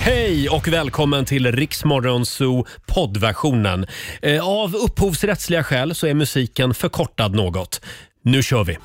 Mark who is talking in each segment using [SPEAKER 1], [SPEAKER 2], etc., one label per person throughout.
[SPEAKER 1] Hej och välkommen till Riksmorgonzoo poddversionen. Eh, Av upphovsrättsliga skäl så är musiken förkortad något. Nu kör vi!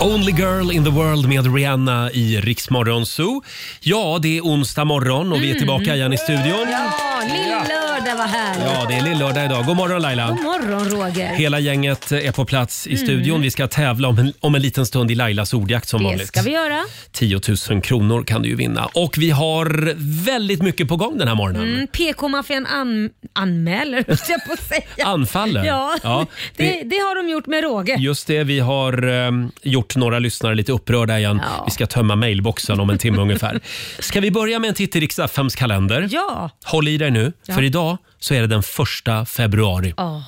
[SPEAKER 1] Only girl in the world med Rihanna i Riksmorgonzoo. Ja, det är onsdag morgon och vi är
[SPEAKER 2] Mm.
[SPEAKER 1] tillbaka igen i studion.
[SPEAKER 2] Ja, lill-lördag var här.
[SPEAKER 1] Ja, det är lill-lördag idag. God morgon Laila!
[SPEAKER 2] God morgon Roger.
[SPEAKER 1] Hela gänget är på plats
[SPEAKER 2] Mm.
[SPEAKER 1] i studion. Vi ska tävla om en, om en liten stund i Lailas ordjakt som vanligt.
[SPEAKER 2] Det ska vi göra.
[SPEAKER 1] 10 000 kronor kan du ju vinna. Och vi har väldigt mycket på gång den här morgonen.
[SPEAKER 2] Mm, PK-maffian an, anmäler, höll jag på att säga.
[SPEAKER 1] Anfaller.
[SPEAKER 2] Ja,
[SPEAKER 1] vi,
[SPEAKER 2] det, det har de gjort med råge.
[SPEAKER 1] just det, vi har ehm, gjort några lyssnare lite upprörda igen.
[SPEAKER 2] Ja.
[SPEAKER 1] Vi ska tömma mailboxen om en timme ungefär. Ska vi börja med en titt i Rix FMs kalender?
[SPEAKER 2] Ja.
[SPEAKER 1] Håll i dig nu,
[SPEAKER 2] Ja.
[SPEAKER 1] för idag så är det den första februari.
[SPEAKER 2] Oh,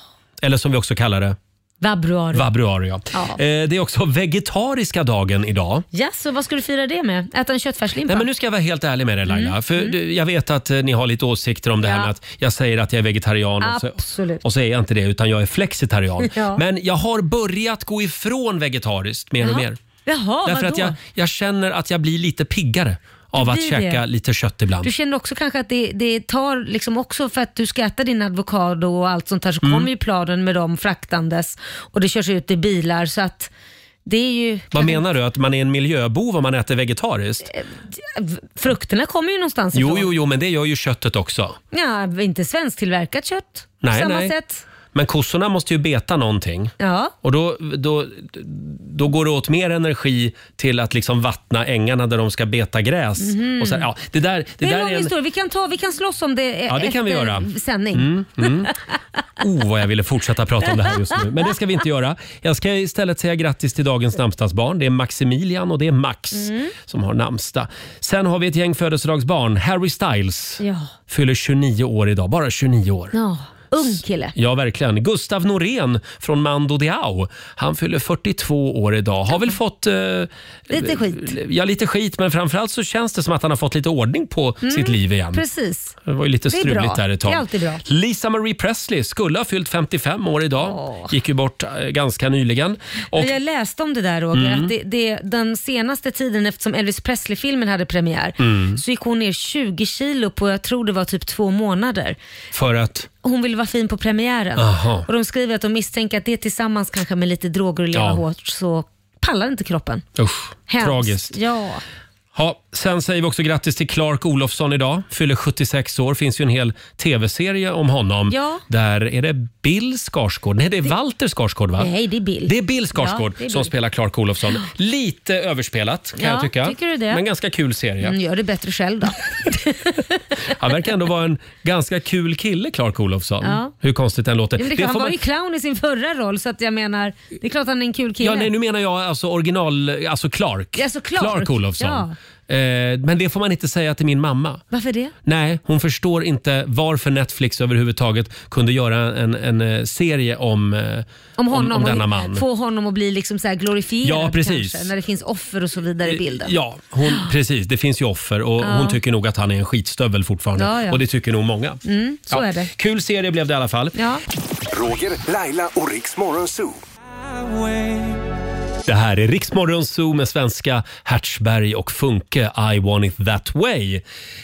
[SPEAKER 1] Eller som vi också kallar det,
[SPEAKER 2] vad bra. du-
[SPEAKER 1] vabruari. Ja.
[SPEAKER 2] Ja.
[SPEAKER 1] Eh, det är också vegetariska dagen idag.
[SPEAKER 2] Ja, så vad ska du fira det med? Äta en köttfärslimpa?
[SPEAKER 1] Nej, men nu ska jag vara helt ärlig med dig Laila. För du, Jag vet att eh, ni har lite åsikter om det här
[SPEAKER 2] Mm. Ja.
[SPEAKER 1] med att jag säger att jag är vegetarian och så,
[SPEAKER 2] Absolut.
[SPEAKER 1] och så är jag inte det utan jag är flexitarian.
[SPEAKER 2] Ja.
[SPEAKER 1] Men jag har börjat gå ifrån vegetariskt mer och mer.
[SPEAKER 2] Jaha,
[SPEAKER 1] Därför
[SPEAKER 2] vadå?
[SPEAKER 1] att jag, jag känner att jag blir lite piggare av att
[SPEAKER 2] blir
[SPEAKER 1] käka
[SPEAKER 2] det.
[SPEAKER 1] lite kött ibland.
[SPEAKER 2] Du känner också kanske att det, det tar liksom också för att du ska äta din avokado och allt sånt här
[SPEAKER 1] Mm.
[SPEAKER 2] så kommer ju planen med dem fraktandes och det körs ut i bilar så att det är ju...
[SPEAKER 1] Vad menar du? Att man är en miljöbov om man äter
[SPEAKER 2] Eh,
[SPEAKER 1] vegetariskt?
[SPEAKER 2] Frukterna kommer ju någonstans
[SPEAKER 1] Jo,
[SPEAKER 2] ifrån.
[SPEAKER 1] jo, jo, men det gör ju köttet också.
[SPEAKER 2] Ja, inte svensktillverkat kött
[SPEAKER 1] Nej,
[SPEAKER 2] på samma
[SPEAKER 1] nej.
[SPEAKER 2] sätt.
[SPEAKER 1] Men kossorna måste ju beta någonting.
[SPEAKER 2] Ja,
[SPEAKER 1] Och då, då, då går det åt mer energi till att liksom vattna ängarna där de ska beta gräs. Och så här, ja, det där, det
[SPEAKER 2] Mhm. det är
[SPEAKER 1] där
[SPEAKER 2] en lång
[SPEAKER 1] är en...
[SPEAKER 2] historia. Vi kan, ta, vi kan slåss om det eh,
[SPEAKER 1] Ja, det
[SPEAKER 2] efter
[SPEAKER 1] kan vi göra. Mm.
[SPEAKER 2] sändning.
[SPEAKER 1] Oh, vad jag ville fortsätta prata om det här just nu. Men det ska vi inte göra. Jag ska istället säga grattis till dagens namnsdagsbarn. Det är Maximilian och det är Max
[SPEAKER 2] Mm.
[SPEAKER 1] som har namnsdag. Sen har vi ett gäng födelsedagsbarn. Harry Styles
[SPEAKER 2] Ja.
[SPEAKER 1] fyller 29 år idag. Bara 29 år.
[SPEAKER 2] ja, ung kille.
[SPEAKER 1] Ja, verkligen. Gustav Norén från Mando Diao. Han fyller 42 år idag. Har väl fått... Eh,
[SPEAKER 2] Lite skit.
[SPEAKER 1] Ja, lite skit, men framförallt så känns det som att han har fått lite ordning på sitt liv igen.
[SPEAKER 2] Mm, Precis.
[SPEAKER 1] Det var ju lite
[SPEAKER 2] Det är
[SPEAKER 1] struligt
[SPEAKER 2] bra.
[SPEAKER 1] där ett tag.
[SPEAKER 2] Det är alltid bra.
[SPEAKER 1] Lisa Marie Presley skulle ha fyllt 55 år idag.
[SPEAKER 2] Åh.
[SPEAKER 1] Gick ju bort eh, ganska nyligen. Och, Mm.
[SPEAKER 2] Jag läste om det där Roger, att det, det, den senaste tiden eftersom Elvis Presley-filmen hade premiär
[SPEAKER 1] Mm.
[SPEAKER 2] så gick hon ner 20 kilo på, jag tror det var typ två månader.
[SPEAKER 1] för att...
[SPEAKER 2] Hon ville vara fin på premiären.
[SPEAKER 1] Aha.
[SPEAKER 2] Och De skriver att de misstänker att det tillsammans kanske med lite droger och leva
[SPEAKER 1] Ja.
[SPEAKER 2] hårt så pallar inte kroppen.
[SPEAKER 1] Usch,
[SPEAKER 2] Hemskt.
[SPEAKER 1] tragiskt.
[SPEAKER 2] Ja.
[SPEAKER 1] Ja, sen säger vi också grattis till Clark Olofsson idag. Fyller 76 år. finns ju en hel tv-serie om honom.
[SPEAKER 2] Ja.
[SPEAKER 1] Där är det Bill Skarsgård. Nej, det är Walter Skarsgård va?
[SPEAKER 2] Nej, det är Bill.
[SPEAKER 1] Det är Bill Skarsgård
[SPEAKER 2] Ja, det är Bill.
[SPEAKER 1] som spelar Clark Olofsson. Lite överspelat kan
[SPEAKER 2] Ja,
[SPEAKER 1] jag tycka.
[SPEAKER 2] tycker du det?
[SPEAKER 1] Men ganska kul serie.
[SPEAKER 2] Mm, Gör det bättre själv då.
[SPEAKER 1] Han verkar ändå vara en ganska kul kille, Clark Olofsson.
[SPEAKER 2] Ja.
[SPEAKER 1] Hur konstigt den låter.
[SPEAKER 2] Ja, men det är klart, han var ju clown i sin förra roll så att jag menar, det är klart han är en kul kille.
[SPEAKER 1] Ja, nej, nu menar jag alltså original, alltså Clark.
[SPEAKER 2] Ja, så Clark.
[SPEAKER 1] Olofsson. Eh, men det får man inte säga till min mamma.
[SPEAKER 2] Varför det?
[SPEAKER 1] Nej, hon förstår inte varför Netflix överhuvudtaget kunde göra en, en eh, serie om, eh,
[SPEAKER 2] Om honom
[SPEAKER 1] om, om denna
[SPEAKER 2] och
[SPEAKER 1] man.
[SPEAKER 2] få honom att bli liksom så här glorifierad
[SPEAKER 1] Ja, precis. Eh,
[SPEAKER 2] kanske, när det finns offer och så vidare i bilden.
[SPEAKER 1] Ja, hon, precis. Det finns ju offer och hon tycker nog att han är en skitstövel fortfarande.
[SPEAKER 2] Ja, ja. Mm,
[SPEAKER 1] Och det tycker nog många.
[SPEAKER 2] så är det.
[SPEAKER 1] Kul serie blev det i alla fall.
[SPEAKER 2] Ja.
[SPEAKER 3] Roger, Laila och Riks Morgonzoo.
[SPEAKER 1] Det här är Riksmorgon Zoo med svenska Hertzberg och Funke, I want it that way.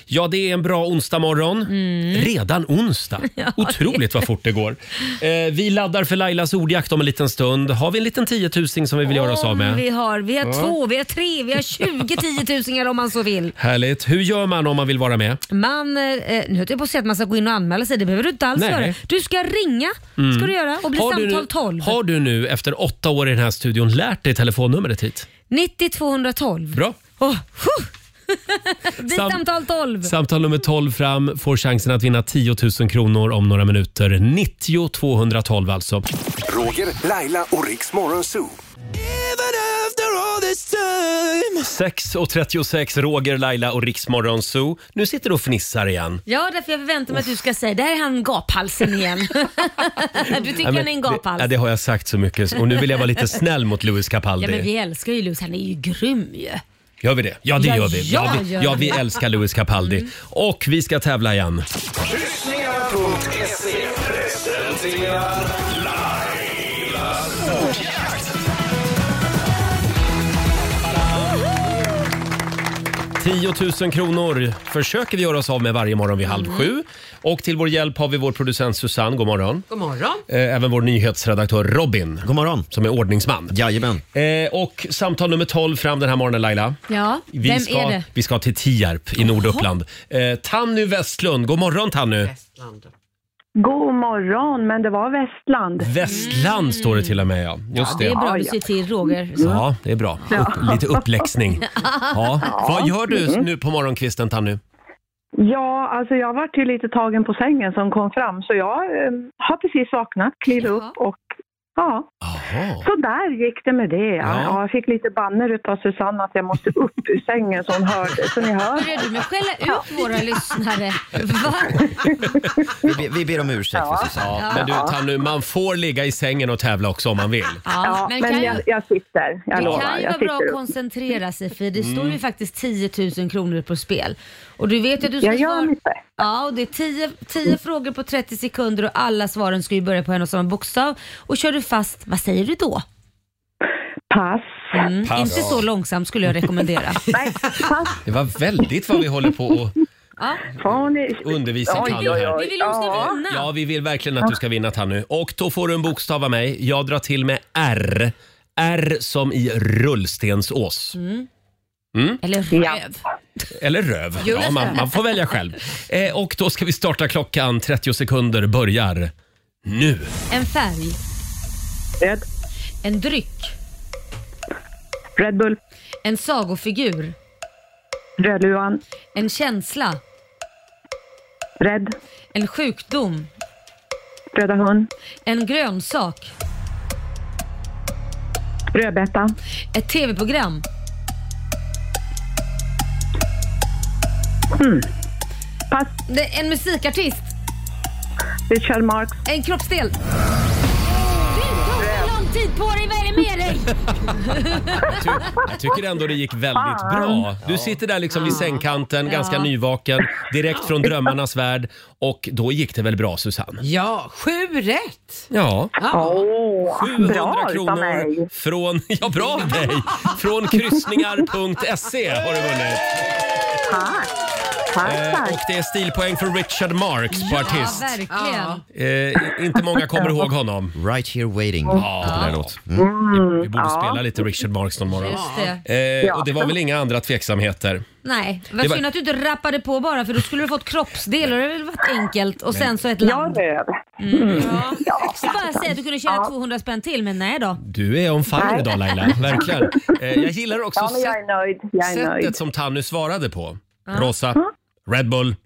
[SPEAKER 1] Ja, det är en bra onsdagmorgon.
[SPEAKER 2] Mm.
[SPEAKER 1] Redan onsdag. Otroligt vad fort det går. Eh, vi laddar för Lailas ordjakt om en liten stund. Har vi en liten tiotusing som vi vill göra oss av
[SPEAKER 2] Om
[SPEAKER 1] med?
[SPEAKER 2] Vi har, vi har två, vi har tre, vi har 20 tiotusingar om man så vill.
[SPEAKER 1] Härligt. Hur gör man om man vill vara med?
[SPEAKER 2] Man, eh, nu höll jag på att säga att man ska gå in och anmäla sig, det behöver du inte alls
[SPEAKER 1] Nej.
[SPEAKER 2] göra. Du ska ringa ska du göra och bli
[SPEAKER 1] du
[SPEAKER 2] samtal
[SPEAKER 1] nu,
[SPEAKER 2] 12.
[SPEAKER 1] har du nu efter åtta år i den här studion lärt dig telefonnumret hit?
[SPEAKER 2] 90 212.
[SPEAKER 1] Bra.
[SPEAKER 2] Åh, huh. bli
[SPEAKER 1] Sam-
[SPEAKER 2] samtal 12.
[SPEAKER 1] Samtal nummer 12 fram får chansen att vinna 10 000 kronor om några minuter. 90 212 alltså.
[SPEAKER 3] Roger, Laila och Riks Morgonzoo.
[SPEAKER 1] 6.36, Roger, Laila och Riksmorgon Zoo. Nu sitter du och fnissar igen.
[SPEAKER 2] Ja, därför jag förväntar mig att du ska säga där är han gaphalsen igen. du tycker han är en alltså? gaphals.
[SPEAKER 1] det, ja, det har jag sagt så mycket och nu vill jag vara lite snäll mot Louis Capaldi.
[SPEAKER 2] Ja, men vi älskar ju Lewis, han är ju grym ju.
[SPEAKER 1] Gör vi det? Ja, det
[SPEAKER 2] Ja,
[SPEAKER 1] gör vi. Ja,
[SPEAKER 2] ja,
[SPEAKER 1] vi,
[SPEAKER 2] gör
[SPEAKER 1] ja,
[SPEAKER 2] vi. Mm.
[SPEAKER 1] vi älskar Louis Capaldi. Och vi ska tävla igen.
[SPEAKER 4] Kryssningar.se presenterar Lailas ordjakt.
[SPEAKER 1] 10 000 kronor försöker vi göra oss av med varje morgon vid
[SPEAKER 2] Mm.
[SPEAKER 1] halv sju. Och till vår hjälp har vi vår producent Susanne, god morgon.
[SPEAKER 5] God morgon.
[SPEAKER 1] Eh, Även vår nyhetsredaktör Robin,
[SPEAKER 6] God morgon.
[SPEAKER 1] som är ordningsman.
[SPEAKER 6] Jajamän.
[SPEAKER 1] Eh, Och samtal nummer 12 fram den här morgonen Laila.
[SPEAKER 2] Ja,
[SPEAKER 1] Vi
[SPEAKER 2] vem
[SPEAKER 1] ska,
[SPEAKER 2] är det?
[SPEAKER 1] Vi ska till Tierp i Norduppland. Eh, Tanny Westlund, god morgon Tanny.
[SPEAKER 5] Västland.
[SPEAKER 7] God morgon, men det var Västland.
[SPEAKER 1] Västland står det till och med ja. Just
[SPEAKER 2] Det är
[SPEAKER 1] det.
[SPEAKER 2] bra du ser till Roger.
[SPEAKER 1] Ja, det är bra. Upp, lite uppläxning. Ja. Vad gör du
[SPEAKER 2] Mm.
[SPEAKER 1] nu på morgonkvisten Tanny?
[SPEAKER 7] Ja, alltså jag vart ju lite tagen på sängen som kom fram, så jag eh, har precis vaknat, klivit
[SPEAKER 2] Jaha.
[SPEAKER 7] upp och ja,
[SPEAKER 1] Jaha.
[SPEAKER 7] så där gick det med det. Ja.
[SPEAKER 1] Ja.
[SPEAKER 7] Ja, jag fick lite banner utav Susanne att jag måste upp ur sängen så hon hörde, så ni hör.
[SPEAKER 2] Börjar du med att skälla ut våra lyssnare? Va?
[SPEAKER 6] Vi, be- vi ber om ursäkt för Susanne.
[SPEAKER 1] Ja, men du Tanny, man får ligga i sängen och tävla också om man vill.
[SPEAKER 7] Ja, men jag, jag sitter, jag
[SPEAKER 2] Det
[SPEAKER 7] lovar.
[SPEAKER 2] kan ju
[SPEAKER 7] jag
[SPEAKER 2] vara bra
[SPEAKER 7] sitter
[SPEAKER 2] att
[SPEAKER 7] upp. Mm.
[SPEAKER 2] koncentrera sig för det står ju faktiskt 10 000 kronor på spel. Och du vet ju att du ska
[SPEAKER 7] Jag gör mitt bästa.
[SPEAKER 2] Ja, och det är 10, 10 frågor på 30 sekunder och alla svaren ska ju börja på en och samma bokstav. Och kör du fast, vad säger du då?
[SPEAKER 7] Pass.
[SPEAKER 2] Mm,
[SPEAKER 1] Pass.
[SPEAKER 2] Inte så långsamt skulle jag rekommendera.
[SPEAKER 7] Nej, pass.
[SPEAKER 1] Det var väldigt vad vi håller på och
[SPEAKER 2] Ja.
[SPEAKER 7] Får ni...
[SPEAKER 1] undervisa
[SPEAKER 7] Oj,
[SPEAKER 1] Tanny
[SPEAKER 7] oj,
[SPEAKER 1] här.
[SPEAKER 7] oj.
[SPEAKER 2] Vi vill ju att du ska
[SPEAKER 7] Ja.
[SPEAKER 2] vinna.
[SPEAKER 1] Ja, vi vill verkligen att du ska vinna Tanny. Och då får du en bokstav av mig. Jag drar till med R. R som i rullstensås.
[SPEAKER 2] Eller
[SPEAKER 7] Ja.
[SPEAKER 2] röv.
[SPEAKER 1] Eller röv. Ja, man, man får välja själv. Eh, och då ska vi starta klockan. 30 sekunder börjar nu.
[SPEAKER 2] En färg.
[SPEAKER 7] Red,
[SPEAKER 2] En dryck.
[SPEAKER 7] Red Bull,
[SPEAKER 2] En sagofigur.
[SPEAKER 7] Rödluvan,
[SPEAKER 2] En känsla.
[SPEAKER 7] Red,
[SPEAKER 2] En sjukdom.
[SPEAKER 7] Röda hund,
[SPEAKER 2] En grönsak.
[SPEAKER 7] Rödbeta,
[SPEAKER 2] Ett tv-program.
[SPEAKER 7] pass.
[SPEAKER 2] Det- En musikartist.
[SPEAKER 7] Richard Marx,
[SPEAKER 2] En kroppsdel. Du tog så lång tid på dig, vad är det med dig?
[SPEAKER 1] Jag tycker ändå det gick väldigt bra. Du sitter där liksom vid sängkanten, ganska nyvaken, direkt från drömmarnas värld. Och då gick det väl bra Susanne?
[SPEAKER 5] Ja, sju rätt.
[SPEAKER 1] Ja.
[SPEAKER 5] Ja.
[SPEAKER 7] Åh,
[SPEAKER 1] 700
[SPEAKER 7] bra utav
[SPEAKER 1] kronor Eh,
[SPEAKER 7] mig.
[SPEAKER 1] från, ja bra av dig, från kryssningar.se har du vunnit.
[SPEAKER 7] Tack. Tack,
[SPEAKER 1] Eh, och
[SPEAKER 7] tack.
[SPEAKER 1] det är stilpoäng för Richard Marx på
[SPEAKER 2] Ja,
[SPEAKER 1] artist.
[SPEAKER 2] verkligen.
[SPEAKER 1] Eh, inte många kommer ihåg honom.
[SPEAKER 6] Right here waiting.
[SPEAKER 1] Ja, Mm.
[SPEAKER 7] Mm.
[SPEAKER 1] Vi, vi borde spela lite Richard Marx någon morgon.
[SPEAKER 2] Just det.
[SPEAKER 1] Eh, och det var väl inga andra tveksamheter.
[SPEAKER 2] Nej,
[SPEAKER 1] Det
[SPEAKER 2] vad
[SPEAKER 1] var-
[SPEAKER 2] synd att du inte rappade på bara för då skulle du fått kroppsdelar. Det hade väl varit enkelt. Och sen så ett
[SPEAKER 7] Jag
[SPEAKER 2] land.
[SPEAKER 7] röv.
[SPEAKER 2] Jag skulle bara säga att du kunde tjäna 200 spänn till, men nej då.
[SPEAKER 1] Du är on fire idag Laila, verkligen. Eh, jag gillar också
[SPEAKER 7] Ja, men jag
[SPEAKER 1] sätt-
[SPEAKER 7] är nöjd. Jag är nöjd. Mm.
[SPEAKER 1] sättet som Tanny svarade på. Rosa, Red Bull.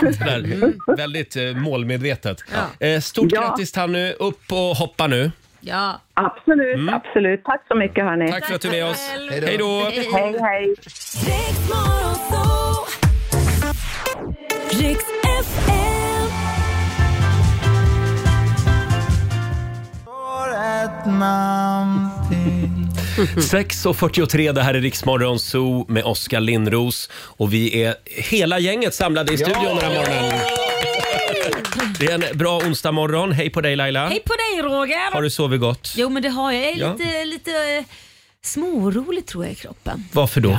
[SPEAKER 1] Det där, Väldigt eh, målmedvetet. Eh, stort
[SPEAKER 7] Ja.
[SPEAKER 1] grattis Tanny, upp och hoppa nu.
[SPEAKER 2] Ja.
[SPEAKER 7] Absolut, absolut. Tack så mycket hörni.
[SPEAKER 1] Mm. Tack för att du är med oss.
[SPEAKER 2] Tack
[SPEAKER 1] Hej då!
[SPEAKER 7] Hej, hej.
[SPEAKER 8] namn
[SPEAKER 1] 6.43, det här är Riksmorgon Zoo med Oskar Lindros och vi är hela gänget samlade i studion den här morgonen. Det är en bra onsdagmorgon. Hej på dig Laila.
[SPEAKER 2] Hej på dig Roger!
[SPEAKER 1] Har du sovit gott?
[SPEAKER 2] Jo men det har jag. Jag är
[SPEAKER 1] Ja.
[SPEAKER 2] lite, lite eh, småorolig tror jag i kroppen.
[SPEAKER 1] Varför då?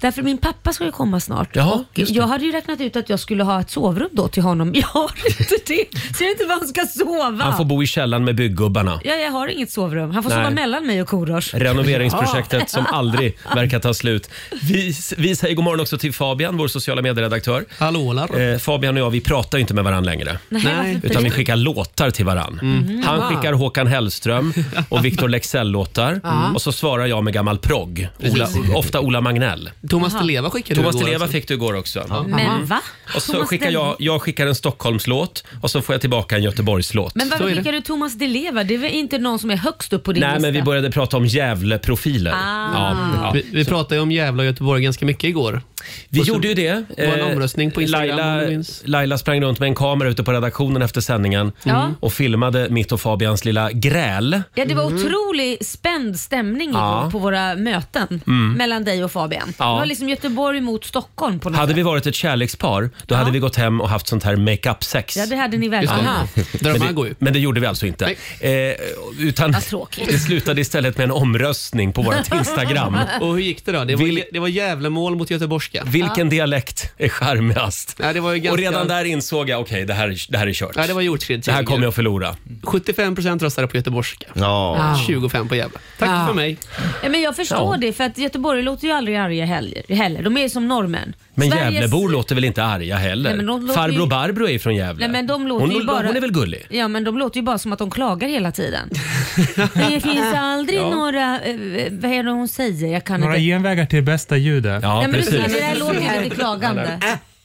[SPEAKER 2] Därför min pappa ska ju komma snart
[SPEAKER 1] Jaha,
[SPEAKER 2] och
[SPEAKER 1] just det.
[SPEAKER 2] jag hade ju räknat ut att jag skulle ha ett sovrum då till honom. Jag har inte det. Så jag vet inte var han ska sova.
[SPEAKER 1] Han får bo i källaren med byggubbarna.
[SPEAKER 2] Ja, jag har inget sovrum. Han får
[SPEAKER 1] Nej.
[SPEAKER 2] sova mellan mig och Korosh.
[SPEAKER 1] Renoveringsprojektet som aldrig verkar ta slut. Vi, vi säger god morgon också till Fabian, vår sociala medieredaktör.
[SPEAKER 8] Hallålar.
[SPEAKER 1] Eh, Fabian och jag, vi pratar ju inte med varandra längre.
[SPEAKER 2] Nej, varför inte
[SPEAKER 1] Utan vi
[SPEAKER 2] det?
[SPEAKER 1] skickar låtar till varann.
[SPEAKER 8] Mm.
[SPEAKER 1] Mm. Han skickar Håkan Hellström och Victor Leksell-låtar. Och så svarar jag med gammal progg. Ola,
[SPEAKER 8] Precis.
[SPEAKER 1] ofta Ola Magnell.
[SPEAKER 8] Thomas Di Leva skickade
[SPEAKER 1] Thomas
[SPEAKER 8] du
[SPEAKER 1] Di
[SPEAKER 8] igår
[SPEAKER 1] Leva
[SPEAKER 8] alltså.
[SPEAKER 1] fick du igår också. Mm.
[SPEAKER 2] Men va?
[SPEAKER 1] Och så
[SPEAKER 2] Thomas
[SPEAKER 1] skickar
[SPEAKER 2] Di-
[SPEAKER 1] jag, jag skickar en Stockholmslåt och så får jag tillbaka en Göteborgslåt.
[SPEAKER 2] Men
[SPEAKER 8] Så
[SPEAKER 2] varför
[SPEAKER 8] är det.
[SPEAKER 2] skickar du Thomas Di Leva? Det är väl inte någon som är högst upp på din
[SPEAKER 1] Nej,
[SPEAKER 2] lista?
[SPEAKER 1] men vi började prata om Gävle-profiler.
[SPEAKER 2] Ah.
[SPEAKER 1] Ja, ja.
[SPEAKER 8] Vi, vi pratade ju om Gävle och Göteborg ganska mycket igår.
[SPEAKER 1] Vi
[SPEAKER 8] Och så
[SPEAKER 1] gjorde ju det.
[SPEAKER 8] var en
[SPEAKER 1] Eh,
[SPEAKER 8] omröstning på Instagram, om du
[SPEAKER 1] Laila,
[SPEAKER 8] minns.
[SPEAKER 1] Laila sprang runt med en kamera ute på redaktionen efter sändningen
[SPEAKER 8] Mm.
[SPEAKER 2] Ja.
[SPEAKER 1] och filmade mitt och Fabians lilla gräl.
[SPEAKER 2] Ja, det var otrolig spänd stämning igår
[SPEAKER 1] Mm. Ja. Mm.
[SPEAKER 2] på våra möten mellan dig och Fabian.
[SPEAKER 1] Ja.
[SPEAKER 2] Det var liksom Göteborg mot Stockholm på något
[SPEAKER 1] Hade
[SPEAKER 2] sätt.
[SPEAKER 1] vi varit ett kärlekspar, då hade vi gått hem och haft sånt här make-up-sex.
[SPEAKER 2] Ja, det hade ni verkligen.
[SPEAKER 8] Aha.
[SPEAKER 1] men,
[SPEAKER 8] Drömmar går
[SPEAKER 1] det,
[SPEAKER 8] ju.
[SPEAKER 1] men det gjorde vi alltså inte. Eh, utan
[SPEAKER 2] Vad tråkigt.
[SPEAKER 1] det slutade istället med en omröstning på vårt Instagram.
[SPEAKER 8] Och hur gick det då? Det var,
[SPEAKER 1] Vil-
[SPEAKER 8] det var Gävlemål mot göteborgska.
[SPEAKER 1] Vilken dialekt är charmigast?
[SPEAKER 8] Ja, det var ju ganska-
[SPEAKER 1] Och redan där insåg jag, okej, det, här, det här är kört.
[SPEAKER 8] Ja, det var jordskred.
[SPEAKER 1] det här kommer jag att förlora.
[SPEAKER 8] 75 procent röstade på göteborgska.
[SPEAKER 6] Ja.
[SPEAKER 8] 25 på Gävle. Tack
[SPEAKER 5] Ja.
[SPEAKER 8] för mig.
[SPEAKER 2] Ja, men jag förstår
[SPEAKER 1] Ja.
[SPEAKER 2] det för att Göteborg låter ju aldrig arga heller. heller. De är ju som norrmän.
[SPEAKER 1] Men
[SPEAKER 2] Sveriges-
[SPEAKER 1] Gävlebor låter väl inte arga heller?
[SPEAKER 2] Nej, men de låter
[SPEAKER 1] Farbror
[SPEAKER 2] ju-
[SPEAKER 1] Barbro är ju från Gävle.
[SPEAKER 2] Nej, men de låter
[SPEAKER 1] hon,
[SPEAKER 2] ju bara...
[SPEAKER 1] hon är väl gullig?
[SPEAKER 2] Ja, men de låter ju bara som att de klagar hela tiden. det finns aldrig några... eh, Vad är det hon säger? Jag kan
[SPEAKER 9] Några
[SPEAKER 2] inte...
[SPEAKER 9] genvägar till bästa ljudet.
[SPEAKER 1] Ja,
[SPEAKER 2] Nej, men du,
[SPEAKER 1] precis.
[SPEAKER 2] det där låter ju lite klagande.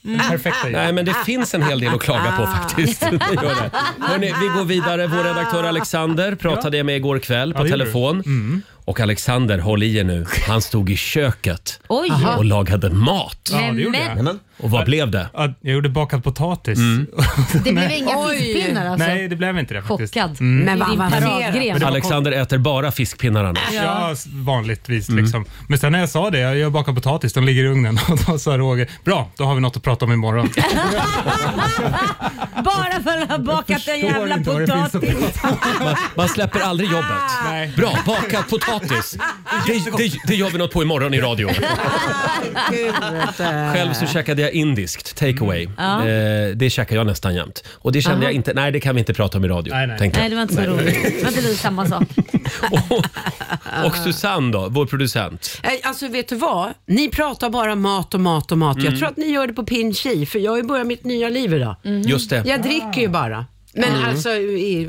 [SPEAKER 2] Mm.
[SPEAKER 9] Perfekta
[SPEAKER 2] Ah.
[SPEAKER 9] ljud.
[SPEAKER 1] Nej, men det finns en hel del att klaga på
[SPEAKER 9] Ah.
[SPEAKER 1] faktiskt. Det gör det. Hörrni, vi går vidare. Vår redaktör Alexander pratade jag med igår kväll på
[SPEAKER 9] det gjorde Mm.
[SPEAKER 1] telefon. Och Alexander, håll i er nu. Han stod i köket
[SPEAKER 2] Oj!
[SPEAKER 1] och lagade mat.
[SPEAKER 9] Ja, det gjorde
[SPEAKER 2] men-
[SPEAKER 9] jag.
[SPEAKER 1] Och vad blev det?
[SPEAKER 9] Ja, jag gjorde bakad potatis.
[SPEAKER 6] Mm.
[SPEAKER 2] Det blev inga
[SPEAKER 5] Oj.
[SPEAKER 2] fiskpinnar alltså?
[SPEAKER 9] Nej, det blev inte det faktiskt.
[SPEAKER 2] Chockad.
[SPEAKER 5] Men
[SPEAKER 2] Det är
[SPEAKER 5] vad
[SPEAKER 2] din
[SPEAKER 5] avancerat.
[SPEAKER 2] paradgren.
[SPEAKER 9] var
[SPEAKER 1] Alexander äter bara fiskpinnar annars.
[SPEAKER 9] Ja, s- vanligtvis
[SPEAKER 6] Mm.
[SPEAKER 9] liksom. Men sen när jag sa det, jag gör bakad potatis, den ligger i ugnen. Och då sa Roger, bra, då har vi något att prata om imorgon.
[SPEAKER 2] Bara för att ha bakat en
[SPEAKER 9] förstår
[SPEAKER 2] jävla
[SPEAKER 9] inte vad det finns att
[SPEAKER 2] potatis.
[SPEAKER 1] Man, man släpper aldrig jobbet.
[SPEAKER 9] Nej.
[SPEAKER 1] Bra, bakad potatis. Det, det, det gör vi något på imorgon i radio. Själv så käkade jag indiskt, takeaway.
[SPEAKER 5] Mm.
[SPEAKER 1] Eh, det käkar jag nästan jämt. Och det kände jag inte, nej det kan vi inte prata om i radio.
[SPEAKER 9] Nej, nej.
[SPEAKER 1] Tänkte
[SPEAKER 2] Nej,
[SPEAKER 1] jag.
[SPEAKER 2] det var inte så roligt. Det var inte lite samma sak.
[SPEAKER 1] Och, och Susanne då, vår producent.
[SPEAKER 5] Nej, Alltså vet du vad? Ni pratar bara mat och mat och mat. Jag tror att ni gör det på pin kiv, för jag har ju börjat mitt nya liv idag.
[SPEAKER 1] Just det.
[SPEAKER 5] Jag dricker ju bara. Men alltså i,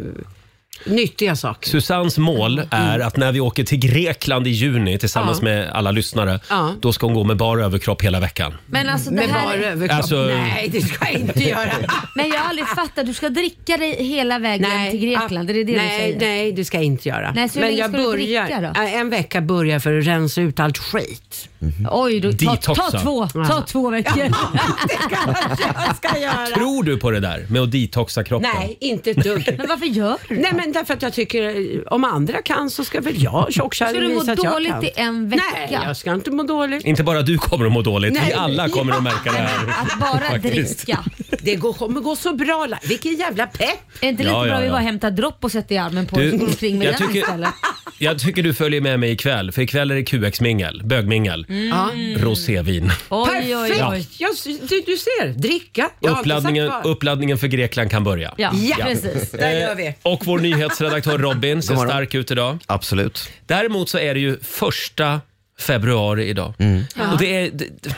[SPEAKER 5] nyttiga saker.
[SPEAKER 1] Susannes mål är att när vi åker till Grekland i juni tillsammans
[SPEAKER 5] Ja.
[SPEAKER 1] med alla lyssnare,
[SPEAKER 5] Ja.
[SPEAKER 1] då ska hon gå med bar överkropp hela veckan.
[SPEAKER 2] Men alltså det
[SPEAKER 5] Med
[SPEAKER 2] här...
[SPEAKER 5] bara överkropp.
[SPEAKER 1] Alltså-
[SPEAKER 5] Nej, det ska jag inte göra.
[SPEAKER 2] Men jag har aldrig fattat. Du ska dricka dig hela vägen till Grekland. Är det det
[SPEAKER 5] nej,
[SPEAKER 2] du säger?
[SPEAKER 5] nej, det ska jag inte göra.
[SPEAKER 2] Nej, så hur
[SPEAKER 5] Men
[SPEAKER 2] länge
[SPEAKER 5] jag
[SPEAKER 2] ska du
[SPEAKER 5] börjar,
[SPEAKER 2] dricka då?
[SPEAKER 5] Ja, en vecka börjar för att rensa ut allt skit.
[SPEAKER 2] Oj, då, ta, ta
[SPEAKER 1] Detoxa.
[SPEAKER 2] två. Ta två veckor.
[SPEAKER 5] Det kanske jag ska göra.
[SPEAKER 1] Tror du på det där med att detoxa kroppen?
[SPEAKER 5] Nej, inte ett dugg.
[SPEAKER 2] Men varför gör du det?
[SPEAKER 5] Nej men därför att jag tycker eh, om andra kan så ska väl jag
[SPEAKER 2] Ska du
[SPEAKER 5] tjockskärring
[SPEAKER 2] må
[SPEAKER 5] visa att jag
[SPEAKER 2] dåligt
[SPEAKER 5] kan.
[SPEAKER 2] i en vecka?
[SPEAKER 5] Nej, jag ska inte må dåligt.
[SPEAKER 1] Inte bara du kommer att må dåligt, vi
[SPEAKER 5] Nej.
[SPEAKER 1] alla kommer att märka det här.
[SPEAKER 2] Att bara
[SPEAKER 1] Faktiskt.
[SPEAKER 2] dricka.
[SPEAKER 5] Det går, kommer gå så bra. Laila. Vilken jävla pepp.
[SPEAKER 2] Är inte
[SPEAKER 1] Ja,
[SPEAKER 2] lite
[SPEAKER 1] ja,
[SPEAKER 2] bra att vi
[SPEAKER 1] ja.
[SPEAKER 2] bara hämtar dropp och sätter i armen på
[SPEAKER 1] Du,
[SPEAKER 2] du, och går omkring med
[SPEAKER 1] jag
[SPEAKER 2] den
[SPEAKER 1] tycker-
[SPEAKER 2] istället?
[SPEAKER 1] Jag tycker du följer med mig ikväll, för ikväll är det QX-mingel, bögmingel,
[SPEAKER 5] Mm.
[SPEAKER 1] rosévin.
[SPEAKER 2] Oj, oj,
[SPEAKER 5] Perfekt!
[SPEAKER 2] oj.
[SPEAKER 5] Jag, du, du ser, dricka. Jag har inte
[SPEAKER 1] Uppladdningen, Eh.
[SPEAKER 5] sagt vad.
[SPEAKER 1] uppladdningen för Grekland kan börja.
[SPEAKER 2] Ja,
[SPEAKER 5] Ja.
[SPEAKER 2] precis.
[SPEAKER 5] Där gör vi.
[SPEAKER 1] Och vår nyhetsredaktör Robin ser
[SPEAKER 6] God morgon.
[SPEAKER 1] stark ut idag.
[SPEAKER 6] Absolut.
[SPEAKER 1] Däremot så är det ju första februari idag.
[SPEAKER 6] Mm.
[SPEAKER 1] Och det är, det,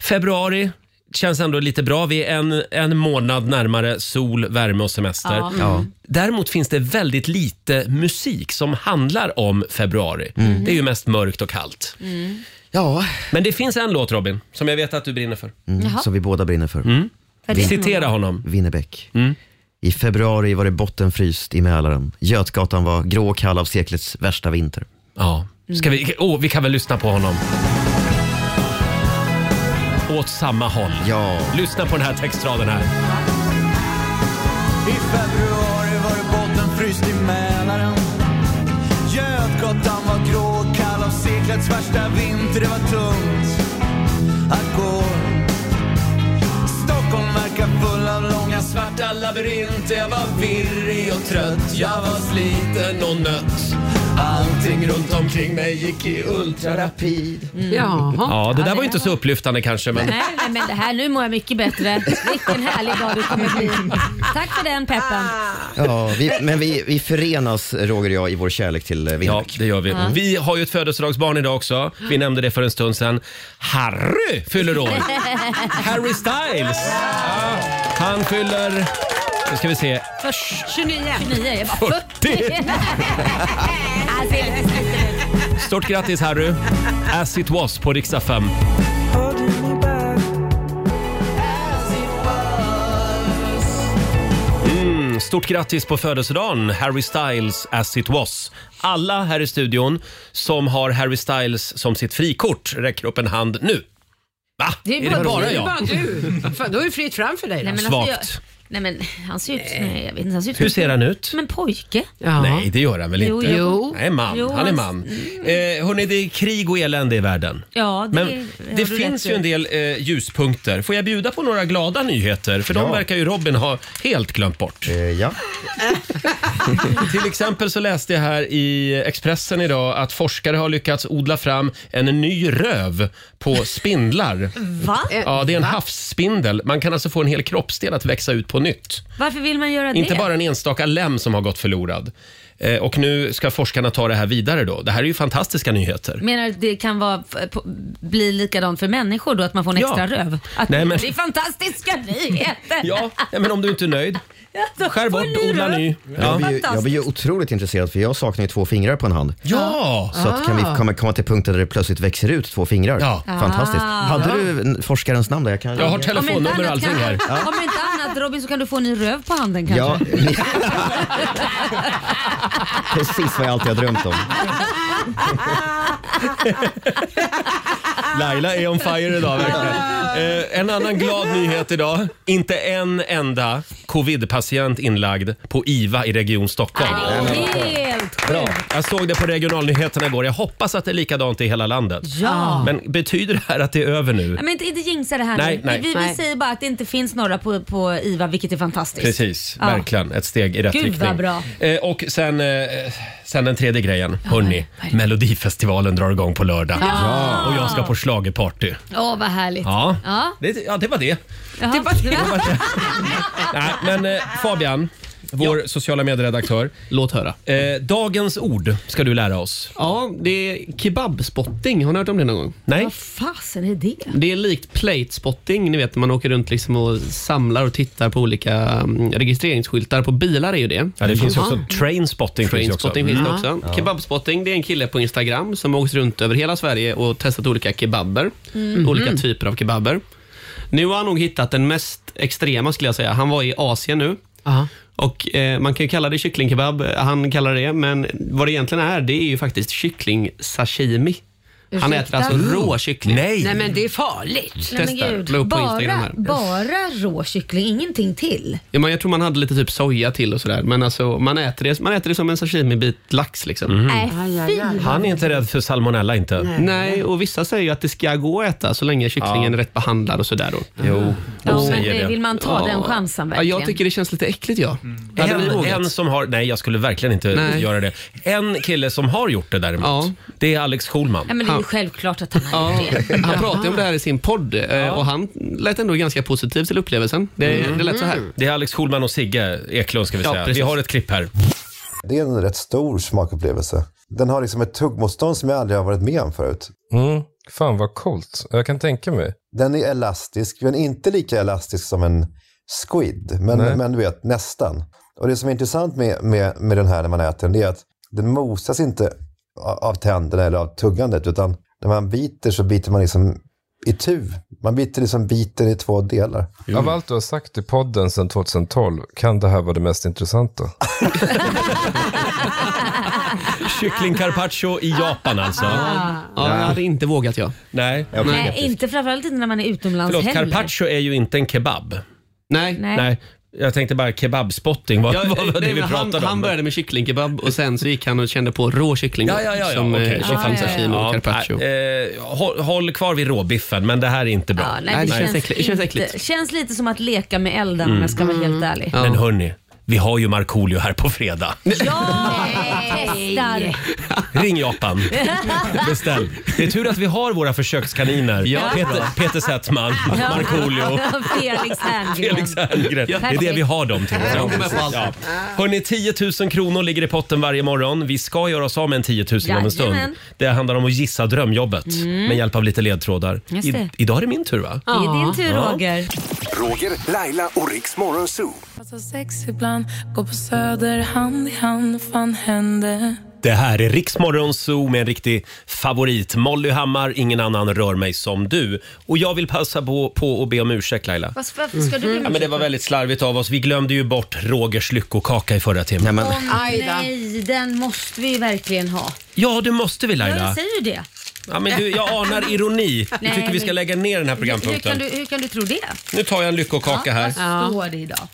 [SPEAKER 1] februari känns ändå lite bra. Vi är en, en månad närmare sol, värme och semester.
[SPEAKER 2] Ja. Mm.
[SPEAKER 6] Ja.
[SPEAKER 1] Däremot finns det väldigt lite musik som handlar om februari. Det är ju mest mörkt och kallt.
[SPEAKER 6] Mm.
[SPEAKER 2] Mm.
[SPEAKER 6] Ja,
[SPEAKER 1] Men det finns en låt Robin, som jag vet att du brinner för.
[SPEAKER 6] mm.
[SPEAKER 2] Jaha.
[SPEAKER 6] som vi båda brinner för.
[SPEAKER 1] Mm.
[SPEAKER 2] Vad är det för
[SPEAKER 1] Citera
[SPEAKER 2] något?
[SPEAKER 1] honom.
[SPEAKER 6] Winnerbäck.
[SPEAKER 1] Mm.
[SPEAKER 6] I februari var det bottenfryst i Mälaren. Götgatan var grå och kall av seklets värsta vinter.
[SPEAKER 1] Ja. Ska vi, oh, vi kan väl lyssna på honom. Åt samma håll.
[SPEAKER 6] Ja.
[SPEAKER 1] Lyssna på den här textraden här.
[SPEAKER 10] I februari var det bottenfryst i Mälaren Götgatan var grå och kall av seklets värsta vinter Det var tungt att gå Stockholm verkar full av långa
[SPEAKER 1] Svarta labyrinter, jag var virrig och trött Jag var sliten och nött Allting runt omkring mig gick i ultrarapid
[SPEAKER 5] Mm. Jaha.
[SPEAKER 1] Ja, det där var ju inte så upplyftande kanske men
[SPEAKER 2] Nej, nej, men det här, nu mår jag mycket bättre. Vilken härlig dag det kommer bli. Tack för den peppen.
[SPEAKER 1] Ah.
[SPEAKER 6] Ja, vi, men vi, vi förenas, Roger och jag, i vår kärlek till eh,
[SPEAKER 1] Ja,
[SPEAKER 6] Winnerbäck.
[SPEAKER 1] det gör vi. Vi har ju ett födelsedagsbarn idag också. Vi nämnde det för en stund sedan. Harry fyller år. Harry Styles. Ja, han fyller... Nu ska vi se.
[SPEAKER 2] 29. 29. Jag bara 40. alltså, jag är
[SPEAKER 1] Stort grattis Harry. As it was på riksdag 5. Mm, stort grattis på födelsedagen, Harry Styles As it was. Alla här i studion som har Harry Styles som sitt frikort räcker upp en hand nu. Va?
[SPEAKER 2] Det är
[SPEAKER 1] är det
[SPEAKER 2] bara-
[SPEAKER 1] bara
[SPEAKER 2] det är
[SPEAKER 1] jag?
[SPEAKER 5] Bara du. Fan, då är det fritt fram för dig. Då.
[SPEAKER 2] Nej, men
[SPEAKER 1] Svagt.
[SPEAKER 2] Alltså, jag, nej men han ser ut nej, jag vet inte, han ser ut
[SPEAKER 1] Eh. Hur ser han ut?
[SPEAKER 2] Som en pojke.
[SPEAKER 5] Ja.
[SPEAKER 1] Nej, det gör han väl
[SPEAKER 2] Jo,
[SPEAKER 1] inte?
[SPEAKER 2] jo.
[SPEAKER 1] Nej, man.
[SPEAKER 2] Jo,
[SPEAKER 1] han är
[SPEAKER 2] han-
[SPEAKER 1] man. Eh, hörni, det är krig och elände i världen.
[SPEAKER 2] Ja, det,
[SPEAKER 1] Men
[SPEAKER 2] har
[SPEAKER 1] det
[SPEAKER 2] du
[SPEAKER 1] finns
[SPEAKER 2] rätt
[SPEAKER 1] ju
[SPEAKER 2] i.
[SPEAKER 1] en del eh, ljuspunkter. Får jag bjuda på några glada nyheter? För de verkar ju Robin ha helt glömt bort.
[SPEAKER 6] Eh, ja.
[SPEAKER 1] Till exempel så läste jag här i Expressen idag att forskare har lyckats odla fram en ny röv på spindlar.
[SPEAKER 2] Va?
[SPEAKER 1] Ja, det är en havsspindel. Man kan alltså få en hel kroppsdel att växa ut på nytt.
[SPEAKER 2] Varför vill man göra
[SPEAKER 1] Inte
[SPEAKER 2] det?
[SPEAKER 1] bara en enstaka lem som har gått förlorad. Eh, och nu ska forskarna ta det här vidare då. Det här är ju fantastiska nyheter.
[SPEAKER 2] Menar du att det kan vara, f- på- bli likadant för människor då, att man får en
[SPEAKER 1] Ja.
[SPEAKER 2] extra röv? Att
[SPEAKER 1] Nej, men-
[SPEAKER 2] Det är fantastiska nyheter!
[SPEAKER 1] Ja, nej, men om du inte är nöjd,
[SPEAKER 2] Då
[SPEAKER 1] skär
[SPEAKER 2] får
[SPEAKER 1] bort,
[SPEAKER 2] ni
[SPEAKER 1] odla
[SPEAKER 2] röv.
[SPEAKER 1] ny.
[SPEAKER 6] Jag,
[SPEAKER 1] Ja.
[SPEAKER 6] blir ju, jag blir ju otroligt intresserad för jag saknar ju två fingrar på en hand.
[SPEAKER 1] ja!
[SPEAKER 6] Så att kan
[SPEAKER 2] Ah.
[SPEAKER 6] vi komma, komma till punkten där det plötsligt växer ut två fingrar?
[SPEAKER 1] Ja.
[SPEAKER 6] Fantastiskt.
[SPEAKER 2] Ah.
[SPEAKER 6] Hade du en- forskarens namn där? Jag, kan
[SPEAKER 1] Jag har
[SPEAKER 6] ringa.
[SPEAKER 2] Om inte,
[SPEAKER 1] telefonnummer och
[SPEAKER 2] annat
[SPEAKER 1] allting
[SPEAKER 2] kan,
[SPEAKER 1] här.
[SPEAKER 2] om inte annat Robin så kan du få en ny röv på handen kanske.
[SPEAKER 6] Ja, ni- Precis vad jag alltid har drömt om.
[SPEAKER 1] Laila är on fire idag verkligen. Eh, en annan glad nyhet idag. Inte en enda covid-patient inlagd på IVA i Region Stockholm.
[SPEAKER 2] Helt
[SPEAKER 1] Bra. Jag såg det på regionalnyheterna igår. Jag hoppas att det är likadant i hela landet.
[SPEAKER 2] Ja.
[SPEAKER 1] Men betyder det här att det är över nu?
[SPEAKER 2] Nej, Men inte, inte jinxa det här
[SPEAKER 1] Nej,
[SPEAKER 2] nu.
[SPEAKER 1] nej.
[SPEAKER 2] Vi, vi, vi
[SPEAKER 5] Nej.
[SPEAKER 2] säger bara att det inte finns några på, på IVA, vilket är fantastiskt.
[SPEAKER 1] Precis,
[SPEAKER 2] Ja.
[SPEAKER 1] verkligen. Ett steg i rätt
[SPEAKER 2] Gud, vad
[SPEAKER 1] riktning.
[SPEAKER 2] bra.
[SPEAKER 1] Eh, och sen, eh, sen den tredje grejen. Hörni, Melodifestivalen drar igång på lördag. Ja. Och jag ska på schlagerparty.
[SPEAKER 2] Åh, vad härligt.
[SPEAKER 1] Ja.
[SPEAKER 2] Ja.
[SPEAKER 1] Det, ja, det var det.
[SPEAKER 2] Jaha.
[SPEAKER 1] Nej, men eh, Fabian, vår sociala medieredaktör.
[SPEAKER 8] Låt höra.
[SPEAKER 1] Eh, dagens ord ska du lära oss.
[SPEAKER 8] Ja, det är kebabspotting. Har ni hört om det någon gång?
[SPEAKER 1] Nej?
[SPEAKER 2] Vad fasen är det?
[SPEAKER 8] Det är likt platespotting, ni vet man åker runt liksom och samlar och tittar på olika mm, registreringsskyltar. På bilar är ju det.
[SPEAKER 1] Ja, det finns ju också Mm. trainspotting. Finns ju också.
[SPEAKER 8] Trainspotting finns det också. Kebabspotting, det är en kille på Instagram som har åkt runt över hela Sverige och testat olika kebaber. Olika typer av kebaber. Nu har han nog hittat den mest extrema skulle jag säga. Han var i Asien nu.
[SPEAKER 5] Ja.
[SPEAKER 8] Och eh, Man kan ju kalla det kycklingkebab, han kallar det men vad det egentligen är, det är ju faktiskt kycklingsashimi. Han äter
[SPEAKER 2] Ursäkta?
[SPEAKER 8] alltså rå kyckling.
[SPEAKER 1] Nej.
[SPEAKER 5] Nej, men det är farligt.
[SPEAKER 2] Nej, men
[SPEAKER 8] Testa.
[SPEAKER 2] gud.
[SPEAKER 8] La upp på Instagram
[SPEAKER 2] bara,
[SPEAKER 8] här.
[SPEAKER 2] bara rå kyckling, ingenting till.
[SPEAKER 8] Ja, men jag tror man hade lite typ soja till och sådär, men alltså, man, äter det, man äter det som en sashimi-bit lax. Liksom.
[SPEAKER 1] Mhm.
[SPEAKER 2] Nej, fy.
[SPEAKER 1] Han är inte rädd för salmonella inte.
[SPEAKER 8] Nej, och vissa säger ju att det ska gå att äta så länge kycklingen är rätt behandlad och sådär. Då.
[SPEAKER 1] Jo, de
[SPEAKER 2] Ja, men
[SPEAKER 1] säger
[SPEAKER 2] det
[SPEAKER 1] det.
[SPEAKER 2] vill man ta den chansen
[SPEAKER 8] Ja,
[SPEAKER 2] verkligen?
[SPEAKER 8] jag tycker det känns lite äckligt. Ja. Hade ni
[SPEAKER 1] En,
[SPEAKER 8] vågat?
[SPEAKER 1] en som har, nej jag skulle verkligen inte
[SPEAKER 8] Nej.
[SPEAKER 1] göra det. En kille som har gjort det däremot,
[SPEAKER 8] Ja.
[SPEAKER 1] det är Alex Schulman.
[SPEAKER 2] Nej, men det är ju självklart att han har
[SPEAKER 8] Ja,
[SPEAKER 2] gjort det.
[SPEAKER 8] han pratade om det här i sin podd eh, och han lät ändå ganska positiv till upplevelsen. Det,
[SPEAKER 1] Mm.
[SPEAKER 8] det lät så här.
[SPEAKER 2] Mm.
[SPEAKER 1] Det är Alex Schulman och Sigge Eklund ska vi
[SPEAKER 8] Ja,
[SPEAKER 1] säga. Vi
[SPEAKER 8] precis.
[SPEAKER 1] har ett klipp här.
[SPEAKER 10] Det är en rätt stor smakupplevelse. Den har liksom ett tuggmotstånd som jag aldrig har varit med om förut.
[SPEAKER 11] Mm, fan vad coolt. Jag kan tänka mig.
[SPEAKER 10] Den är elastisk, men inte lika elastisk som en squid. Men, men du vet, nästan. Och det som är intressant med, med, med den här när man äter den, det är att den mosas inte a- av tänderna eller av tuggandet, utan när man biter så biter man liksom i tu. Man biter liksom biten i två delar.
[SPEAKER 11] Av allt du har sagt i podden sedan 2012 kan det här vara det mest intressanta.
[SPEAKER 1] Kyckling carpaccio i Japan alltså.
[SPEAKER 8] Ja, jag hade inte vågat jag.
[SPEAKER 1] Nej.
[SPEAKER 2] Nej, inte framförallt inte när man är utomlands
[SPEAKER 1] Förlåt,
[SPEAKER 2] heller.
[SPEAKER 1] carpaccio är ju inte en kebab.
[SPEAKER 8] Nej.
[SPEAKER 2] Nej.
[SPEAKER 1] Nej, jag tänkte bara kebabspotting. Vad,
[SPEAKER 8] Ja,
[SPEAKER 1] vad var det
[SPEAKER 8] nej,
[SPEAKER 1] vi
[SPEAKER 8] men han,
[SPEAKER 1] pratade om?
[SPEAKER 8] han började med kycklingkebab och sen så gick han och kände på rå kyckling
[SPEAKER 1] Ja, ja, ja. ja.
[SPEAKER 8] som
[SPEAKER 1] okej.
[SPEAKER 8] okay. kycklingsashimi och carpaccio.
[SPEAKER 1] Ja, eh, håll, håll kvar vid råbiffen, men det här är inte bra.
[SPEAKER 2] Ja, nej,
[SPEAKER 8] Nej,
[SPEAKER 2] det,
[SPEAKER 8] det
[SPEAKER 2] känns
[SPEAKER 8] känns äckligt. Det känns
[SPEAKER 2] inte-
[SPEAKER 8] äckligt.
[SPEAKER 2] känns lite som att leka med elden om jag ska vara helt ärlig.
[SPEAKER 1] Men hörni, vi har ju Markoolio här på fredag.
[SPEAKER 2] Ja, testar.
[SPEAKER 1] Ring Japan. Beställ. Det är tur att vi har våra försökskaniner. Peter, Peter Settman, Markoolio.
[SPEAKER 2] Felix Herngren.
[SPEAKER 1] Felix Herngren. Det är det vi har dem till.
[SPEAKER 8] Ja, de kommer på allt.
[SPEAKER 1] Ja. Hörrni, 10 000 kronor ligger i potten varje morgon. Vi ska göra oss av med en 10 000 om en stund.
[SPEAKER 2] Jajamän.
[SPEAKER 1] Det handlar om att gissa drömjobbet
[SPEAKER 8] Mm.
[SPEAKER 1] med hjälp av lite ledtrådar.
[SPEAKER 2] Just
[SPEAKER 1] I,
[SPEAKER 2] det.
[SPEAKER 1] idag är det min tur va?
[SPEAKER 2] Det är din tur Roger.
[SPEAKER 3] Roger, Laila och Riks Morgonzoo.
[SPEAKER 1] Det här är Riksmorgon Zoo med en riktig favorit. Molly Hammar, ingen annan rör mig som du. Och jag vill passa på, på att be om ursäkt Laila.
[SPEAKER 2] Vad- Varför ska du
[SPEAKER 1] Ja, men det var väldigt slarvigt av oss. Vi glömde ju bort Rogers lyckokaka i förra timmen.
[SPEAKER 6] Nej, men,
[SPEAKER 2] Åh, Nej, den måste vi verkligen ha.
[SPEAKER 1] Ja, det måste vi
[SPEAKER 2] Ja, jag
[SPEAKER 1] Laila.
[SPEAKER 2] säger ju det.
[SPEAKER 1] Ja, men du, jag anar ironi.
[SPEAKER 2] Nej,
[SPEAKER 1] Jag tycker vi ska
[SPEAKER 2] men-
[SPEAKER 1] lägga ner den här
[SPEAKER 2] Hur kan,
[SPEAKER 1] programpunkten.
[SPEAKER 2] du, hur kan du tro det?
[SPEAKER 1] Nu tar jag en lyckokaka här.
[SPEAKER 2] Ja, vad står det idag?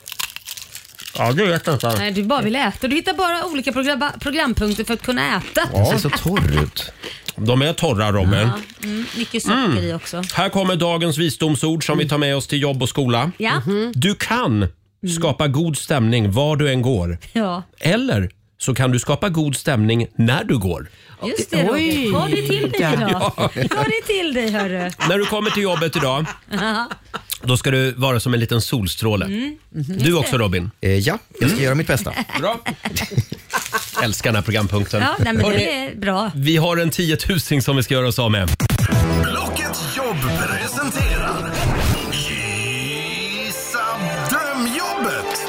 [SPEAKER 1] Ja, du vet
[SPEAKER 2] Nej,
[SPEAKER 1] inte.
[SPEAKER 2] du bara vill äta. Du hittar bara olika progra- programpunkter för att kunna äta.
[SPEAKER 1] torr ut. De är torra, Robin.
[SPEAKER 2] Mm, mycket socker
[SPEAKER 1] Mm.
[SPEAKER 2] i också.
[SPEAKER 1] Här kommer dagens visdomsord som vi tar med oss till jobb och skola.
[SPEAKER 2] Ja. Mhm.
[SPEAKER 1] Du kan
[SPEAKER 2] Mm.
[SPEAKER 1] skapa god stämning var du än går.
[SPEAKER 2] Ja,
[SPEAKER 1] Eller så kan du skapa god stämning när du går.
[SPEAKER 2] just det Roger. Ta det till dig idag.
[SPEAKER 1] Ja.
[SPEAKER 2] Ta det till dig hörru.
[SPEAKER 1] När du kommer till jobbet idag,
[SPEAKER 2] Ja.
[SPEAKER 1] då ska du vara som en liten solstråle.
[SPEAKER 2] Mm. Mhm.
[SPEAKER 1] Du också Robin? Eh, ja, Mm. jag ska göra mitt bästa. Bra. Älskar den här programpunkten.
[SPEAKER 2] Ja, nej, men
[SPEAKER 1] Hörrni,
[SPEAKER 2] det är bra. Mm,
[SPEAKER 1] Vi har en tiotusing som vi ska göra oss av med.
[SPEAKER 4] Blocket jobb presenterar Gissa drömjobbet!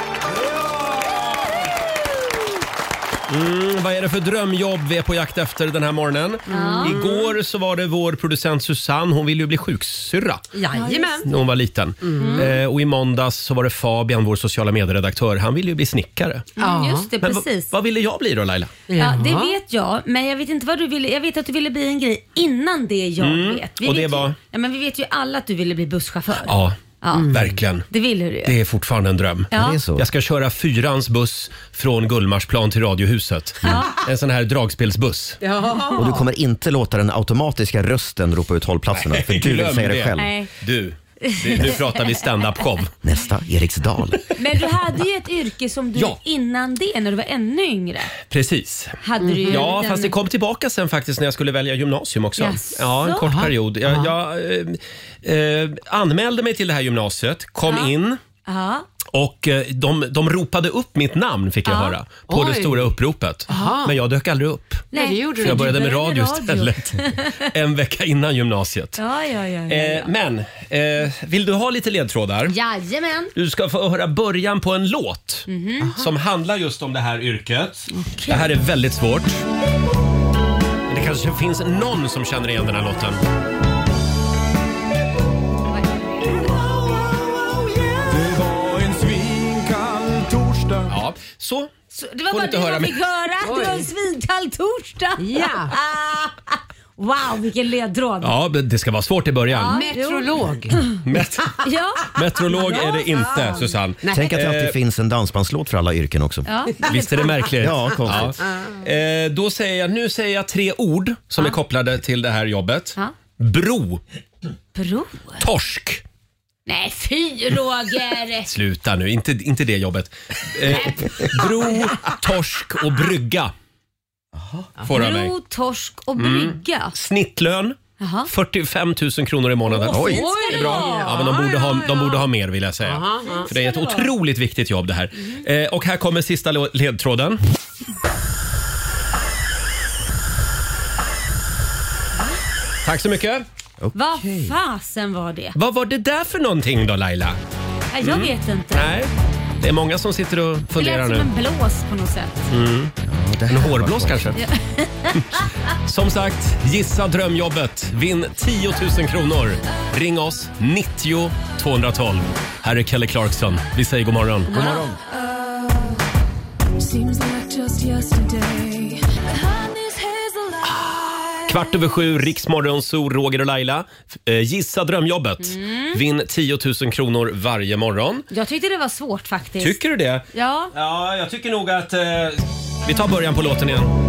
[SPEAKER 1] Mm, vad är det för drömjobb vi är på jakt efter den här morgonen?
[SPEAKER 4] Ja.
[SPEAKER 1] Igår så var det vår producent Susanne, hon ville ju bli sjuksyrra.
[SPEAKER 5] Jajamän.
[SPEAKER 1] När hon var liten.
[SPEAKER 5] Mm.
[SPEAKER 1] Eh, och i måndags så var det Fabian, vår sociala medieredaktör. Han ville ju bli snickare.
[SPEAKER 2] Ja. just det,
[SPEAKER 1] Men va-
[SPEAKER 2] precis.
[SPEAKER 1] Vad ville jag bli då Laila?
[SPEAKER 2] Ja, det vet jag, men jag vet inte vad du ville. Jag vet att du ville bli en grej innan det jag
[SPEAKER 1] Mm,
[SPEAKER 2] vet.
[SPEAKER 1] och
[SPEAKER 2] vet
[SPEAKER 1] det
[SPEAKER 2] ju-
[SPEAKER 1] var?
[SPEAKER 2] Ja, men vi vet ju alla att du ville bli busschaufför.
[SPEAKER 1] Ja,
[SPEAKER 2] Ja.
[SPEAKER 1] verkligen.
[SPEAKER 2] Det ville du ju.
[SPEAKER 1] Det är fortfarande en dröm.
[SPEAKER 2] Ja. Ja, det är så.
[SPEAKER 1] Jag ska köra fyrans buss från Gullmarsplan till Radiohuset.
[SPEAKER 2] Ja.
[SPEAKER 1] En sån här dragspelsbuss.
[SPEAKER 6] Och du kommer inte låta den automatiska rösten ropa ut hållplatserna, för du vill
[SPEAKER 1] Glöm
[SPEAKER 6] säga det själv.
[SPEAKER 2] Nej.
[SPEAKER 1] Du, det- nu pratar vi stand-up show.
[SPEAKER 6] Nästa, Eriksdal.
[SPEAKER 2] Men du hade ju ett yrke som du
[SPEAKER 1] Ja.
[SPEAKER 2] innan det, när du var ännu yngre.
[SPEAKER 1] Precis.
[SPEAKER 2] Hade du ju
[SPEAKER 1] Mm. ja,
[SPEAKER 2] den-
[SPEAKER 1] fast det kom tillbaka sen faktiskt när jag skulle välja gymnasium också.
[SPEAKER 2] Jaså?
[SPEAKER 1] Ja, en kort
[SPEAKER 2] Aha.
[SPEAKER 1] period. Jag, jag eh, eh, anmälde mig till det här gymnasiet, kom
[SPEAKER 2] Ja.
[SPEAKER 1] in
[SPEAKER 2] Ja.
[SPEAKER 1] och eh, de, de ropade upp mitt namn fick jag
[SPEAKER 2] Ja.
[SPEAKER 1] höra på det
[SPEAKER 2] Oj.
[SPEAKER 1] stora uppropet.
[SPEAKER 2] Aha.
[SPEAKER 1] Men jag dök aldrig upp.
[SPEAKER 2] Nej, det
[SPEAKER 1] Så jag började med radio istället. en vecka innan gymnasiet.
[SPEAKER 2] ja, ja, ja. ja, ja.
[SPEAKER 1] Eh, men, eh, vill du ha lite ledtrådar?
[SPEAKER 2] Jajamän.
[SPEAKER 1] Du ska få höra början på en låt
[SPEAKER 2] Mhm.
[SPEAKER 1] som handlar just om det här yrket. Det här är väldigt svårt. Men Det kanske finns någon som känner igen den här låten.
[SPEAKER 4] Det var en svinkall torsdag
[SPEAKER 1] Ja, så.
[SPEAKER 2] Det var
[SPEAKER 4] Får
[SPEAKER 2] bara
[SPEAKER 4] inte
[SPEAKER 2] det
[SPEAKER 4] höra
[SPEAKER 2] jag
[SPEAKER 4] mer.
[SPEAKER 2] fick höra.
[SPEAKER 4] Oj.
[SPEAKER 2] Det var en svinkall torsdag.
[SPEAKER 5] Ja.
[SPEAKER 2] wow, vilken ledtråd.
[SPEAKER 1] Ja, men det ska vara svårt i början.
[SPEAKER 5] Metrolog.
[SPEAKER 1] Met-
[SPEAKER 2] ja.
[SPEAKER 1] metrolog är det inte, Susanne.
[SPEAKER 6] Tänk att det alltid
[SPEAKER 1] Eh,
[SPEAKER 6] finns en dansbandslåt för alla yrken också.
[SPEAKER 2] Ja.
[SPEAKER 1] Visst är det märkligt?
[SPEAKER 6] Ja, konstigt.
[SPEAKER 1] Ja. Eh, då säger jag, nu säger jag tre ord som är kopplade till det här jobbet.
[SPEAKER 2] Ja.
[SPEAKER 1] Bro,
[SPEAKER 2] Bro.
[SPEAKER 1] torsk.
[SPEAKER 2] Nej, fy Roger.
[SPEAKER 1] Sluta nu, inte, inte det jobbet. Eh, bro, torsk och brygga. Får du av mig.
[SPEAKER 2] Bro, torsk och
[SPEAKER 1] Mm.
[SPEAKER 2] brygga.
[SPEAKER 1] Snittlön.
[SPEAKER 2] Jaha.
[SPEAKER 1] 45 000 kronor i månaden.
[SPEAKER 2] Åh, fint ska
[SPEAKER 1] det är
[SPEAKER 2] det
[SPEAKER 1] bra.
[SPEAKER 2] vara.
[SPEAKER 1] Ja, men de, borde ha, de borde ha mer vill jag säga.
[SPEAKER 2] Jaha, ja. Mhm.
[SPEAKER 1] För det är ett
[SPEAKER 2] Ska det vara.
[SPEAKER 1] otroligt viktigt jobb det här. Eh, och här kommer sista lo- ledtråden. Tack så mycket.
[SPEAKER 2] Vad fasen var det?
[SPEAKER 1] Vad var det där för någonting då Laila?
[SPEAKER 2] Nej, jag vet inte.
[SPEAKER 1] Nej, det är många som sitter och
[SPEAKER 2] det
[SPEAKER 1] funderar
[SPEAKER 2] lät
[SPEAKER 1] nu.
[SPEAKER 2] som en blås på något sätt.
[SPEAKER 1] Mm. En hårblås kanske?
[SPEAKER 2] Ja.
[SPEAKER 1] Som sagt, gissa drömjobbet. Vinn 10 000 kronor. Ring oss, 90 212. Här är Kelly Clarkson. Vi säger god morgon. God morgon. Kvart över sju, Riksmorgon, Zoo, Roger och Laila. Eh, Gissa drömjobbet.
[SPEAKER 2] Mm.
[SPEAKER 1] Vinn 10 000 kronor varje morgon.
[SPEAKER 2] Jag tyckte det var svårt faktiskt.
[SPEAKER 1] Tycker du det?
[SPEAKER 2] Ja.
[SPEAKER 1] Ja, jag tycker nog att... Eh, vi tar början på låten igen. Mm.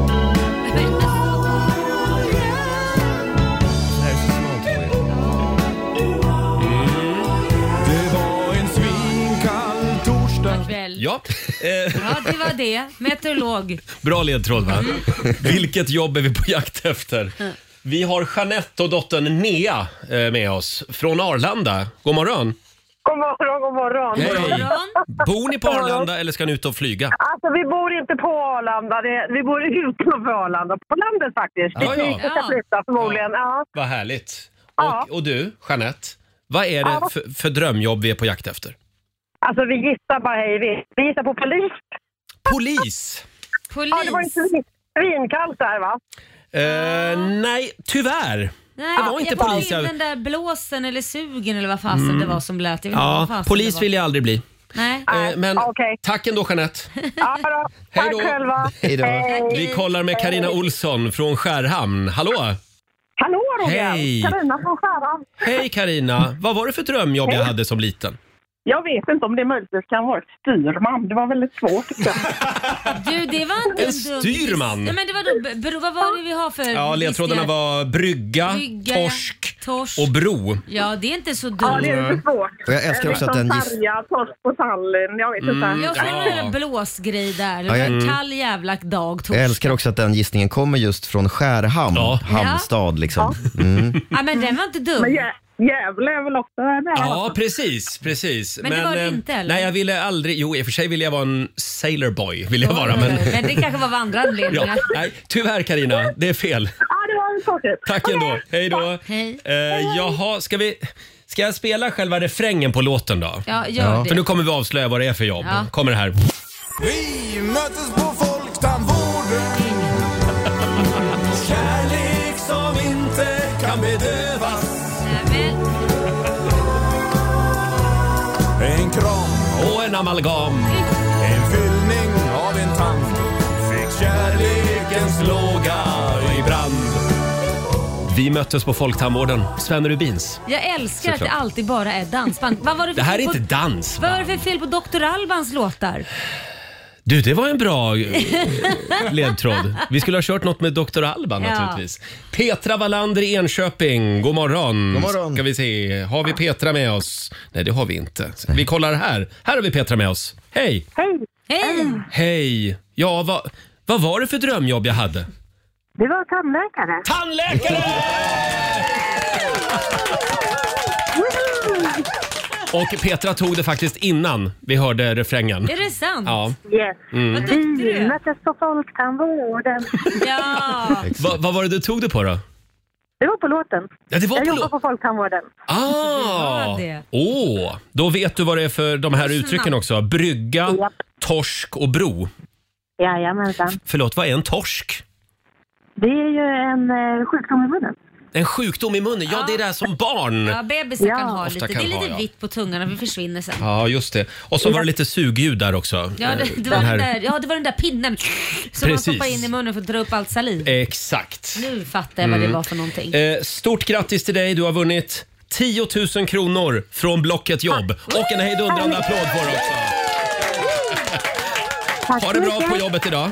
[SPEAKER 4] Det var en svinkall torsdag
[SPEAKER 2] Väl.
[SPEAKER 1] Ja. Eh,
[SPEAKER 2] Ja, det var det. Meteorolog.
[SPEAKER 1] Bra ledtråd va? Vilket jobb är vi på jakt efter? Vi har Jeanette och dottern Nea eh, med oss från Arlanda. God morgon!
[SPEAKER 7] God morgon, god morgon.
[SPEAKER 1] Hej.
[SPEAKER 7] God morgon.
[SPEAKER 1] Bor ni på
[SPEAKER 7] God morgon.
[SPEAKER 1] Arlanda eller ska ni ut och flyga?
[SPEAKER 7] Alltså vi bor inte på Arlanda, det, vi bor utanför Arlanda. På landet faktiskt. Det
[SPEAKER 1] Ja,
[SPEAKER 7] är
[SPEAKER 1] ja.
[SPEAKER 7] dit vi ska
[SPEAKER 1] Ja.
[SPEAKER 7] flytta förmodligen. Ja.
[SPEAKER 1] Vad härligt!
[SPEAKER 7] Ja.
[SPEAKER 1] Och, och du, Jeanette, vad är det
[SPEAKER 7] Ja.
[SPEAKER 1] för, för drömjobb vi är på jakt efter?
[SPEAKER 7] Alltså vi gissar bara hej vi. Vi gissar på polis.
[SPEAKER 1] Polis?
[SPEAKER 2] Polis?
[SPEAKER 7] Ja, det var ju svin- svinkallt där va?
[SPEAKER 1] Eh, nej, tyvärr.
[SPEAKER 2] Nej,
[SPEAKER 1] det var inte
[SPEAKER 2] jag
[SPEAKER 1] polis.
[SPEAKER 2] Jag
[SPEAKER 1] Jag...
[SPEAKER 2] den där blåsen eller sugen eller vad fasen
[SPEAKER 1] Mm.
[SPEAKER 2] det var som lät. Jag vet inte vad
[SPEAKER 1] Ja,
[SPEAKER 2] fasen det
[SPEAKER 1] polis
[SPEAKER 2] var.
[SPEAKER 1] vill jag aldrig bli.
[SPEAKER 2] Nej.
[SPEAKER 1] Eh, men tack ändå Jeanette.
[SPEAKER 7] Ja, då.
[SPEAKER 1] Hej då.
[SPEAKER 7] Tack själva.
[SPEAKER 1] Vi kollar med Karina Olsson från Skärhamn. Hallå!
[SPEAKER 7] Hallå! Roger!
[SPEAKER 1] Hej.
[SPEAKER 7] Carina från Skäran.
[SPEAKER 1] Hej Karina.
[SPEAKER 2] Mm.
[SPEAKER 1] Vad var det för drömjobb jag
[SPEAKER 7] Hej.
[SPEAKER 1] hade som liten?
[SPEAKER 7] Jag vet inte om det möjligtvis kan vara ett styrman. Det var väldigt svårt. tycker jag.
[SPEAKER 2] Ah, Du, det var inte
[SPEAKER 1] En
[SPEAKER 2] en dum gissning.
[SPEAKER 1] styrman.
[SPEAKER 2] Ja, men det var då, bero, vad var det vi har för
[SPEAKER 1] Ja, ledtrådarna
[SPEAKER 2] gissningar?
[SPEAKER 1] var brygga,
[SPEAKER 2] Brygga,
[SPEAKER 1] torsk
[SPEAKER 2] torsk.
[SPEAKER 1] och bro.
[SPEAKER 2] Ja, det är inte så dumt.
[SPEAKER 1] Ja, det är inte
[SPEAKER 7] svårt.
[SPEAKER 1] Och jag älskar också att den giss-
[SPEAKER 7] Sarja, torsk på tallen. Jag vet inte.
[SPEAKER 1] Mm,
[SPEAKER 2] Jag
[SPEAKER 6] ja.
[SPEAKER 2] får en blåsgrej där. Det var
[SPEAKER 6] Ja,
[SPEAKER 2] en
[SPEAKER 6] jag-
[SPEAKER 2] kall jävla dag. Tors.
[SPEAKER 6] Jag älskar också att den gissningen kommer just från Skärhamn, hamnstad liksom. Mm.
[SPEAKER 2] Ja, men den var inte dum. Men
[SPEAKER 7] Gävle är väl också där?
[SPEAKER 1] Ja, precis. precis.
[SPEAKER 2] Men det var det
[SPEAKER 1] eh,
[SPEAKER 2] inte, eller?
[SPEAKER 1] Nej, jag ville aldrig... Jo, i och för sig ville jag vara en sailor boy. Ville jag vara, men...
[SPEAKER 2] Men det kanske var av andra
[SPEAKER 1] ja,
[SPEAKER 2] anledningar.
[SPEAKER 1] nej, tyvärr Karina, det är fel.
[SPEAKER 7] Ja, det var tråkigt.
[SPEAKER 1] Tack ändå. Hej då.
[SPEAKER 2] Hej.
[SPEAKER 1] Eh, jaha, ska vi... Ska jag spela själva refrängen på låten då?
[SPEAKER 4] Ja, gör Ja. det.
[SPEAKER 1] För nu kommer vi avslöja vad det är för jobb.
[SPEAKER 4] Ja.
[SPEAKER 1] Kommer det här.
[SPEAKER 4] Vi möttes på folktandvården Kärlek som inte kan bedövas En kram
[SPEAKER 1] och en amalgam
[SPEAKER 4] En fyllning av en tand Fick kärlekens låga i brand
[SPEAKER 1] Vi möttes på Folktandvården. Sven Rubins.
[SPEAKER 2] Jag älskar att det
[SPEAKER 1] Såklart.
[SPEAKER 2] alltid bara är dansband. Vad var det, för
[SPEAKER 1] Det här är
[SPEAKER 2] fel på,
[SPEAKER 1] inte dans.
[SPEAKER 2] Vad var det för fel på Dr. Albans låtar?
[SPEAKER 1] Du, det var en bra eh, ledtråd. Vi skulle ha kört något med Dr. Alban
[SPEAKER 2] Ja.
[SPEAKER 1] naturligtvis. Petra Wallander i Enköping, god morgon.
[SPEAKER 6] God morgon.
[SPEAKER 1] Ska vi se, har vi Petra med oss? Nej, det har vi inte. Vi kollar här. Här har vi Petra med oss. Hej!
[SPEAKER 7] Hej!
[SPEAKER 2] Hej!
[SPEAKER 1] Hej! Ja, vad, vad var det för drömjobb jag hade?
[SPEAKER 7] Det var tandläkare.
[SPEAKER 1] Tandläkare! Och Petra tog det faktiskt innan vi hörde refrängen.
[SPEAKER 2] Är det sant?
[SPEAKER 1] Ja.
[SPEAKER 7] Yes.
[SPEAKER 1] Mm. Vad
[SPEAKER 2] tyckte du?
[SPEAKER 7] Vi möttes på folktandvården.
[SPEAKER 2] Ja.
[SPEAKER 1] Va, vad var det du tog det på då?
[SPEAKER 7] Det var på låten.
[SPEAKER 1] Ja, det var
[SPEAKER 7] jag
[SPEAKER 1] på
[SPEAKER 7] jobbar
[SPEAKER 1] lå-
[SPEAKER 7] på folktandvården.
[SPEAKER 1] Ah!
[SPEAKER 7] Det var det.
[SPEAKER 1] Åh, då vet du vad det är för de här
[SPEAKER 7] Snabbt.
[SPEAKER 1] uttrycken också. Brygga, torsk och bro.
[SPEAKER 7] Jajamensan.
[SPEAKER 1] Förlåt, vad är en torsk?
[SPEAKER 7] Det är ju en eh, sjukdom i munnen.
[SPEAKER 1] En sjukdom i munnen? Ja, det är det här som barn.
[SPEAKER 2] Ja, bebisar kan ha
[SPEAKER 1] Ofta
[SPEAKER 2] lite.
[SPEAKER 1] kan
[SPEAKER 2] det är
[SPEAKER 1] ha,
[SPEAKER 2] lite
[SPEAKER 1] ja.
[SPEAKER 2] vitt på tungan och vi försvinner sen. Ja.
[SPEAKER 1] Ja, just det. Och så var det lite sugljud där också.
[SPEAKER 2] det,
[SPEAKER 1] Eh,
[SPEAKER 2] det,
[SPEAKER 1] den
[SPEAKER 2] var
[SPEAKER 1] här-
[SPEAKER 2] den där, ja, det var den där pinnen som man
[SPEAKER 1] Precis.
[SPEAKER 2] stoppar in i munnen för att dra upp allt saliv.
[SPEAKER 1] Exakt.
[SPEAKER 2] Nu fattar jag vad
[SPEAKER 1] Mm.
[SPEAKER 2] det var för någonting.
[SPEAKER 1] Eh, stort grattis till dig. Du har vunnit 10 000 kronor från Blocket Jobb. Och en hejdundrande applåd på dig också. Ha det bra på jobbet idag.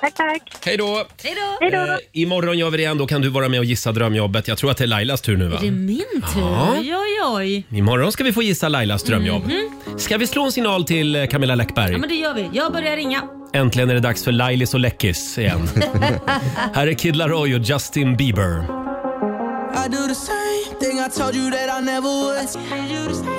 [SPEAKER 7] Tack, tack.
[SPEAKER 1] Hej då!
[SPEAKER 2] Hej
[SPEAKER 1] Eh, imorgon gör vi det igen. Då kan du vara med och gissa drömjobbet. Jag tror att det är Lailas tur nu va?
[SPEAKER 2] Är det min tur?
[SPEAKER 1] Ja.
[SPEAKER 2] Oj, oj, oj.
[SPEAKER 1] Imorgon ska vi få gissa Lailas drömjobb. Ska vi slå en signal till eh, Camilla Läckberg?
[SPEAKER 2] Mhm. Ja, men det gör vi. Jag börjar ringa.
[SPEAKER 1] Äntligen är det dags för Lailis och Läckis igen. Här är Kid Laroi och Justin Bieber.
[SPEAKER 4] I do the same thing I told you that I never would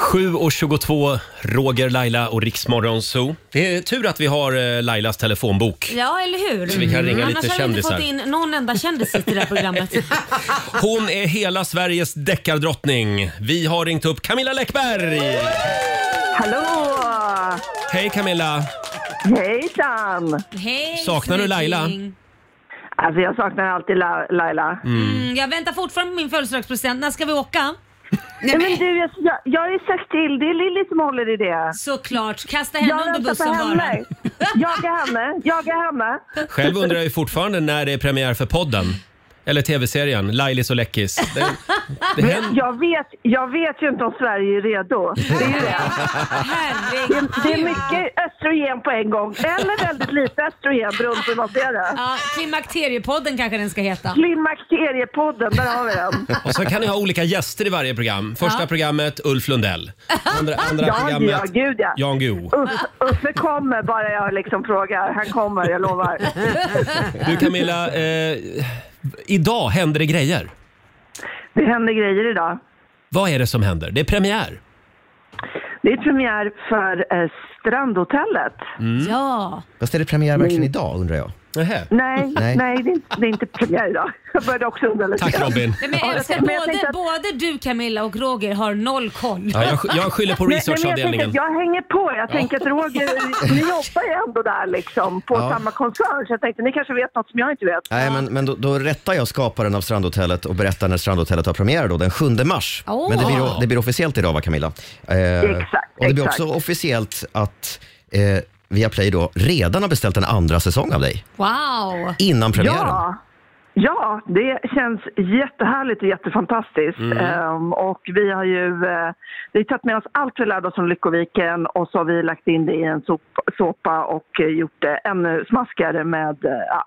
[SPEAKER 1] 7.22, Roger, Laila och Riksmorgon Zoo. Det är tur att vi har eh, Lailas telefonbok.
[SPEAKER 2] Ja, eller hur? Mm.
[SPEAKER 1] Så vi kan ringa lite
[SPEAKER 2] Annars hade vi inte
[SPEAKER 1] kändisar.
[SPEAKER 2] fått in någon enda kändis i det här programmet.
[SPEAKER 1] Hon är hela Sveriges deckardrottning. Vi har ringt upp Camilla Läckberg!
[SPEAKER 7] Hallå!
[SPEAKER 1] Hej Camilla!
[SPEAKER 7] Hejsan!
[SPEAKER 2] Hej,
[SPEAKER 1] Saknar du Laila?
[SPEAKER 2] snygging.
[SPEAKER 7] Alltså jag saknar alltid La- Laila.
[SPEAKER 2] Mm, jag väntar fortfarande på min födelsedagspresent. När ska vi åka?
[SPEAKER 7] Nej, men du, jag, jag, jag har ju sagt till. Det är Lilly som håller i det.
[SPEAKER 2] Såklart. Kasta henne
[SPEAKER 7] jag
[SPEAKER 2] under
[SPEAKER 7] väntar
[SPEAKER 2] bussen
[SPEAKER 7] på
[SPEAKER 2] bara.
[SPEAKER 7] henne. Jaga henne. Jaga henne.
[SPEAKER 1] Själv undrar jag ju fortfarande när det är premiär för podden. Eller tv-serien Lailis och Läckis. Det, det händer.
[SPEAKER 7] jag, vet, jag vet ju inte om Sverige är redo. Det är ju det.
[SPEAKER 2] Herregud.
[SPEAKER 7] Det är mycket östrogen på en gång. Eller väldigt lite östrogen beroende på hur man ser det.
[SPEAKER 2] Ja, Klimakteriepodden kanske den ska heta.
[SPEAKER 7] Klimakteriepodden, där har vi den.
[SPEAKER 1] Och så kan ni ha olika gäster i varje program. Första
[SPEAKER 7] Ja.
[SPEAKER 1] programmet Ulf Lundell. Andra, andra
[SPEAKER 7] ja,
[SPEAKER 1] programmet
[SPEAKER 7] ja, gud ja.
[SPEAKER 1] Jan Guillou.
[SPEAKER 7] Uffe, Uffe kommer bara jag liksom frågar. Han kommer, jag lovar.
[SPEAKER 1] Du Camilla, eh, idag händer det grejer.
[SPEAKER 7] Det händer grejer idag.
[SPEAKER 1] Vad är det som händer? Det är premiär.
[SPEAKER 7] Det är premiär för eh, Strandhotellet. Mm.
[SPEAKER 2] Ja.
[SPEAKER 6] Fast är det premiär verkligen idag undrar jag?
[SPEAKER 7] Nej, nej.
[SPEAKER 6] Nej.
[SPEAKER 7] det, är inte, det är inte premiär idag. Jag började också undra lite.
[SPEAKER 6] Tack, Robin.
[SPEAKER 2] Nej, men
[SPEAKER 7] Ja,
[SPEAKER 2] jag älskar
[SPEAKER 7] men jag
[SPEAKER 2] både,
[SPEAKER 7] tänkte att-
[SPEAKER 2] både du Camilla och Roger har noll koll.
[SPEAKER 1] Ja, jag sk- jag skyller på
[SPEAKER 7] Nej, nej, men jag, tänker
[SPEAKER 1] researchavdelningen.
[SPEAKER 7] att jag hänger på. Jag tänker att Roger, ni jobbar ju ändå där liksom på
[SPEAKER 6] Ja.
[SPEAKER 7] samma koncern. Så jag tänkte ni kanske vet något som jag inte vet.
[SPEAKER 6] Nej, men, men då, då rättar jag skaparen av Strandhotellet och berättar när Strandhotellet har premiär då, den 7 mars.
[SPEAKER 7] Åh.
[SPEAKER 6] Men det blir, det blir officiellt idag va Camilla? Eh,
[SPEAKER 7] Exakt,
[SPEAKER 6] Och det blir
[SPEAKER 7] exakt.
[SPEAKER 6] också officiellt att eh, Viaplay då redan har beställt en andra säsong av dig.
[SPEAKER 2] Wow.
[SPEAKER 6] Innan premiären.
[SPEAKER 7] Ja. Ja, det känns jättehärligt och jättefantastiskt.
[SPEAKER 12] Mm.
[SPEAKER 7] Ehm, och vi har ju eh, vi har tagit med oss allt vi lärde oss om Lyckoviken och så har vi lagt in det i en sop- såpa och eh, gjort det ännu smaskigare med eh, ja,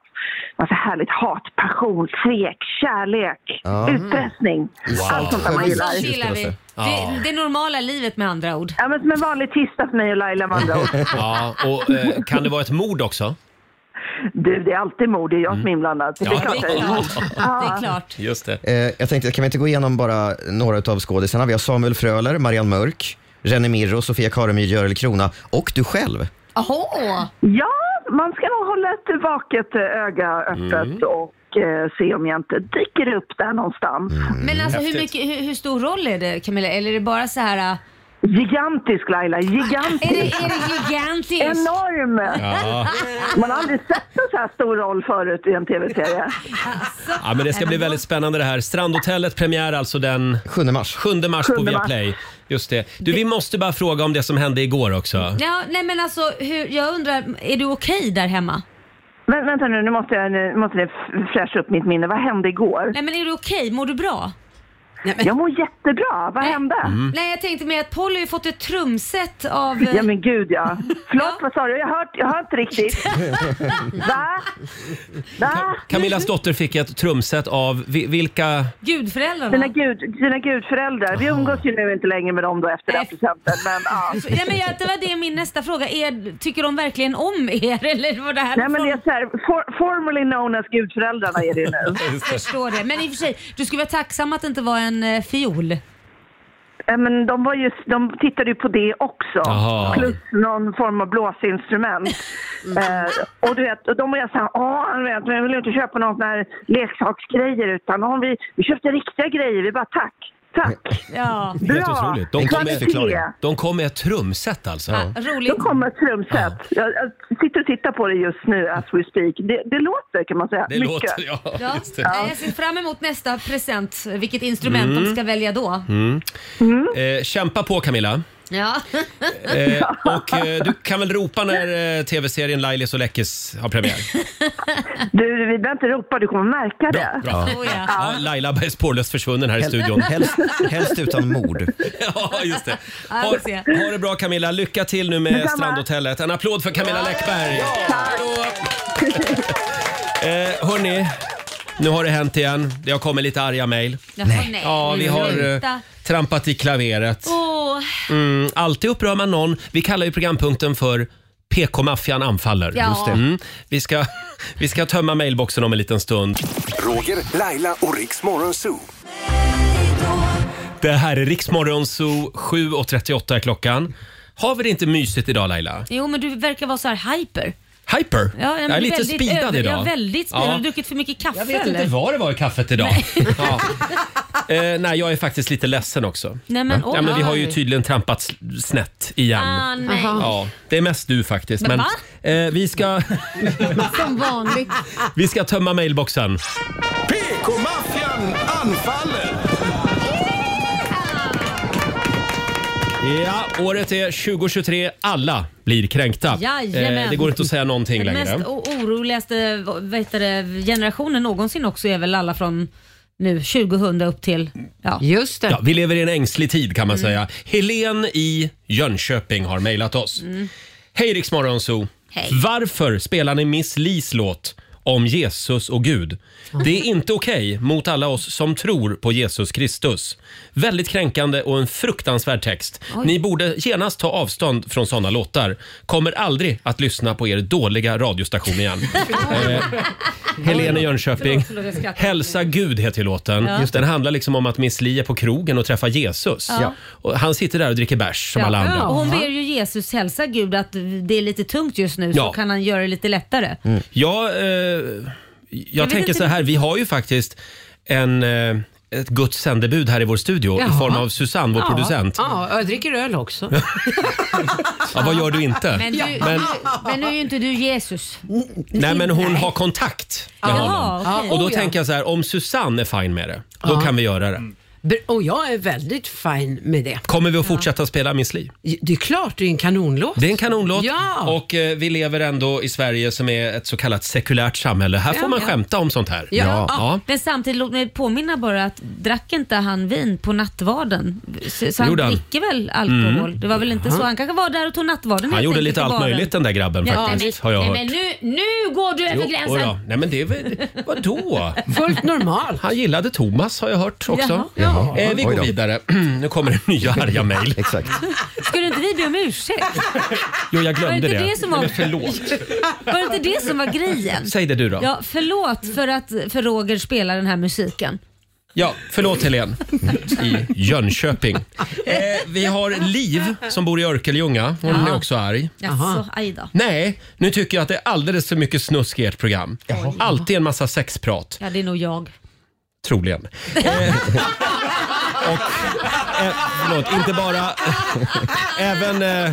[SPEAKER 7] massa härligt hat, passion, svek, kärlek,
[SPEAKER 2] Ja.
[SPEAKER 7] utpressning. Allt sånt där man gillar.
[SPEAKER 2] Sånt gillar vi. Det, det normala livet med andra ord.
[SPEAKER 7] Ja, men som en vanlig tisdag för mig och Laila med andra ord.
[SPEAKER 1] Ja, och eh, kan det vara ett mord också?
[SPEAKER 7] Du, det är alltid mod. Det är jag som är inblandad.
[SPEAKER 1] Ja,
[SPEAKER 7] klart det är mod. Ja.
[SPEAKER 1] Just det.
[SPEAKER 6] Eh, jag tänkte, kan vi inte gå igenom bara några utav skådisarna? Vi har Samuel Fröler, Marianne Mörk, René Mirro, Sofia Karemyr, Görel Krona och du själv.
[SPEAKER 7] Ja, man ska nog hålla ett vaket eh, öga öppet och eh, se om jag inte dyker upp där någonstans.
[SPEAKER 2] Men alltså hur, mycket, hur, hur stor roll är det Camilla? Eller är det bara så här... äh,
[SPEAKER 7] Gigantisk Laila, gigantisk!
[SPEAKER 2] Är det, är det gigantiskt?
[SPEAKER 7] Enorm!
[SPEAKER 1] Ja.
[SPEAKER 7] Man har aldrig sett en så här stor roll förut i en tv-serie.
[SPEAKER 1] Ja, men det ska bli väldigt spännande det här. Strandhotellet premiär alltså den
[SPEAKER 6] 7 mars,
[SPEAKER 1] 7 mars på
[SPEAKER 2] 7 mars.
[SPEAKER 1] Viaplay. Just det. Du, vi måste bara fråga om det som hände igår också.
[SPEAKER 2] Ja, nej men alltså hur, jag undrar, är du okej där hemma?
[SPEAKER 7] Men vänta nu, nu måste jag nu måste jag f- fräscha upp mitt minne. Vad hände igår?
[SPEAKER 2] Nej men är du okej? Mår du bra?
[SPEAKER 7] Jag mår jättebra. Vad hände?
[SPEAKER 2] Nej jag tänkte mer att Polly har ju fått ett trumset av... eh,
[SPEAKER 7] Ja men gud ja. Förlåt, vad sa du? Jag hör, jag hör inte riktigt. Va? Va?
[SPEAKER 1] Camillas dotter fick ett trumset av vi- vilka...
[SPEAKER 2] Gudföräldrarna?
[SPEAKER 7] Sina, gud, sina gudföräldrar. Vi umgås ju nu inte längre med dem då efter den presenten. Men, ja.
[SPEAKER 2] Ja, men jag, det var det min nästa fråga. Är, tycker de verkligen om er? Eller var det här
[SPEAKER 7] Nej, men det är så här, for, formerly known as gudföräldrarna är det ju nu.
[SPEAKER 2] Jag förstår det. Men i och för sig, du skulle vara tacksam att det inte var en eh, fiol.
[SPEAKER 7] Ja, Men de, var ju, de tittade ju på det också.
[SPEAKER 2] Jaha.
[SPEAKER 7] Plus någon form av blåsinstrument.
[SPEAKER 1] Mm.
[SPEAKER 7] Eh, och du vet, och de var ju såhär, åh, han vet, men jag vill inte köpa någon sån här leksaksgrejer utan om vi, vi köpte riktiga grejer. Vi bara tack, tack.
[SPEAKER 2] Ja.
[SPEAKER 1] Helt otroligt. De kom, med,
[SPEAKER 7] Kvalitet.
[SPEAKER 1] de kom med ett trumset alltså.
[SPEAKER 7] Då kommer ett trumset. Jag, jag sitter och tittar på det just nu as we speak. Det, det låter kan man säga.
[SPEAKER 1] Det
[SPEAKER 7] Mycket.
[SPEAKER 1] låter, ja.
[SPEAKER 2] Ja.
[SPEAKER 1] Just det.
[SPEAKER 2] Nej, Jag ser fram emot nästa present, vilket instrument
[SPEAKER 1] Mm.
[SPEAKER 2] de ska välja då.
[SPEAKER 1] Mm. Eh, kämpa på Camilla.
[SPEAKER 2] Ja.
[SPEAKER 1] Eh, och eh, du kan väl ropa när eh, tv-serien Lailis och Läckis har premiär?
[SPEAKER 7] Du, vi behöver inte ropa, du kommer märka det.
[SPEAKER 1] Bra.
[SPEAKER 2] Oh,
[SPEAKER 1] Ja, Laila är spårlöst försvunnen här i studion.
[SPEAKER 7] helst- helst utan
[SPEAKER 6] mord.
[SPEAKER 1] ja, just det.
[SPEAKER 2] Ja, vi får se.
[SPEAKER 1] Ha, ha det bra Camilla. Lycka till nu med
[SPEAKER 2] Detsamma.
[SPEAKER 1] Strandhotellet. En applåd för Camilla Läckberg. Eh, hörni, nu har det hänt igen. Det har kommit lite arga mejl.
[SPEAKER 2] Jaha, Nej. nej.
[SPEAKER 1] Ja, vi har eh,
[SPEAKER 2] Sluta.
[SPEAKER 1] trampat i klaveret.
[SPEAKER 2] Åh.
[SPEAKER 1] Mm, alltid upprör man någon. Vi kallar ju programpunkten för PK-maffian anfaller.
[SPEAKER 3] Ja. Just det.
[SPEAKER 1] Mm, vi, ska, vi ska tömma mailboxen om en liten stund.
[SPEAKER 3] Roger, Laila och Riks Morgonzoo.
[SPEAKER 1] Det här är Riksmorgon Zoo, 7.38 är klockan. Har vi det inte mysigt idag Laila?
[SPEAKER 2] Jo, men du verkar vara så här hyper.
[SPEAKER 1] Hyper?
[SPEAKER 2] Ja, men
[SPEAKER 1] jag är
[SPEAKER 2] du
[SPEAKER 1] lite
[SPEAKER 2] väldigt
[SPEAKER 1] speedad
[SPEAKER 2] över-
[SPEAKER 1] idag.
[SPEAKER 2] Ja, väldigt speedad.
[SPEAKER 1] Ja.
[SPEAKER 2] Har du druckit för mycket kaffe
[SPEAKER 1] Jag vet
[SPEAKER 2] eller?
[SPEAKER 1] inte vad det var i kaffet idag. Ja. Eh, nej, jag är faktiskt lite ledsen också.
[SPEAKER 2] Nej, men
[SPEAKER 1] ja, men vi har ju
[SPEAKER 2] oj.
[SPEAKER 1] tydligen trampat s- snett igen.
[SPEAKER 2] Ah, nej.
[SPEAKER 1] Ja, det är mest du faktiskt.
[SPEAKER 2] Men
[SPEAKER 1] Men, eh, vi, ska,
[SPEAKER 13] Som vanligt.
[SPEAKER 1] vi ska tömma mailboxen.
[SPEAKER 4] PK-maffian anfaller!
[SPEAKER 1] Ja, året är 2023. Alla blir kränkta. Eh,
[SPEAKER 2] Jajamän.
[SPEAKER 1] det går inte att säga någonting
[SPEAKER 2] Den
[SPEAKER 1] längre.
[SPEAKER 2] mest o- oroligaste vad heter det, generationen någonsin också är väl alla från nu 2000 upp till... Ja.
[SPEAKER 5] Just
[SPEAKER 1] Ja, vi lever i en ängslig tid kan man
[SPEAKER 2] Mm.
[SPEAKER 1] säga. Helen i Jönköping har mejlat oss. Hej Rix Morgonzoo.
[SPEAKER 2] Mm. Hej.
[SPEAKER 1] Varför spelar ni Miss Lis låt om Jesus och Gud? Det är inte okej mot alla oss som tror på Jesus Kristus. Väldigt kränkande och en fruktansvärd text.
[SPEAKER 2] Oj.
[SPEAKER 1] Ni borde genast ta avstånd från såna låtar. Kommer aldrig att lyssna på er dåliga radiostation igen. eh, Helene i Jönköping.
[SPEAKER 2] Förlåt, förlåt, jag skrattar.
[SPEAKER 1] Hälsa Gud heter låten.
[SPEAKER 2] Mm. Ja. Just det.
[SPEAKER 1] Den handlar liksom om att Miss Li är på krogen och träffar Jesus.
[SPEAKER 2] Ja.
[SPEAKER 1] Och han sitter där och dricker bärs som alla andra.
[SPEAKER 2] Och hon ber ju Jesus hälsa Gud att det är lite tungt just nu
[SPEAKER 1] Ja.
[SPEAKER 2] så kan han göra det lite lättare.
[SPEAKER 1] Jag, eh, jag, tänker
[SPEAKER 2] inte
[SPEAKER 1] så här, vi har ju faktiskt en, eh, ett Guds sändebud här i vår studio i
[SPEAKER 5] Jaha.
[SPEAKER 1] form av Susanne, vår
[SPEAKER 5] ja.
[SPEAKER 1] producent.
[SPEAKER 5] Ja, och jag dricker öl också.
[SPEAKER 1] Ja, vad gör du inte?
[SPEAKER 2] Men, du, men,
[SPEAKER 1] Men-
[SPEAKER 2] nu är ju inte du Jesus.
[SPEAKER 1] Nej men hon har kontakt med
[SPEAKER 2] Jaha,
[SPEAKER 1] honom.
[SPEAKER 2] okej.
[SPEAKER 1] Och då
[SPEAKER 2] Oh, ja.
[SPEAKER 1] tänker jag så här, om Susanne är fine med det, då
[SPEAKER 2] Ja. Mm.
[SPEAKER 1] kan vi göra det.
[SPEAKER 5] Br- Och jag är väldigt fin med det.
[SPEAKER 1] Kommer vi att fortsätta spela Miss Li?
[SPEAKER 5] Det är klart, det är en kanonlåt.
[SPEAKER 1] Det är en kanonlåt
[SPEAKER 5] Ja.
[SPEAKER 1] och eh, vi lever ändå i Sverige som är ett så kallat sekulärt samhälle. Här
[SPEAKER 2] Ja,
[SPEAKER 1] får man
[SPEAKER 2] ja.
[SPEAKER 1] skämta om sånt här.
[SPEAKER 2] Ja. Men samtidigt, låt mig påminna bara att drack inte han vin på nattvarden? Så, så han
[SPEAKER 1] Gjorde han?
[SPEAKER 2] dricker väl alkohol?
[SPEAKER 1] Mm.
[SPEAKER 2] Det var väl inte
[SPEAKER 1] Ja.
[SPEAKER 2] så? Han kanske var där och tog nattvarden
[SPEAKER 1] Han
[SPEAKER 2] helt
[SPEAKER 1] gjorde
[SPEAKER 2] enkelt
[SPEAKER 1] lite
[SPEAKER 2] i
[SPEAKER 1] allt
[SPEAKER 2] baren.
[SPEAKER 1] möjligt den där grabben
[SPEAKER 2] Ja,
[SPEAKER 1] faktiskt, har jag
[SPEAKER 13] Nej,
[SPEAKER 1] hört.
[SPEAKER 13] men nu, nu går du över
[SPEAKER 1] Jo, oj
[SPEAKER 13] gränsen.
[SPEAKER 1] då. Nej men det är väl, vadå?
[SPEAKER 5] Fullt normalt.
[SPEAKER 1] Han gillade Thomas har jag hört också.
[SPEAKER 13] Jaha.
[SPEAKER 1] Eh,
[SPEAKER 13] Oj
[SPEAKER 1] vi går
[SPEAKER 13] då.
[SPEAKER 1] vidare. nu kommer det nya arga mejl.
[SPEAKER 6] Exakt.
[SPEAKER 2] Skulle inte vi be om ursäkt?
[SPEAKER 1] Jo, jag glömde
[SPEAKER 2] var det.
[SPEAKER 1] det.
[SPEAKER 2] Inte det som var...
[SPEAKER 1] Men förlåt.
[SPEAKER 2] Var det inte det som var grejen?
[SPEAKER 1] Säg det du då.
[SPEAKER 2] Ja, förlåt för att för Roger spelar den här musiken.
[SPEAKER 1] Ja, förlåt Helene i Jönköping. Eh, vi har Liv som bor i Örkelljunga. Hon
[SPEAKER 2] Ja.
[SPEAKER 1] är också arg.
[SPEAKER 2] Jaså, aj då.
[SPEAKER 1] Nej, nu tycker jag att det är alldeles för mycket snusk i ert program. Alltid en massa sexprat,
[SPEAKER 2] Ja, det är nog jag.
[SPEAKER 1] troligen. Eh, förlåt, inte bara... även, eh,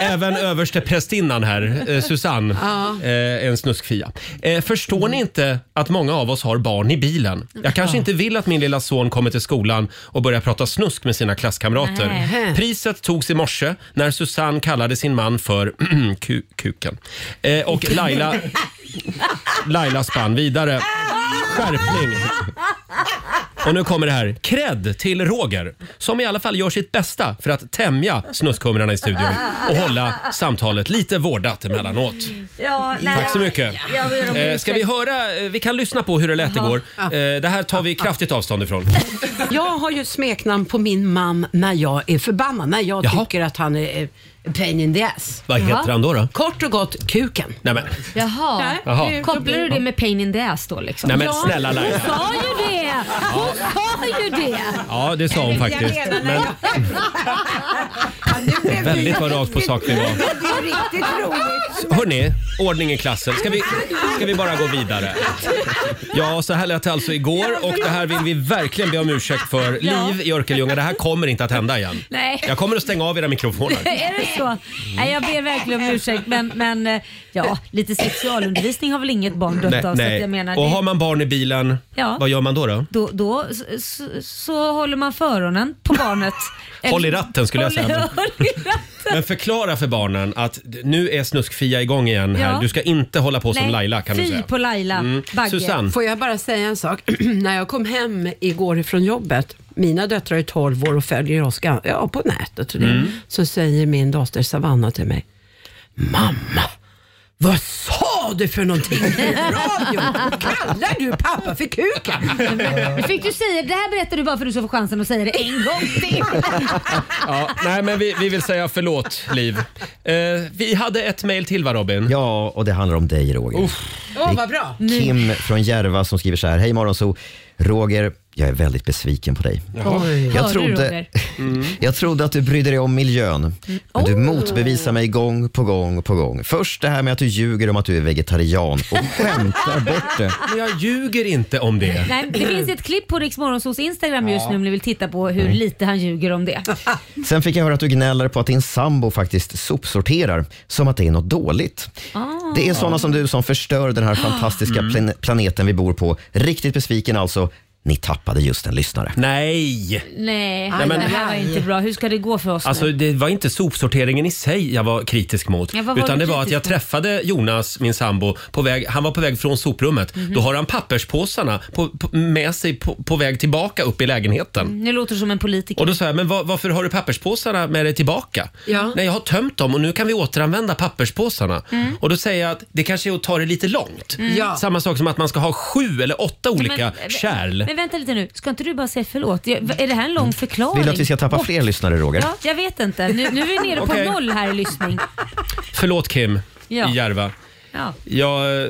[SPEAKER 1] även översteprästinnan här, eh, Susanne,
[SPEAKER 4] Ja.
[SPEAKER 1] eh, är en snuskfia. Eh, förstår ni inte att många av oss har barn i bilen? Jag kanske inte vill att min lilla son kommer till skolan och börjar prata snusk med sina klasskamrater.
[SPEAKER 4] Nej.
[SPEAKER 1] Priset togs i morse när Susanne kallade sin man för ku- kuken. Eh, och Laila, Laila spann vidare. Skärpning! Och nu kommer det här. Cred till Roger som i alla fall gör sitt bästa för att tämja snuskhumrarna i studion och hålla samtalet lite vårdat emellanåt.
[SPEAKER 2] Ja, nej,
[SPEAKER 1] Tack så
[SPEAKER 2] jag-
[SPEAKER 1] mycket.
[SPEAKER 2] jag ber om
[SPEAKER 1] Eh,
[SPEAKER 2] ursäkt.
[SPEAKER 1] Ska vi höra? eh, Vi kan lyssna på hur det lät
[SPEAKER 5] Jaha.
[SPEAKER 1] igår.
[SPEAKER 5] Ja.
[SPEAKER 1] Eh, Det här tar vi kraftigt avstånd ifrån.
[SPEAKER 5] Jag har ju ett smeknamn på min man när jag är förbannad, när jag tycker att han är eh, pain in the ass.
[SPEAKER 1] Vad heter han då då?
[SPEAKER 5] Kort och gott, kuken.
[SPEAKER 1] Nej, men.
[SPEAKER 2] Jaha.
[SPEAKER 1] Jaha.
[SPEAKER 2] Kopplar du det med pain in the ass då liksom?
[SPEAKER 1] Nej, men snälla Laila.
[SPEAKER 2] Hon sa ju det! Hon sa ju det!
[SPEAKER 1] Ja, det sa hon faktiskt. Men väldigt vad rakt på sak vi var.
[SPEAKER 4] Det är riktigt roligt.
[SPEAKER 1] Hörni, ordning i klassen. Ska vi, ska vi bara gå vidare? Ja, så här lät det alltså igår och det här vill vi verkligen be om ursäkt för.
[SPEAKER 2] Ja.
[SPEAKER 1] Liv i Örkelljunga, det här kommer inte att hända igen.
[SPEAKER 2] Nej.
[SPEAKER 1] Jag kommer att stänga av era mikrofoner.
[SPEAKER 2] är det så? Nej, jag ber verkligen om ursäkt men, men eh, ja, lite sexualundervisning har väl inget barn dött av så att jag menar
[SPEAKER 1] Och
[SPEAKER 2] det-
[SPEAKER 1] har man barn i bilen,
[SPEAKER 2] Ja.
[SPEAKER 1] vad gör man då? då?
[SPEAKER 2] Då, då så, så, så håller man för öronen på barnet.
[SPEAKER 1] Håll i ratten skulle jag
[SPEAKER 2] Håll-
[SPEAKER 1] säga.
[SPEAKER 2] håll i ratten.
[SPEAKER 1] Men förklara för barnen att d- nu är snuskfia igång igen här.
[SPEAKER 5] Ja.
[SPEAKER 1] Du ska inte hålla på som
[SPEAKER 5] Nej,
[SPEAKER 1] Laila kan du
[SPEAKER 5] fy
[SPEAKER 1] säga.
[SPEAKER 5] på
[SPEAKER 2] Laila
[SPEAKER 1] Mm. Bagge. Susanne.
[SPEAKER 5] Får jag bara säga en sak? När jag kom hem igår ifrån jobbet, mina döttrar är 12 år och följer oss gan- ja, på nätet, och det,
[SPEAKER 4] Mm.
[SPEAKER 5] så säger min dotter Savanna till mig, Mamma, vad sa du för någonting i radion? Kallar du pappa för kuken?
[SPEAKER 2] Nu fick du säga, det här berättar du bara för att du ska få chansen att säga det en gång till.
[SPEAKER 1] Ja, nej, men vi, vi vill säga förlåt, Liv. Eh, vi hade ett mejl till, va, Robin?
[SPEAKER 6] Ja, och det handlar om dig Roger.
[SPEAKER 5] Åh, vad bra.
[SPEAKER 6] Kim från Järva som skriver så här. Hej Morgonzoo. Roger, jag är väldigt besviken på dig.
[SPEAKER 4] Jaha. Oj. Hör
[SPEAKER 6] Jag
[SPEAKER 4] du,
[SPEAKER 6] trodde,
[SPEAKER 4] Roger?
[SPEAKER 6] jag trodde att du brydde dig om miljön. Men du
[SPEAKER 4] Oh.
[SPEAKER 6] motbevisar mig gång på gång på gång. Först det här med att du ljuger om att du är vegetarian och skämtar bort det.
[SPEAKER 1] Men jag ljuger inte om det.
[SPEAKER 2] Nej, det finns ett klipp på Rix Morgonzoos Instagram just
[SPEAKER 6] Ja.
[SPEAKER 2] nu om ni vill titta på hur
[SPEAKER 6] Mm.
[SPEAKER 2] lite han ljuger om det.
[SPEAKER 6] Sen fick jag höra att du gnäller på att din sambo faktiskt sopsorterar, som att det är något dåligt. Det är såna som du som förstör den här fantastiska
[SPEAKER 1] Mm.
[SPEAKER 6] plan- planeten vi bor på. Riktigt besviken alltså. Ni tappade just en lyssnare.
[SPEAKER 1] Nej!
[SPEAKER 2] Nej,
[SPEAKER 1] Nej, men-
[SPEAKER 2] det här var inte bra. Hur ska det gå för oss
[SPEAKER 1] Alltså
[SPEAKER 2] nu?
[SPEAKER 1] det var inte sopsorteringen i sig jag var kritisk mot.
[SPEAKER 2] Ja, vad var
[SPEAKER 1] utan
[SPEAKER 2] du
[SPEAKER 1] det var att
[SPEAKER 2] kritisk
[SPEAKER 1] jag
[SPEAKER 2] mot?
[SPEAKER 1] träffade Jonas, min sambo, på väg, han var på väg från soprummet.
[SPEAKER 2] Mhm.
[SPEAKER 1] Då har han papperspåsarna på, på, med sig på, på väg tillbaka upp i lägenheten.
[SPEAKER 2] Nu låter du som en politiker.
[SPEAKER 1] Och då sa jag, men va- varför har du papperspåsarna med dig tillbaka?
[SPEAKER 2] Ja.
[SPEAKER 1] Nej, jag har tömt dem och nu kan vi återanvända papperspåsarna.
[SPEAKER 2] Mm.
[SPEAKER 1] Och då säger jag att det kanske är att ta det lite långt.
[SPEAKER 2] Mm. Ja.
[SPEAKER 1] Samma sak som att man ska ha sju eller åtta olika
[SPEAKER 2] men- eh,
[SPEAKER 1] kärl.
[SPEAKER 2] Men vänta lite nu, ska inte du bara säga förlåt? Jag- Är det här
[SPEAKER 1] Mm.
[SPEAKER 2] en lång förklaring?
[SPEAKER 6] Vill du att vi ska tappa
[SPEAKER 2] Bort-
[SPEAKER 6] fler lyssnare, Roger?
[SPEAKER 2] Ja, jag vet inte. Nu, nu är vi nere på
[SPEAKER 1] Okej.
[SPEAKER 2] noll här i lyssning.
[SPEAKER 1] Förlåt Kim
[SPEAKER 2] Ja.
[SPEAKER 1] i Järva.
[SPEAKER 2] Ja.
[SPEAKER 1] Jag,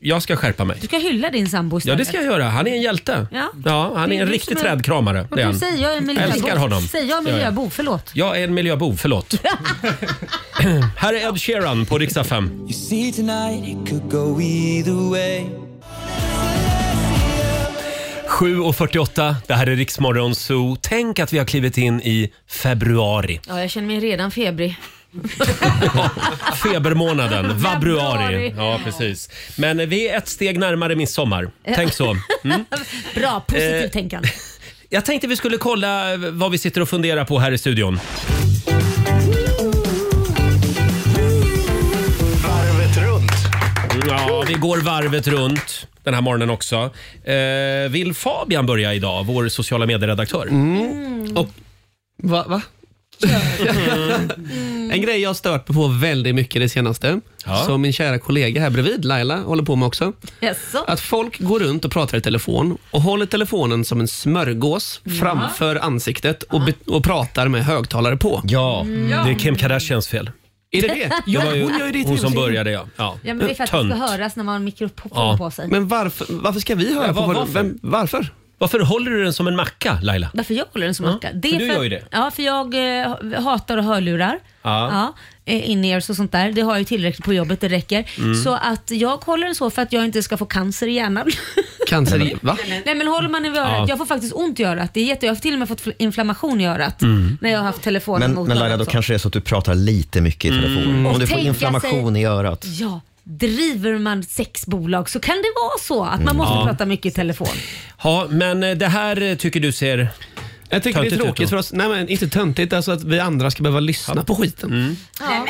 [SPEAKER 1] jag ska skärpa mig.
[SPEAKER 2] Du ska hylla din sambo
[SPEAKER 1] Ja,
[SPEAKER 2] istället.
[SPEAKER 1] det ska jag göra. Han är en hjälte.
[SPEAKER 2] Ja.
[SPEAKER 1] han
[SPEAKER 2] Det
[SPEAKER 1] är en
[SPEAKER 2] du
[SPEAKER 1] riktig
[SPEAKER 2] som
[SPEAKER 1] trädkramare.
[SPEAKER 2] Och
[SPEAKER 1] det är
[SPEAKER 2] du
[SPEAKER 1] han.
[SPEAKER 2] säger jag är en miljöbo.
[SPEAKER 1] älskar honom.
[SPEAKER 2] Säger jag är
[SPEAKER 1] Ja, ja.
[SPEAKER 2] miljöbo, förlåt.
[SPEAKER 1] Jag är en miljöbov, förlåt. Här är Ed Sheeran på riksdag 5.
[SPEAKER 4] Could go either way.
[SPEAKER 1] 7.48, det här är Riksmorgon Zoo. Tänk att vi har klivit in i februari.
[SPEAKER 2] Ja, jag känner mig redan febrig.
[SPEAKER 1] Febermånaden, vabruari.
[SPEAKER 2] Februari.
[SPEAKER 1] Ja, precis. Men vi är ett steg närmare midsommar. Tänk så. Mm.
[SPEAKER 2] Bra, positivt
[SPEAKER 1] Eh.
[SPEAKER 2] tänkande.
[SPEAKER 1] Jag tänkte vi skulle kolla vad vi sitter och funderar på här i studion.
[SPEAKER 4] Varvet runt.
[SPEAKER 1] Mm, Ja, vi går varvet runt den här morgonen också. Eh, vill Fabian börja idag, vår sociala medieredaktör?
[SPEAKER 8] Och, va? va? en grej jag har stört mig på väldigt mycket det senaste, som min kära kollega här bredvid, Laila, håller på med också.
[SPEAKER 2] Jaså?
[SPEAKER 8] Att folk går runt och pratar i telefon och håller telefonen som en smörgås
[SPEAKER 2] Ja.
[SPEAKER 8] framför ansiktet och, be- och pratar med högtalare på.
[SPEAKER 1] Ja,
[SPEAKER 2] Mm.
[SPEAKER 1] det är Kim Kardashians fel.
[SPEAKER 8] Är det det?
[SPEAKER 1] Det var ju
[SPEAKER 8] hon gör ju det
[SPEAKER 1] hon som
[SPEAKER 8] till-
[SPEAKER 1] började ja. ja.
[SPEAKER 2] Ja, men det är för att det ska höras när man har en mikrofon
[SPEAKER 1] Ja.
[SPEAKER 2] på sig.
[SPEAKER 8] Men varför, varför ska vi höra
[SPEAKER 1] Ja,
[SPEAKER 8] på
[SPEAKER 1] var-
[SPEAKER 8] vad,
[SPEAKER 1] varför?
[SPEAKER 8] Vem, varför?
[SPEAKER 1] Varför håller du den som en macka, Laila?
[SPEAKER 2] Varför jag håller den som
[SPEAKER 1] Ja,
[SPEAKER 2] macka?
[SPEAKER 1] för
[SPEAKER 2] är
[SPEAKER 1] du gör ju det.
[SPEAKER 2] Ja, för jag eh, hatar att hörlurar.
[SPEAKER 1] Ja.
[SPEAKER 2] Ja, eh, in-ears och sånt där. Det har jag ju tillräckligt på jobbet, det räcker.
[SPEAKER 8] Mm.
[SPEAKER 2] Så att jag håller den så för att jag inte ska få cancer i hjärnan.
[SPEAKER 8] Cancer i... Va?
[SPEAKER 2] Nej men håller man den vid örat,
[SPEAKER 6] Ja.
[SPEAKER 2] jag får faktiskt ont i örat. Det är jätte, jag har till och med fått fl- inflammation i örat
[SPEAKER 6] Mm.
[SPEAKER 2] när jag har haft telefonen
[SPEAKER 6] Men,
[SPEAKER 2] mot
[SPEAKER 6] men Laila,
[SPEAKER 2] örat
[SPEAKER 6] då
[SPEAKER 2] så.
[SPEAKER 6] kanske det är så att du pratar lite mycket i telefon.
[SPEAKER 2] Mm.
[SPEAKER 6] Om
[SPEAKER 2] Och
[SPEAKER 6] du får
[SPEAKER 2] tänka
[SPEAKER 6] inflammation
[SPEAKER 2] sig-
[SPEAKER 6] i örat.
[SPEAKER 2] Ja, driver man sex bolag så kan det vara så att man
[SPEAKER 1] Mm.
[SPEAKER 2] måste
[SPEAKER 1] Ja.
[SPEAKER 2] prata mycket i telefon.
[SPEAKER 1] Ja, men eh, det här eh, tycker du ser
[SPEAKER 8] Jag tycker det är tråkigt för oss. Nej, men inte töntigt. Alltså att vi andra ska behöva lyssna på skiten.
[SPEAKER 1] Mm.
[SPEAKER 2] Ja.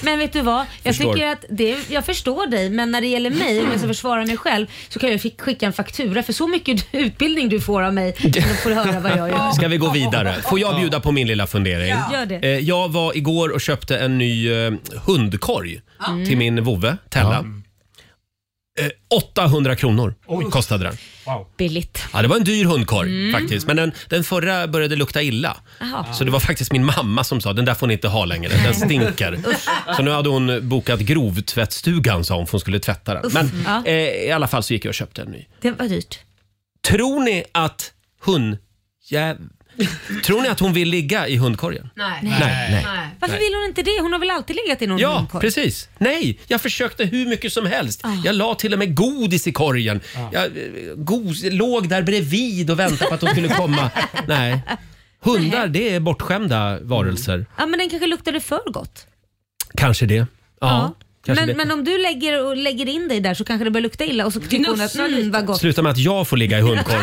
[SPEAKER 2] Men vet du vad? Jag,
[SPEAKER 8] Förstår.
[SPEAKER 2] tycker att det, jag förstår dig, men när det gäller mig, om jag ska försvara mig själv, så kan jag fick- skicka en faktura för så mycket utbildning du får av mig. Då får du höra vad jag gör.
[SPEAKER 1] Ska vi gå vidare? Får jag bjuda på min lilla fundering?
[SPEAKER 2] Ja. Gör det.
[SPEAKER 1] Eh, Jag var igår och köpte en ny eh, hundkorg
[SPEAKER 2] Mm.
[SPEAKER 1] till min vovve Tella. Eh, 800 kronor kostade den.
[SPEAKER 2] Billigt.
[SPEAKER 1] Ja, det var en dyr hundkorg
[SPEAKER 2] Mm. Ah.
[SPEAKER 1] faktiskt. Men den, den förra började lukta illa.
[SPEAKER 2] Jaha.
[SPEAKER 1] Så det var faktiskt min mamma som sa den där får ni inte ha längre, den stinker. så nu hade hon bokat grovtvättstugan sa hon, för hon skulle tvätta den.
[SPEAKER 2] Usch.
[SPEAKER 1] Men
[SPEAKER 2] Ja.
[SPEAKER 1] eh, i alla fall så gick jag och köpte en ny.
[SPEAKER 2] Det var dyrt.
[SPEAKER 1] Tror ni att hon... Ja, tror ni att hon vill ligga i hundkorgen?
[SPEAKER 2] Nej.
[SPEAKER 1] Nej. Nej.
[SPEAKER 2] Varför
[SPEAKER 1] Nej.
[SPEAKER 2] vill hon inte det? Hon har väl alltid legat i någon
[SPEAKER 1] Ja,
[SPEAKER 2] munkorg?
[SPEAKER 1] precis. Nej, jag försökte hur mycket som helst.
[SPEAKER 2] Ah.
[SPEAKER 1] Jag la till och med godis i korgen. Jag eh, gos, låg där bredvid och väntade på att de skulle komma. Nej. Hundar, det är bortskämda varelser.
[SPEAKER 2] Ja, men den kanske luktade för gott.
[SPEAKER 1] Kanske det. Ja, kanske det.
[SPEAKER 2] Men, men om du lägger, och lägger in dig där så kanske det börjar lukta illa och så tycker hon att mm, vad gott.
[SPEAKER 1] Sluta med att jag får ligga i hundkorgen.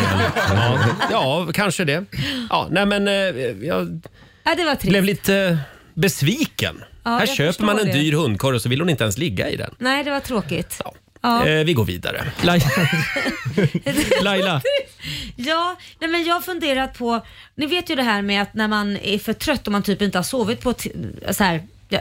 [SPEAKER 1] Ja, ja kanske det. Ja, nej men eh, jag
[SPEAKER 2] Ja, det var trist.
[SPEAKER 1] blev lite besviken.
[SPEAKER 2] Ja,
[SPEAKER 1] Här
[SPEAKER 2] jag
[SPEAKER 1] köper man en
[SPEAKER 2] förstår det.
[SPEAKER 1] dyr hundkorg och så vill hon inte ens ligga i den.
[SPEAKER 2] Nej, det var tråkigt. Ja.
[SPEAKER 1] Eh, vi går vidare. Laila, Laila
[SPEAKER 2] Ja, nej men jag har funderat på, ni vet ju det här med att när man är för trött och man typ inte har sovit på, t- så här, ja,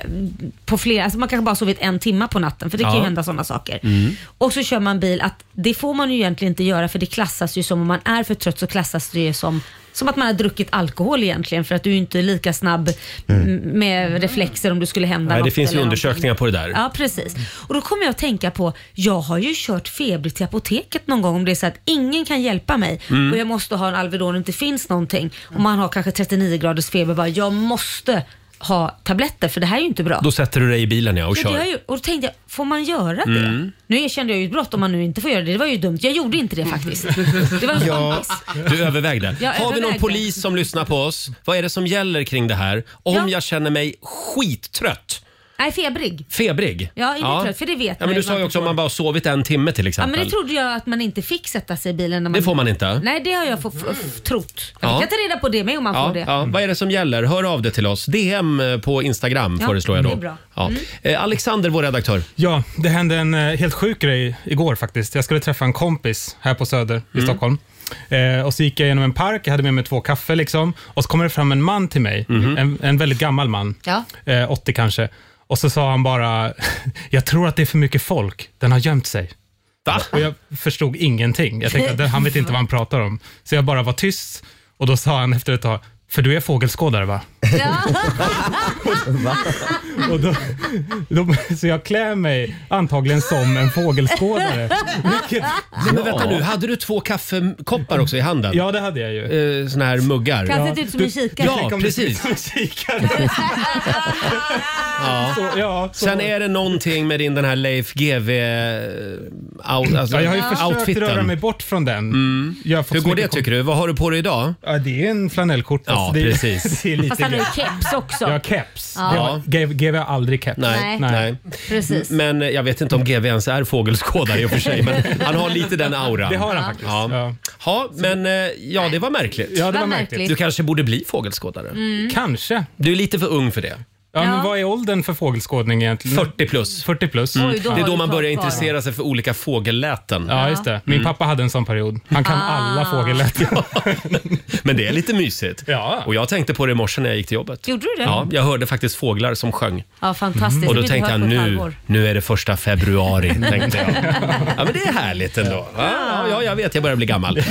[SPEAKER 2] på flera, alltså man kanske bara har sovit en timme på natten för det kan
[SPEAKER 13] Ja.
[SPEAKER 2] ju hända sådana saker.
[SPEAKER 1] Mm.
[SPEAKER 2] Och så kör man bil, att det får man ju egentligen inte göra för det klassas ju som, om man är för trött så klassas det ju som som att man har druckit alkohol egentligen för att du är ju inte lika snabb
[SPEAKER 1] Mm.
[SPEAKER 2] m- med reflexer om du skulle hända
[SPEAKER 1] Nej, det
[SPEAKER 2] något
[SPEAKER 1] finns ju
[SPEAKER 2] eller
[SPEAKER 1] undersökningar på det där.
[SPEAKER 2] Ja, precis. Och då kommer jag att tänka på, jag har ju kört febrigt till apoteket någon gång om det är så att ingen kan hjälpa mig
[SPEAKER 13] Mm.
[SPEAKER 2] och jag måste ha en Alvedon och det inte finns någonting. Och man har kanske 39 graders feber bara, jag måste ha tabletter för det här är ju inte bra.
[SPEAKER 1] Då sätter du dig i bilen ja, och
[SPEAKER 2] Ja, det har
[SPEAKER 1] kör.
[SPEAKER 2] jag ju, och då tänkte jag, får man göra det?
[SPEAKER 1] Mm.
[SPEAKER 2] Nu erkände jag ju ett brott om man nu inte får göra det. Det var ju dumt. Jag gjorde inte det faktiskt. Det var en
[SPEAKER 1] Ja,
[SPEAKER 2] kompis.
[SPEAKER 1] du övervägde.
[SPEAKER 2] Jag
[SPEAKER 1] Har vi någon
[SPEAKER 2] övervägde.
[SPEAKER 1] polis som lyssnar på oss? Vad är det som gäller kring det här? Om
[SPEAKER 2] Ja.
[SPEAKER 1] jag känner mig skittrött,
[SPEAKER 2] Nej, febrig.
[SPEAKER 1] febrig.
[SPEAKER 2] Ja, inte trött, för det vet
[SPEAKER 1] ja, men
[SPEAKER 2] man ju
[SPEAKER 1] Du
[SPEAKER 2] att
[SPEAKER 1] sa
[SPEAKER 2] man
[SPEAKER 1] ju
[SPEAKER 2] inte
[SPEAKER 1] också om man bara har sovit en timme till
[SPEAKER 2] Ja,
[SPEAKER 1] exempel.
[SPEAKER 2] men det trodde jag att man inte fick sätta sig i bilen. När man...
[SPEAKER 1] Det får man inte.
[SPEAKER 2] Nej, det har jag få, f- f- trott. Jag
[SPEAKER 1] Ja.
[SPEAKER 2] kan ta reda på det med om man
[SPEAKER 1] Ja,
[SPEAKER 2] får det.
[SPEAKER 1] ja. Vad är det som gäller? Hör av dig till oss. DM på Instagram
[SPEAKER 2] Ja,
[SPEAKER 1] föreslår jag då.
[SPEAKER 2] det är bra. Mm.
[SPEAKER 1] Ja. Eh, Alexander, vår redaktör.
[SPEAKER 9] Ja, det hände en eh, helt sjuk grej igår faktiskt. Jag skulle träffa en kompis här på Söder
[SPEAKER 4] Mm.
[SPEAKER 9] i Stockholm. Eh, och så gick jag genom en park, jag hade med mig två kaffe liksom. Och så kommer det fram en man till mig,
[SPEAKER 4] Mhm.
[SPEAKER 9] en, en väldigt gammal man,
[SPEAKER 2] Ja.
[SPEAKER 9] eh, 80 kanske. Och så sa han bara, jag tror att det är för mycket folk, den har gömt sig. Och jag förstod ingenting. Jag tänkte att den- han vet inte vad han pratar om. Så jag bara var tyst och då sa han efter ett tag, för du är fågelskådare va? Och då, då, så jag klär mig antagligen som en fågelskådare. Vilket,
[SPEAKER 1] Nej, men vänta nu, hade du två kaffekoppar också i handen?
[SPEAKER 9] Ja, det hade jag
[SPEAKER 1] ju. Eh, såna här muggar.
[SPEAKER 2] Kan se ut som en kikare.
[SPEAKER 1] Ja, precis. Ja.
[SPEAKER 9] Så, ja, så-
[SPEAKER 1] Sen är det någonting med din den här Leif GW eh, out, alltså,
[SPEAKER 9] ja, jag har ju försökt
[SPEAKER 1] outfiten.
[SPEAKER 9] röra mig bort från den.
[SPEAKER 1] Mm.
[SPEAKER 9] Jag har fått
[SPEAKER 1] Hur
[SPEAKER 9] så
[SPEAKER 1] går det
[SPEAKER 9] mycket
[SPEAKER 1] tycker du? Vad har du på dig idag?
[SPEAKER 9] Ja, det är en flanellskjorta
[SPEAKER 1] Ja,
[SPEAKER 9] det, är-
[SPEAKER 1] precis.
[SPEAKER 9] Det är lite
[SPEAKER 13] Fast han har ju
[SPEAKER 9] grej.
[SPEAKER 13] keps också.
[SPEAKER 9] Jag har keps.
[SPEAKER 13] Ja.
[SPEAKER 9] Ja. GV gav jag aldrig keps.
[SPEAKER 1] Nej, nej.
[SPEAKER 13] Precis.
[SPEAKER 1] Men eh, jag vet inte om GV ens är fågelskådare i och för sig. Men han har lite den auran.
[SPEAKER 9] Det har han faktiskt.
[SPEAKER 1] Ja, ja. men eh, ja, det var märkligt.
[SPEAKER 9] Ja, det var Vad märkligt. märkligt.
[SPEAKER 1] Du kanske borde bli fågelskådare.
[SPEAKER 9] Mm. Kanske.
[SPEAKER 1] Du är lite för ung för det.
[SPEAKER 9] Ja, men
[SPEAKER 1] Ja.
[SPEAKER 9] vad är åldern för fågelskådning egentligen?
[SPEAKER 1] 40 plus.
[SPEAKER 9] 40 plus.
[SPEAKER 1] Mm. det är då man börjar intressera sig för olika fågelläten.
[SPEAKER 9] Ja, just det. Min pappa hade en sån period. Han kan alla fågelläten.
[SPEAKER 1] Men det är lite mysigt. Ja. Och jag tänkte på det i morse när jag gick till jobbet.
[SPEAKER 2] Gjorde du det?
[SPEAKER 1] Ja, jag hörde faktiskt fåglar som sjöng.
[SPEAKER 2] Ja, fantastiskt.
[SPEAKER 1] Och
[SPEAKER 2] Det
[SPEAKER 1] då
[SPEAKER 2] har vi
[SPEAKER 1] tänkte
[SPEAKER 2] inte
[SPEAKER 1] jag
[SPEAKER 2] hört på ett
[SPEAKER 1] nu,
[SPEAKER 2] halvår.
[SPEAKER 1] nu är det första februari, tänkte jag. Ja, men det är härligt ändå. Ja, ja jag vet, jag börjar bli gammal. Eh,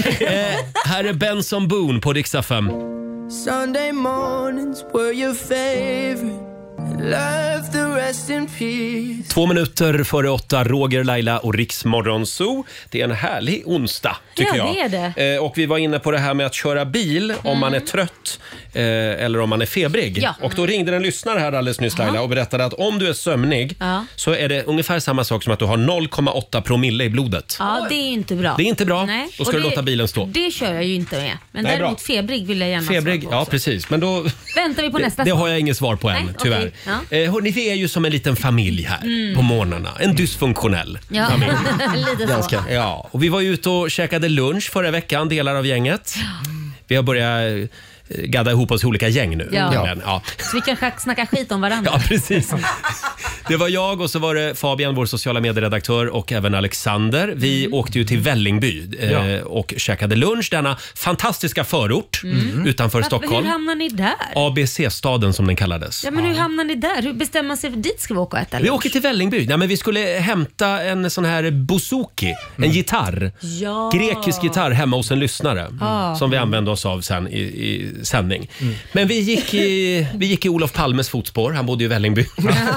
[SPEAKER 1] här är Benson Boone på riksdag 5.
[SPEAKER 12] Sunday mornings were your favorite. Love the rest in peace.
[SPEAKER 1] Två minuter före åtta, Roger, Laila och Riksmorgon Zoo. Det är en härlig onsdag, tycker
[SPEAKER 2] Ja,
[SPEAKER 1] jag.
[SPEAKER 2] det är
[SPEAKER 1] Eh, och vi var inne på det här med att köra bil om man är trött eh, eller om man är febrig.
[SPEAKER 2] Ja.
[SPEAKER 1] Och då ringde en lyssnare här alldeles nyss, Laila, och berättade att om du är sömnig
[SPEAKER 2] Ja.
[SPEAKER 1] så är det ungefär samma sak som att du har 0,8 promille i blodet.
[SPEAKER 2] Ja, det är ju inte bra.
[SPEAKER 1] Det är inte bra.
[SPEAKER 2] Nej.
[SPEAKER 1] Då ska
[SPEAKER 2] Och
[SPEAKER 1] du
[SPEAKER 2] det-
[SPEAKER 1] låta bilen stå.
[SPEAKER 2] Det kör jag ju inte med. Men
[SPEAKER 1] Nej,
[SPEAKER 2] däremot
[SPEAKER 1] bra.
[SPEAKER 2] febrig vill jag gärna
[SPEAKER 1] Febrig,
[SPEAKER 2] svara på
[SPEAKER 1] ja
[SPEAKER 2] också.
[SPEAKER 1] precis. Men då...
[SPEAKER 2] Väntar vi på
[SPEAKER 1] Det,
[SPEAKER 2] nästa
[SPEAKER 1] det
[SPEAKER 2] svar?
[SPEAKER 1] har jag inget svar på än,
[SPEAKER 2] Nej,
[SPEAKER 1] tyvärr.
[SPEAKER 2] okej.
[SPEAKER 1] Eh, hörni, vi är ju som en liten familj här
[SPEAKER 2] Mm.
[SPEAKER 1] på morgnarna. En dysfunktionell
[SPEAKER 2] Ja,
[SPEAKER 1] familj.
[SPEAKER 2] lite så.
[SPEAKER 1] Ja, och vi var ju ute och käkade lunch förra veckan, delar av gänget. Vi har börjat eh, gadda ihop oss i olika gäng nu.
[SPEAKER 2] Ja.
[SPEAKER 1] Men, ja.
[SPEAKER 2] Så vi kan schack- snacka skit om varandra.
[SPEAKER 1] ja, precis. Det var jag och så var det Fabian, vår sociala medieredaktör och även Alexander. Vi
[SPEAKER 2] Mm.
[SPEAKER 1] åkte ju till Vällingby eh,
[SPEAKER 2] Ja.
[SPEAKER 1] och käkade lunch, denna fantastiska förort
[SPEAKER 2] Mm.
[SPEAKER 1] utanför
[SPEAKER 2] Varför-
[SPEAKER 1] Stockholm.
[SPEAKER 2] Hur hamnar ni där?
[SPEAKER 1] ABC-staden som den kallades.
[SPEAKER 2] Ja, men hur hamnar ni där? Hur bestämmer man sig? för- Dit ska vi åka och äta
[SPEAKER 1] Vi
[SPEAKER 2] lunch?
[SPEAKER 1] åker till Vällingby. Nej, men vi skulle hämta en sån här bouzouki, en gitarr.
[SPEAKER 2] Mm. Ja.
[SPEAKER 1] Grekisk gitarr hemma hos en lyssnare
[SPEAKER 2] Ja. Mm.
[SPEAKER 1] som vi använde oss av sen i, i sändning. Men vi gick, i, vi gick i Olof Palmes fotspår. Han bodde ju i Vällingby.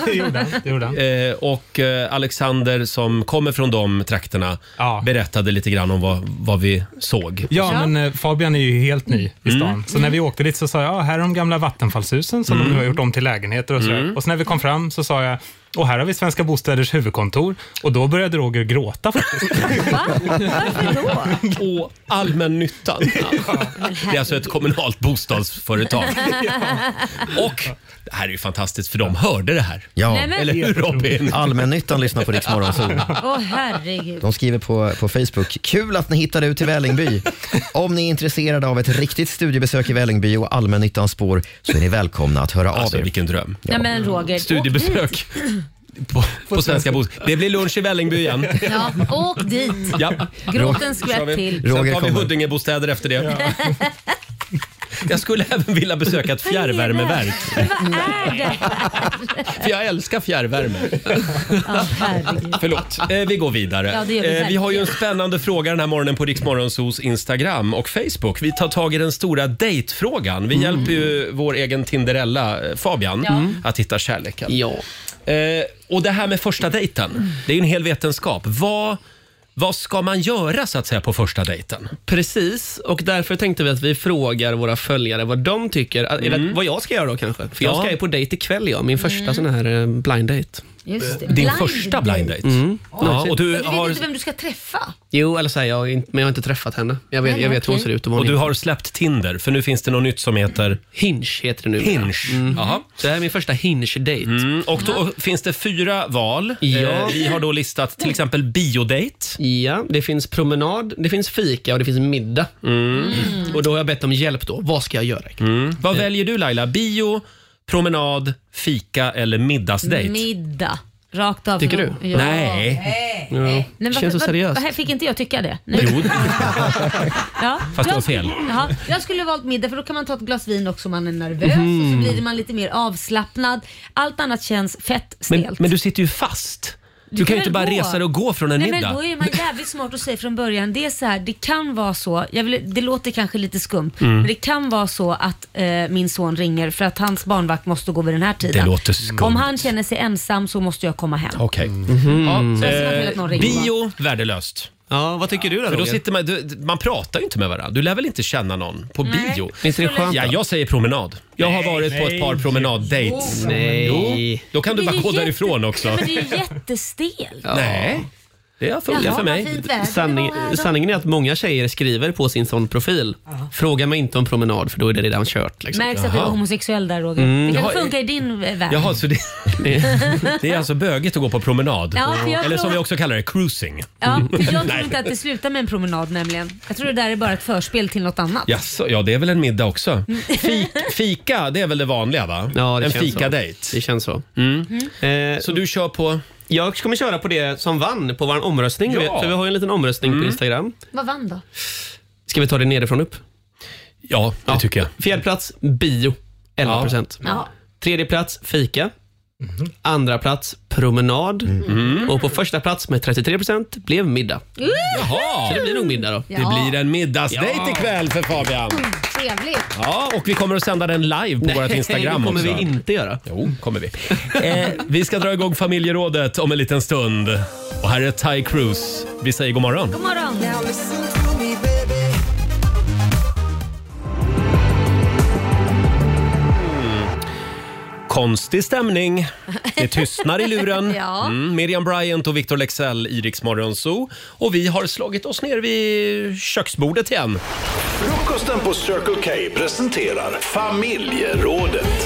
[SPEAKER 9] det gjorde han. Det gjorde han.
[SPEAKER 1] Eh, och eh, Alexander som kommer från de trakterna berättade lite grann om vad, vad vi såg.
[SPEAKER 9] Ja, Mm. men eh, Fabian är ju helt ny i stan. Så när vi åkte dit så sa jag, ah, här är de gamla vattenfallshusen som de nu har gjort om till lägenheter och sådär. Och så när vi kom fram så sa jag, och här har vi Svenska Bostäders huvudkontor. Och då började Roger gråta faktiskt.
[SPEAKER 1] Och allmännyttan. Det är alltså ett kommunalt bostadsföretag. Och det här är ju fantastiskt för de hörde det här.
[SPEAKER 6] Ja.
[SPEAKER 2] Nej, men-
[SPEAKER 1] Eller hur Robin?
[SPEAKER 6] Allmännyttan lyssnar på Rix Morgonzoo.
[SPEAKER 2] Åh herregud.
[SPEAKER 6] De skriver på, på Facebook. Kul att ni hittade ut till Vällingby. Om ni är intresserade av ett riktigt studiebesök i Vällingby och allmännyttans spår så är ni välkomna att höra av er.
[SPEAKER 1] vilken dröm.
[SPEAKER 2] Nej men Roger.
[SPEAKER 1] Alltså, Studiebesök.
[SPEAKER 2] åk
[SPEAKER 1] På, på svenska bos. Det blir lunch i Vällingby igen.
[SPEAKER 2] dit. Ja, åk dit.
[SPEAKER 1] Ja.
[SPEAKER 2] Gråt en
[SPEAKER 1] Kör vi.
[SPEAKER 2] skvätt till.
[SPEAKER 1] Sen tar vi Huddingebostäder efter det. Jag skulle även vilja besöka ett fjärrvärmeverk.
[SPEAKER 2] Vad är det?
[SPEAKER 1] För jag älskar fjärrvärme.
[SPEAKER 2] Ja, herregud.
[SPEAKER 1] Förlåt, eh, vi går vidare. Eh,
[SPEAKER 2] Ja, det gör vi
[SPEAKER 1] vi har ju en
[SPEAKER 2] verkligen.
[SPEAKER 1] spännande fråga den här morgonen på Riksmorgonsos Instagram och Facebook. Vi tar tag i den stora dejtfrågan. Vi hjälper ju vår egen Tinderella, eh, Fabian,
[SPEAKER 8] Ja.
[SPEAKER 1] att hitta kärleken. Ja. Eh, och det här med första dejten, det är ju en hel vetenskap. Vad, vad ska man göra så att säga på första dejten?
[SPEAKER 8] Precis, och därför tänkte vi att vi frågar våra följare vad de tycker. Eller vad jag ska göra då kanske. För jag
[SPEAKER 1] Mm. Ja.
[SPEAKER 8] ska ju på dejt ikväll, jag. min första
[SPEAKER 2] Mm.
[SPEAKER 8] sån här eh, blind date.
[SPEAKER 2] Just det.
[SPEAKER 8] Din
[SPEAKER 2] Blind
[SPEAKER 8] första
[SPEAKER 1] blind date?
[SPEAKER 8] Mm.
[SPEAKER 1] Ja, och du
[SPEAKER 2] Men du vet
[SPEAKER 1] har...
[SPEAKER 2] inte vem du ska träffa.
[SPEAKER 8] Jo, eller så här, jag, har inte- men jag har inte träffat henne. Jag vet,
[SPEAKER 2] Nej,
[SPEAKER 8] jag vet hur hon
[SPEAKER 2] okej.
[SPEAKER 8] ser ut och vad
[SPEAKER 1] Och
[SPEAKER 8] hon
[SPEAKER 1] du
[SPEAKER 8] heter.
[SPEAKER 1] har släppt Tinder, för nu finns det något nytt som heter...
[SPEAKER 8] Hinge heter det nu.
[SPEAKER 1] Hinge.
[SPEAKER 8] Mm.
[SPEAKER 1] Jaha.
[SPEAKER 8] Så det här är min första Hinge-date.
[SPEAKER 1] Mm, och då finns det fyra val.
[SPEAKER 8] Ja.
[SPEAKER 1] Eh, vi har då listat till exempel biodate.
[SPEAKER 8] Ja, det finns promenad, det finns fika och det finns middag. Och då har jag bett om hjälp då. Vad ska jag göra?
[SPEAKER 1] Mm. Vad väljer du Laila? Bio, promenad, fika eller middagsdejt?
[SPEAKER 2] Middag. Rakt av.
[SPEAKER 1] Tycker du?
[SPEAKER 2] Ja. Ja.
[SPEAKER 1] Nej. Ja.
[SPEAKER 2] Nej,
[SPEAKER 1] Känns så seriöst.
[SPEAKER 2] Vad, fick inte jag tycka det? Nej.
[SPEAKER 1] Jo.
[SPEAKER 2] Ja.
[SPEAKER 1] Fast det
[SPEAKER 2] jag,
[SPEAKER 1] var fel.
[SPEAKER 2] Jaha, jag skulle valt middag för då kan man ta ett glas vin också om man är nervös
[SPEAKER 1] Mhm.
[SPEAKER 2] och så blir man lite mer avslappnad. Allt annat känns fett stelt.
[SPEAKER 1] Men, men du sitter ju fast. Du, kan ju
[SPEAKER 2] väl
[SPEAKER 1] inte bara
[SPEAKER 2] gå.
[SPEAKER 1] resa dig och gå från en
[SPEAKER 2] Nej,
[SPEAKER 1] middag.
[SPEAKER 2] Men då är man jävligt smart och säger från början, det är så här, det kan vara så, jag vill, det låter kanske lite skumt,
[SPEAKER 1] Mm.
[SPEAKER 2] men det kan vara så att eh, min son ringer för att hans barnvakt måste gå vid den här tiden.
[SPEAKER 1] Det låter skumt.
[SPEAKER 2] Om han känner sig ensam så måste jag komma hem.
[SPEAKER 1] Okej.
[SPEAKER 2] Så
[SPEAKER 8] Mhm. Mm.
[SPEAKER 1] Ja,
[SPEAKER 2] jag ser till att någon
[SPEAKER 1] eh,
[SPEAKER 2] ringer.
[SPEAKER 1] bio, värdelöst.
[SPEAKER 8] Ja, vad tycker du
[SPEAKER 1] För då
[SPEAKER 8] Roger?
[SPEAKER 1] sitter man, du, man pratar ju inte med varandra. Du lär väl inte känna någon på
[SPEAKER 2] Nej.
[SPEAKER 1] bio?
[SPEAKER 8] Visst är det skönt
[SPEAKER 1] Ja,
[SPEAKER 8] då?
[SPEAKER 1] jag säger promenad. Jag har varit på ett par
[SPEAKER 8] nej.
[SPEAKER 1] promenaddates.
[SPEAKER 8] Jo. Nej.
[SPEAKER 1] Jo, då kan du
[SPEAKER 2] Oh. Det är
[SPEAKER 1] bara
[SPEAKER 2] ju
[SPEAKER 1] gå
[SPEAKER 2] jätte-
[SPEAKER 1] därifrån också.
[SPEAKER 2] Nej, men det är ju jättestel.
[SPEAKER 1] Nej.
[SPEAKER 8] Det har funkat
[SPEAKER 2] Jaha,
[SPEAKER 8] för
[SPEAKER 2] vad
[SPEAKER 8] mig.
[SPEAKER 2] fint väder
[SPEAKER 8] Sanning,
[SPEAKER 2] det var här då.
[SPEAKER 8] sanningen är att många tjejer skriver på sin sån profil. Fråga mig inte om promenad för då är det redan kört. Liksom.
[SPEAKER 2] Märks att du är homosexuell där Roger.
[SPEAKER 8] Mm.
[SPEAKER 2] Det
[SPEAKER 8] Jaha,
[SPEAKER 2] kanske funkar i din eh, värld.
[SPEAKER 1] Jaha, så det, det, det är alltså böget att gå på promenad.
[SPEAKER 2] Ja, för jag
[SPEAKER 1] Eller som
[SPEAKER 2] tror-
[SPEAKER 1] vi också kallar det, cruising.
[SPEAKER 2] Ja, för jag tror
[SPEAKER 1] Nej.
[SPEAKER 2] inte att det slutar med en promenad nämligen. Jag tror det där är bara ett förspel till något annat.
[SPEAKER 1] Jaså, ja det är väl en middag också.
[SPEAKER 2] Mm.
[SPEAKER 1] Fik, fika, det är väl det vanliga va?
[SPEAKER 8] Ja, det
[SPEAKER 1] en
[SPEAKER 8] känns så.
[SPEAKER 1] fikadejt.
[SPEAKER 8] Det känns så.
[SPEAKER 1] Mm.
[SPEAKER 8] Eh, så du kör på? Jag kommer köra på det som vann på vår omröstning.
[SPEAKER 2] Ja.
[SPEAKER 8] Vi- För vi har ju en liten omröstning
[SPEAKER 1] Mm.
[SPEAKER 8] på Instagram.
[SPEAKER 2] Vad vann då?
[SPEAKER 8] Ska vi ta det nerifrån upp?
[SPEAKER 1] Ja, det tycker jag.
[SPEAKER 8] Fjärde plats, bio. 11 procent.
[SPEAKER 2] Ja.
[SPEAKER 8] Tredje plats, fika. Andra plats, promenad. Och på första plats med 33 procent blev middag.
[SPEAKER 1] Jaha.
[SPEAKER 8] Så det blir nog middag då.
[SPEAKER 1] Det blir en middagsdejt
[SPEAKER 8] Ja.
[SPEAKER 1] ikväll för Fabian.
[SPEAKER 2] Trevligt.
[SPEAKER 1] Ja, och vi kommer att sända den live på
[SPEAKER 8] Nej,
[SPEAKER 1] vårt Instagram
[SPEAKER 8] det kommer
[SPEAKER 1] också.
[SPEAKER 8] vi inte göra.
[SPEAKER 1] Jo, kommer vi. Eh, vi ska dra igång familjerådet om en liten stund. Och här är Ty Cruz. Vi säger god morgon.
[SPEAKER 2] God morgon.
[SPEAKER 1] Konstig stämning. Det tystnar i luren.
[SPEAKER 2] Ja.
[SPEAKER 1] Mm, Miriam Bryant och Victor Lexell i Rix Morgon Zoo. Och vi har slagit oss ner vid köksbordet igen.
[SPEAKER 14] Frukosten på Circle K presenterar familjerådet.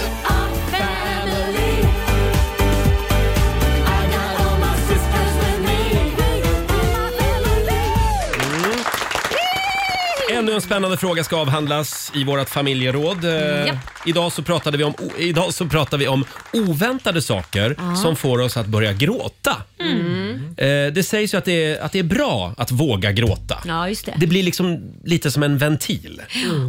[SPEAKER 1] Ännu en spännande fråga ska avhandlas i vårt familjeråd. Eh,
[SPEAKER 2] Japp.
[SPEAKER 1] Idag, så pratade vi om, o- idag så pratar vi om oväntade saker
[SPEAKER 2] Ja.
[SPEAKER 1] som får oss att börja gråta.
[SPEAKER 2] Mm.
[SPEAKER 1] Eh, Det sägs ju att det, är, att det är bra att våga gråta.
[SPEAKER 2] Ja, just det.
[SPEAKER 1] Det blir liksom lite som en ventil.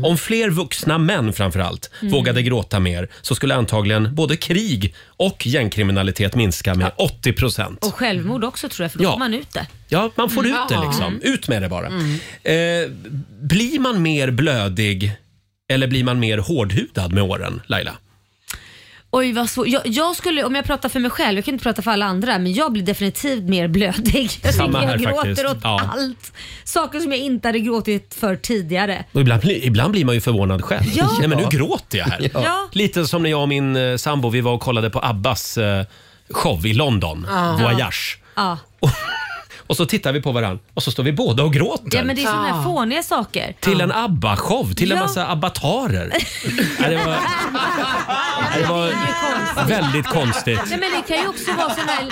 [SPEAKER 1] Om fler vuxna män framför allt
[SPEAKER 2] Mm.
[SPEAKER 1] vågade gråta mer så skulle antagligen både krig och gängkriminalitet minska med 80 procent.
[SPEAKER 2] Och självmord också tror jag, för då
[SPEAKER 1] Ja.
[SPEAKER 2] får man ut det.
[SPEAKER 1] Ja, man får
[SPEAKER 2] Mm.
[SPEAKER 1] ut det
[SPEAKER 2] Ja.
[SPEAKER 1] liksom.
[SPEAKER 2] Mm.
[SPEAKER 1] Ut med det bara.
[SPEAKER 2] Mm.
[SPEAKER 1] Eh, blir man mer blödig eller blir man mer hårdhudad med åren, Laila?
[SPEAKER 2] Oj vad svårt. Jag, jag skulle, om jag pratar för mig själv, jag kan inte prata för alla andra, men jag blir definitivt mer blödig. Jag
[SPEAKER 1] Samma
[SPEAKER 2] tycker jag
[SPEAKER 1] här
[SPEAKER 2] gråter
[SPEAKER 1] faktiskt.
[SPEAKER 2] åt
[SPEAKER 1] Ja.
[SPEAKER 2] allt. Saker som jag inte hade gråtit för tidigare.
[SPEAKER 1] Och ibland, bli- ibland blir man ju förvånad själv.
[SPEAKER 2] Ja.
[SPEAKER 1] Nej, men nu
[SPEAKER 2] Ja.
[SPEAKER 1] gråter jag här.
[SPEAKER 2] Ja.
[SPEAKER 1] Lite som när jag och min eh, sambo vi var och kollade på Abbas eh, show i London,
[SPEAKER 2] Ja.
[SPEAKER 1] Voyage.
[SPEAKER 2] Ja.
[SPEAKER 1] Och så tittar vi på varandra och så står vi båda och gråter.
[SPEAKER 2] ja men det är sådana här fåniga saker.
[SPEAKER 1] Till en ABBA-show, till en
[SPEAKER 2] Ja.
[SPEAKER 1] massa abbatarer. Nej, det var, nej, det var väldigt konstigt.
[SPEAKER 2] Nej, men det kan ju också vara sådana här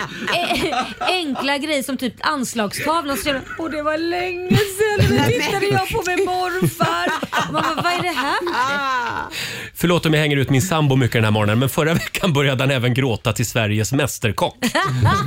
[SPEAKER 2] eh, enkla grejer som typ anslagstavlan. Så känner man, Åh, det var länge sedan nu tittade jag på min morfar. Och man bara, vad är det här?
[SPEAKER 1] Förlåt om jag hänger ut min sambo mycket den här morgonen, men förra veckan började han även gråta till Sveriges Mästerkock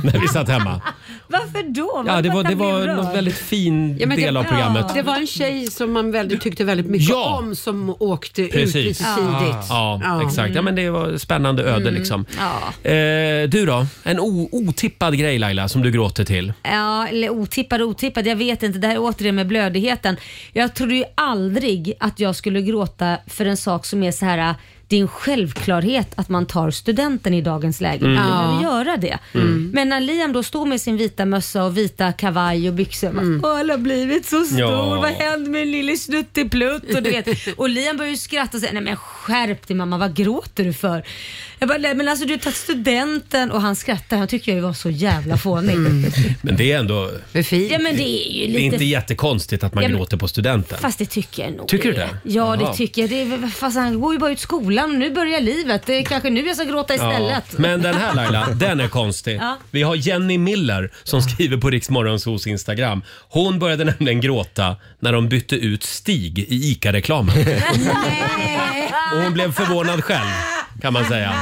[SPEAKER 1] när vi satt hemma.
[SPEAKER 2] Varför då?
[SPEAKER 1] Ja, det var, det var
[SPEAKER 5] rörd.
[SPEAKER 1] en väldigt fin del av programmet.
[SPEAKER 5] Det var en tjej som man väldigt, tyckte väldigt mycket
[SPEAKER 1] Ja.
[SPEAKER 5] om som åkte ut
[SPEAKER 1] Precis.
[SPEAKER 5] lite tidigt.
[SPEAKER 1] Ja, exakt. Ja, men det var spännande öde liksom.
[SPEAKER 2] Mm. Ja.
[SPEAKER 1] Eh, du då? En o- otippad grej Laila som du gråter till.
[SPEAKER 2] Ja, eller otippad och otippad. Jag vet inte. Det här är återigen med blödigheten. Jag trodde ju aldrig att jag skulle gråta för en sak som är så här. äh, Det är en självklarhet att man tar studenten i dagens läge.
[SPEAKER 13] Mm.
[SPEAKER 2] Man behöver
[SPEAKER 13] Ja.
[SPEAKER 2] göra det.
[SPEAKER 13] Mm.
[SPEAKER 2] Men när Liam då står med sin vita mössa och vita kavaj och byxor. Mm. Åh, han har blivit så stor.
[SPEAKER 13] Ja.
[SPEAKER 2] Vad hände med lille snutteplutt? Och, du vet. och Liam börjar ju skratta och säga, nej men skärp dig mamma, vad gråter du för? Jag bara, nej men alltså du har tagit studenten och han skrattar. Han tycker jag ju var så jävla fånig.
[SPEAKER 13] Mm.
[SPEAKER 1] Men det är ändå...
[SPEAKER 2] Ja men det är
[SPEAKER 1] Det är
[SPEAKER 2] ju lite...
[SPEAKER 1] inte jättekonstigt att man
[SPEAKER 2] Ja, men-
[SPEAKER 1] gråter på studenten.
[SPEAKER 2] Fast det tycker jag nog.
[SPEAKER 1] Tycker du
[SPEAKER 2] det är.
[SPEAKER 1] det? Jaha.
[SPEAKER 2] Ja, det tycker jag. Det är, fast han går ju bara ut skolan och nu börjar livet. Det är kanske nu jag ska gråta istället.
[SPEAKER 1] Ja. Men den här Laila, den är konstig.
[SPEAKER 2] Ja.
[SPEAKER 1] Vi har Jenny Miller som skriver på Riksmorgonsos Instagram. Hon började nämligen gråta när de bytte ut Stig i ICA-reklamen. Och hon blev förvånad själv, kan man säga.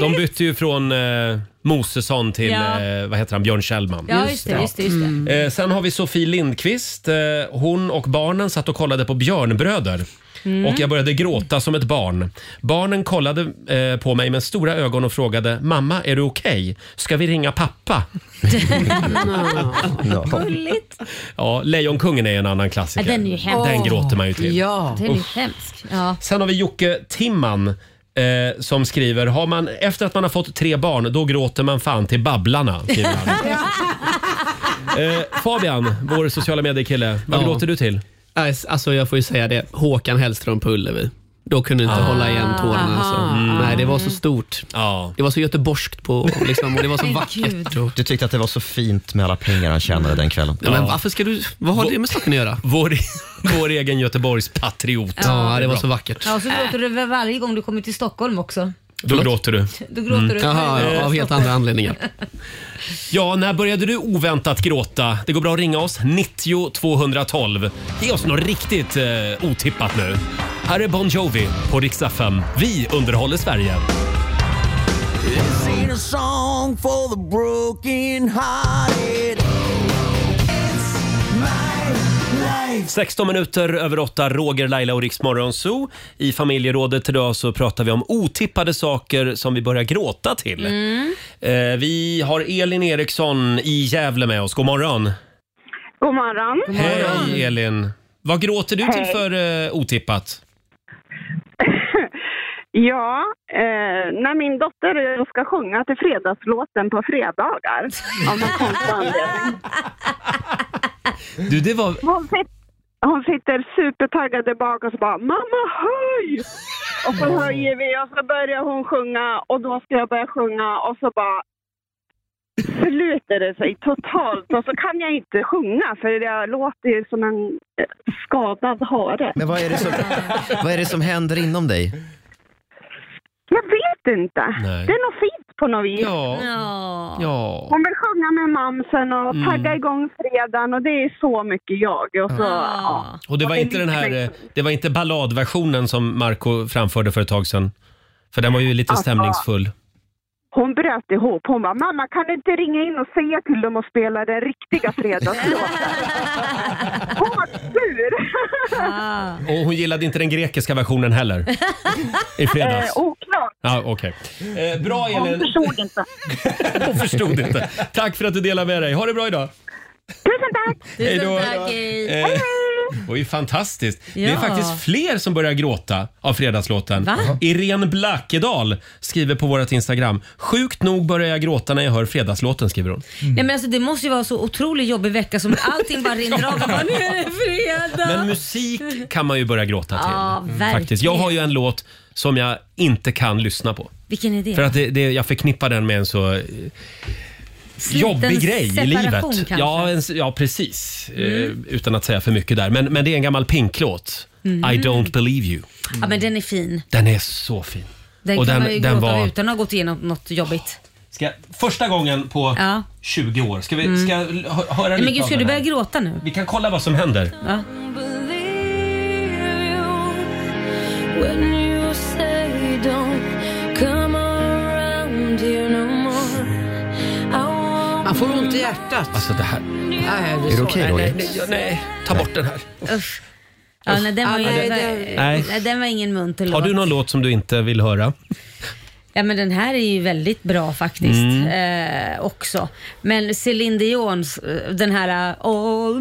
[SPEAKER 1] De bytte ju från eh, Mosesson till
[SPEAKER 2] Ja.
[SPEAKER 1] eh, vad heter han, Björn Kjellman.
[SPEAKER 2] Ja, just det, just det, just det. Mm.
[SPEAKER 1] Eh, sen har vi Sofie Lindqvist. Eh, hon och barnen satt och kollade på Björnbröder.
[SPEAKER 2] Mm.
[SPEAKER 1] Och jag började gråta som ett barn. Barnen kollade eh, på mig med stora ögon och frågade “Mamma, är du okej? Ska vi ringa pappa?”
[SPEAKER 2] Gulligt.
[SPEAKER 1] Ja, Lejonkungen är en annan
[SPEAKER 2] Ja,
[SPEAKER 1] klassiker.
[SPEAKER 2] den är ju hemsk.
[SPEAKER 1] Den gråter man ju till.
[SPEAKER 2] Den är ju
[SPEAKER 1] Usch.
[SPEAKER 2] hemsk. Ja.
[SPEAKER 1] Sen har vi Jocke Timman eh, som skriver har man, “Efter att man har fått tre barn, då gråter man fan till Babblarna”. skriver han. eh, Fabian, vår sociala medier-kille, vad
[SPEAKER 8] Ja.
[SPEAKER 1] gråter du till?
[SPEAKER 8] Nej, Alltså jag får ju säga det. Håkan Hellström på Ullevi. Då kunde inte
[SPEAKER 2] Ah.
[SPEAKER 8] hålla igen tårarna. Alltså.
[SPEAKER 2] Aha. Mm.
[SPEAKER 8] Nej, det var så stort. Det var så göteborgskt på, liksom, och det var så
[SPEAKER 2] Men
[SPEAKER 8] vackert.
[SPEAKER 2] gud.
[SPEAKER 9] Du tyckte att det var så fint med alla pengar han tjänade den kvällen.
[SPEAKER 8] Ja, men varför ska du... Vad har det med saken att göra?
[SPEAKER 1] Vår, vår egen Göteborgs patriot.
[SPEAKER 2] Ja.
[SPEAKER 8] Ja, det var
[SPEAKER 1] Bra.
[SPEAKER 8] så vackert.
[SPEAKER 2] Ja, och så gråter du väl varje gång du kommer till Stockholm också.
[SPEAKER 1] Då gråter du.
[SPEAKER 2] Då gråter
[SPEAKER 1] Mm.
[SPEAKER 2] du.
[SPEAKER 8] Jaha, ja, av helt andra anledningar.
[SPEAKER 1] Ja, när började du oväntat gråta? Det går bra att ringa oss. 90 212. Ge oss något riktigt eh, otippat nu. Här är Bon Jovi på Rix FM. Vi underhåller Sverige.
[SPEAKER 15] Sing a song for the broken hearted.
[SPEAKER 1] 16 minuter över 8, Roger, Laila och Rix Morgonzoo. I familjerådet idag så pratar vi om otippade saker som vi börjar gråta till. Eh, vi har Elin Eriksson i Gävle med oss. God morgon!
[SPEAKER 7] God morgon.
[SPEAKER 1] Hej Elin! Vad gråter du till
[SPEAKER 7] Hej.
[SPEAKER 1] för eh, otippat?
[SPEAKER 7] Ja, eh, när min dotter och jag ska sjunga till fredagslåten på fredagar. Av någon konstig anledning.
[SPEAKER 1] Du, det var...
[SPEAKER 7] Hon, sit- hon sitter supertaggad där bak och så bara “Mamma höj!” Och så höjer vi och så börjar hon sjunga och då ska jag börja sjunga och så bara sluter det sig totalt och så kan jag inte sjunga för jag låter ju som en eh, skadad hare.
[SPEAKER 9] Men vad är det som, vad är det som händer inom dig?
[SPEAKER 7] Jag vet inte.
[SPEAKER 9] Nej.
[SPEAKER 7] Det är något fint på något vis.
[SPEAKER 1] Ja. Ja.
[SPEAKER 7] Hon vill sjunga med mamsen och
[SPEAKER 1] Mm.
[SPEAKER 7] tagga igång fredagen och det är så mycket jag. Och så,
[SPEAKER 1] Ja.
[SPEAKER 7] ja.
[SPEAKER 1] Och det var inte den här, eh, det var inte balladversionen som Marco framförde för ett tag sedan? För den var ju lite
[SPEAKER 7] Alltså-
[SPEAKER 1] stämningsfull.
[SPEAKER 7] Hon bröt ihop. Hon bara, mamma kan du inte ringa in och säga till dem att spela den riktiga fredagslåten? Hårsur!
[SPEAKER 1] Och hon gillade inte den grekiska versionen heller. I fredags.
[SPEAKER 7] Eh, oklart.
[SPEAKER 1] Ja, okej. Eh, bra
[SPEAKER 7] Hon
[SPEAKER 1] Elin,
[SPEAKER 7] förstod inte.
[SPEAKER 1] hon förstod inte. Tack för att du delade med dig. Ha det bra idag.
[SPEAKER 7] Tusen tack!
[SPEAKER 1] Hej då.
[SPEAKER 2] hej.
[SPEAKER 1] Eh, Det var ju fantastiskt. Det är
[SPEAKER 2] Ja.
[SPEAKER 1] faktiskt fler som börjar gråta av fredagslåten.
[SPEAKER 2] Va?
[SPEAKER 1] Irene Blackedal skriver på vårt Instagram. Sjukt nog börjar jag gråta när jag hör fredagslåten, skriver hon.
[SPEAKER 2] Nej, men alltså, det måste ju vara så otroligt jobbig vecka som allting bara rinner av. Och bara, nu är det fredag!
[SPEAKER 1] Men musik kan man ju börja gråta till.
[SPEAKER 2] Ja, verkligen.
[SPEAKER 1] faktiskt. Jag har ju en låt som jag inte kan lyssna på.
[SPEAKER 2] Vilken idé.
[SPEAKER 1] För att det, det, jag förknippar den med en så eh, jobbig grej i livet.
[SPEAKER 2] separation kanske.
[SPEAKER 1] Ja, en, s- ja, precis.
[SPEAKER 2] Mm.
[SPEAKER 1] Eh, utan att säga för mycket där. Men, men det är en gammal Pink-låt.
[SPEAKER 2] Mm.
[SPEAKER 1] I don't believe you.
[SPEAKER 2] Ja, men den är fin.
[SPEAKER 1] Den är så fin.
[SPEAKER 2] Den
[SPEAKER 1] Och
[SPEAKER 2] kan
[SPEAKER 1] den-
[SPEAKER 2] man ju
[SPEAKER 1] den
[SPEAKER 2] gråta
[SPEAKER 1] var-
[SPEAKER 2] av utan att ha gått igenom något jobbigt.
[SPEAKER 1] Ska, första gången på
[SPEAKER 2] Ja.
[SPEAKER 1] 20 år. Ska vi
[SPEAKER 2] Mm.
[SPEAKER 1] ska jag l- hö- höra
[SPEAKER 2] Nej,
[SPEAKER 1] lite
[SPEAKER 2] men gud,
[SPEAKER 1] av
[SPEAKER 2] ska
[SPEAKER 1] den
[SPEAKER 2] du
[SPEAKER 1] här?
[SPEAKER 2] börja gråta nu?
[SPEAKER 1] Vi kan kolla vad som händer.
[SPEAKER 2] Ja.
[SPEAKER 13] When you say don't come around here no more
[SPEAKER 5] Man får ont i hjärtat.
[SPEAKER 1] Alltså det här.
[SPEAKER 5] Nej,
[SPEAKER 1] Är det
[SPEAKER 5] så-
[SPEAKER 1] okej,
[SPEAKER 5] nej,
[SPEAKER 1] Roger?
[SPEAKER 5] nej,
[SPEAKER 1] nej, nej, ta bort den här.
[SPEAKER 2] Usch. Ja, nej, den, var ju,
[SPEAKER 5] Ja, nej,
[SPEAKER 2] nej,
[SPEAKER 5] det-
[SPEAKER 2] nej, den var ingen munter
[SPEAKER 1] Har
[SPEAKER 2] låt.
[SPEAKER 1] du någon låt som du inte vill höra?
[SPEAKER 2] Ja, men den här är ju väldigt bra faktiskt
[SPEAKER 1] Mm.
[SPEAKER 2] eh, också. Men Céline Dions, eh, den här eh, All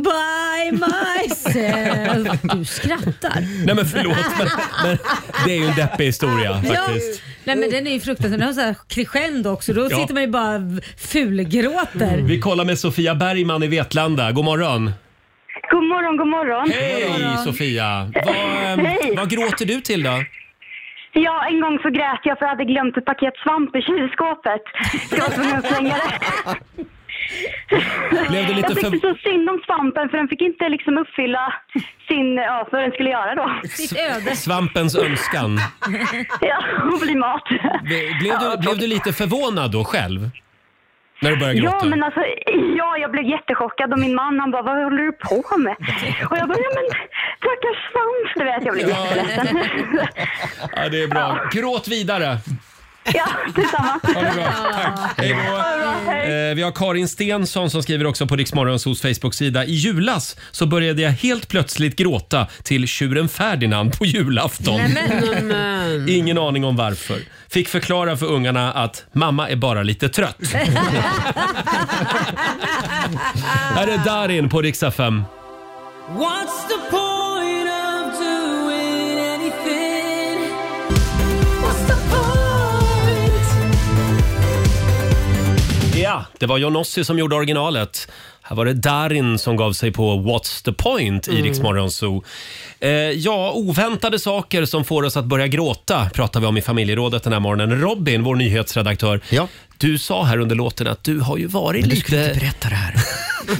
[SPEAKER 2] by myself. Du skrattar.
[SPEAKER 1] Nej men förlåt, men, men det är ju en deppig historia faktiskt.
[SPEAKER 2] Nej men den är ju fruktansvärd. Den har så här crescendo också. Då
[SPEAKER 1] Ja.
[SPEAKER 2] sitter man ju bara fulgråter.
[SPEAKER 1] Vi kollar med Sofia Bergman i Vetlanda. God morgon.
[SPEAKER 7] God morgon, god morgon.
[SPEAKER 1] Hej Sofia! Vad, ehm,
[SPEAKER 7] Hej.
[SPEAKER 1] vad gråter du till då?
[SPEAKER 7] Ja, en gång så grät jag för jag hade glömt ett paket svamp i kylskåpet. Så jag var tvungen att slänga det.
[SPEAKER 1] Blev du lite
[SPEAKER 7] jag tyckte
[SPEAKER 1] för-
[SPEAKER 7] så synd om svampen för den fick inte liksom uppfylla sin, ja, vad den skulle göra då.
[SPEAKER 1] Svampens önskan.
[SPEAKER 7] Ja, och bli mat.
[SPEAKER 1] Blev du, blev du lite förvånad då själv? När du började
[SPEAKER 7] Ja,
[SPEAKER 1] gråta?
[SPEAKER 7] men alltså, ja, jag blev jättechockad och min man han bara, vad håller du på med? Och jag bara, ja men stackars svamp, du vet, jag blev
[SPEAKER 1] Ja.
[SPEAKER 7] jätteledsen.
[SPEAKER 1] Ja, det är bra. Gråt vidare!
[SPEAKER 7] Ja, detsamma.
[SPEAKER 1] Ha det bra. Tack. Hej då. Eh, vi har Karin Stensson som skriver också på Riksmorgonsos Facebook-sida. I julas så började jag helt plötsligt gråta till tjuren Ferdinand på julafton. Ingen aning om varför. Fick förklara för ungarna att mamma är bara lite trött. Här är Darin på Riksa 5.
[SPEAKER 13] What's the point of doing anything? What's the point?
[SPEAKER 1] Ja, det var John Ossie som gjorde originalet. Här var det Darin som gav sig på What's the point i
[SPEAKER 8] Mm.
[SPEAKER 1] mm. Riksmorgon Zoo. Eh, ja, oväntade saker som får oss att börja gråta pratar vi om i familjerådet den här morgonen. Robin, vår nyhetsredaktör, du sa här under låten att du har ju varit
[SPEAKER 6] Men du
[SPEAKER 1] lite...
[SPEAKER 6] skulle inte
[SPEAKER 1] berätta det här.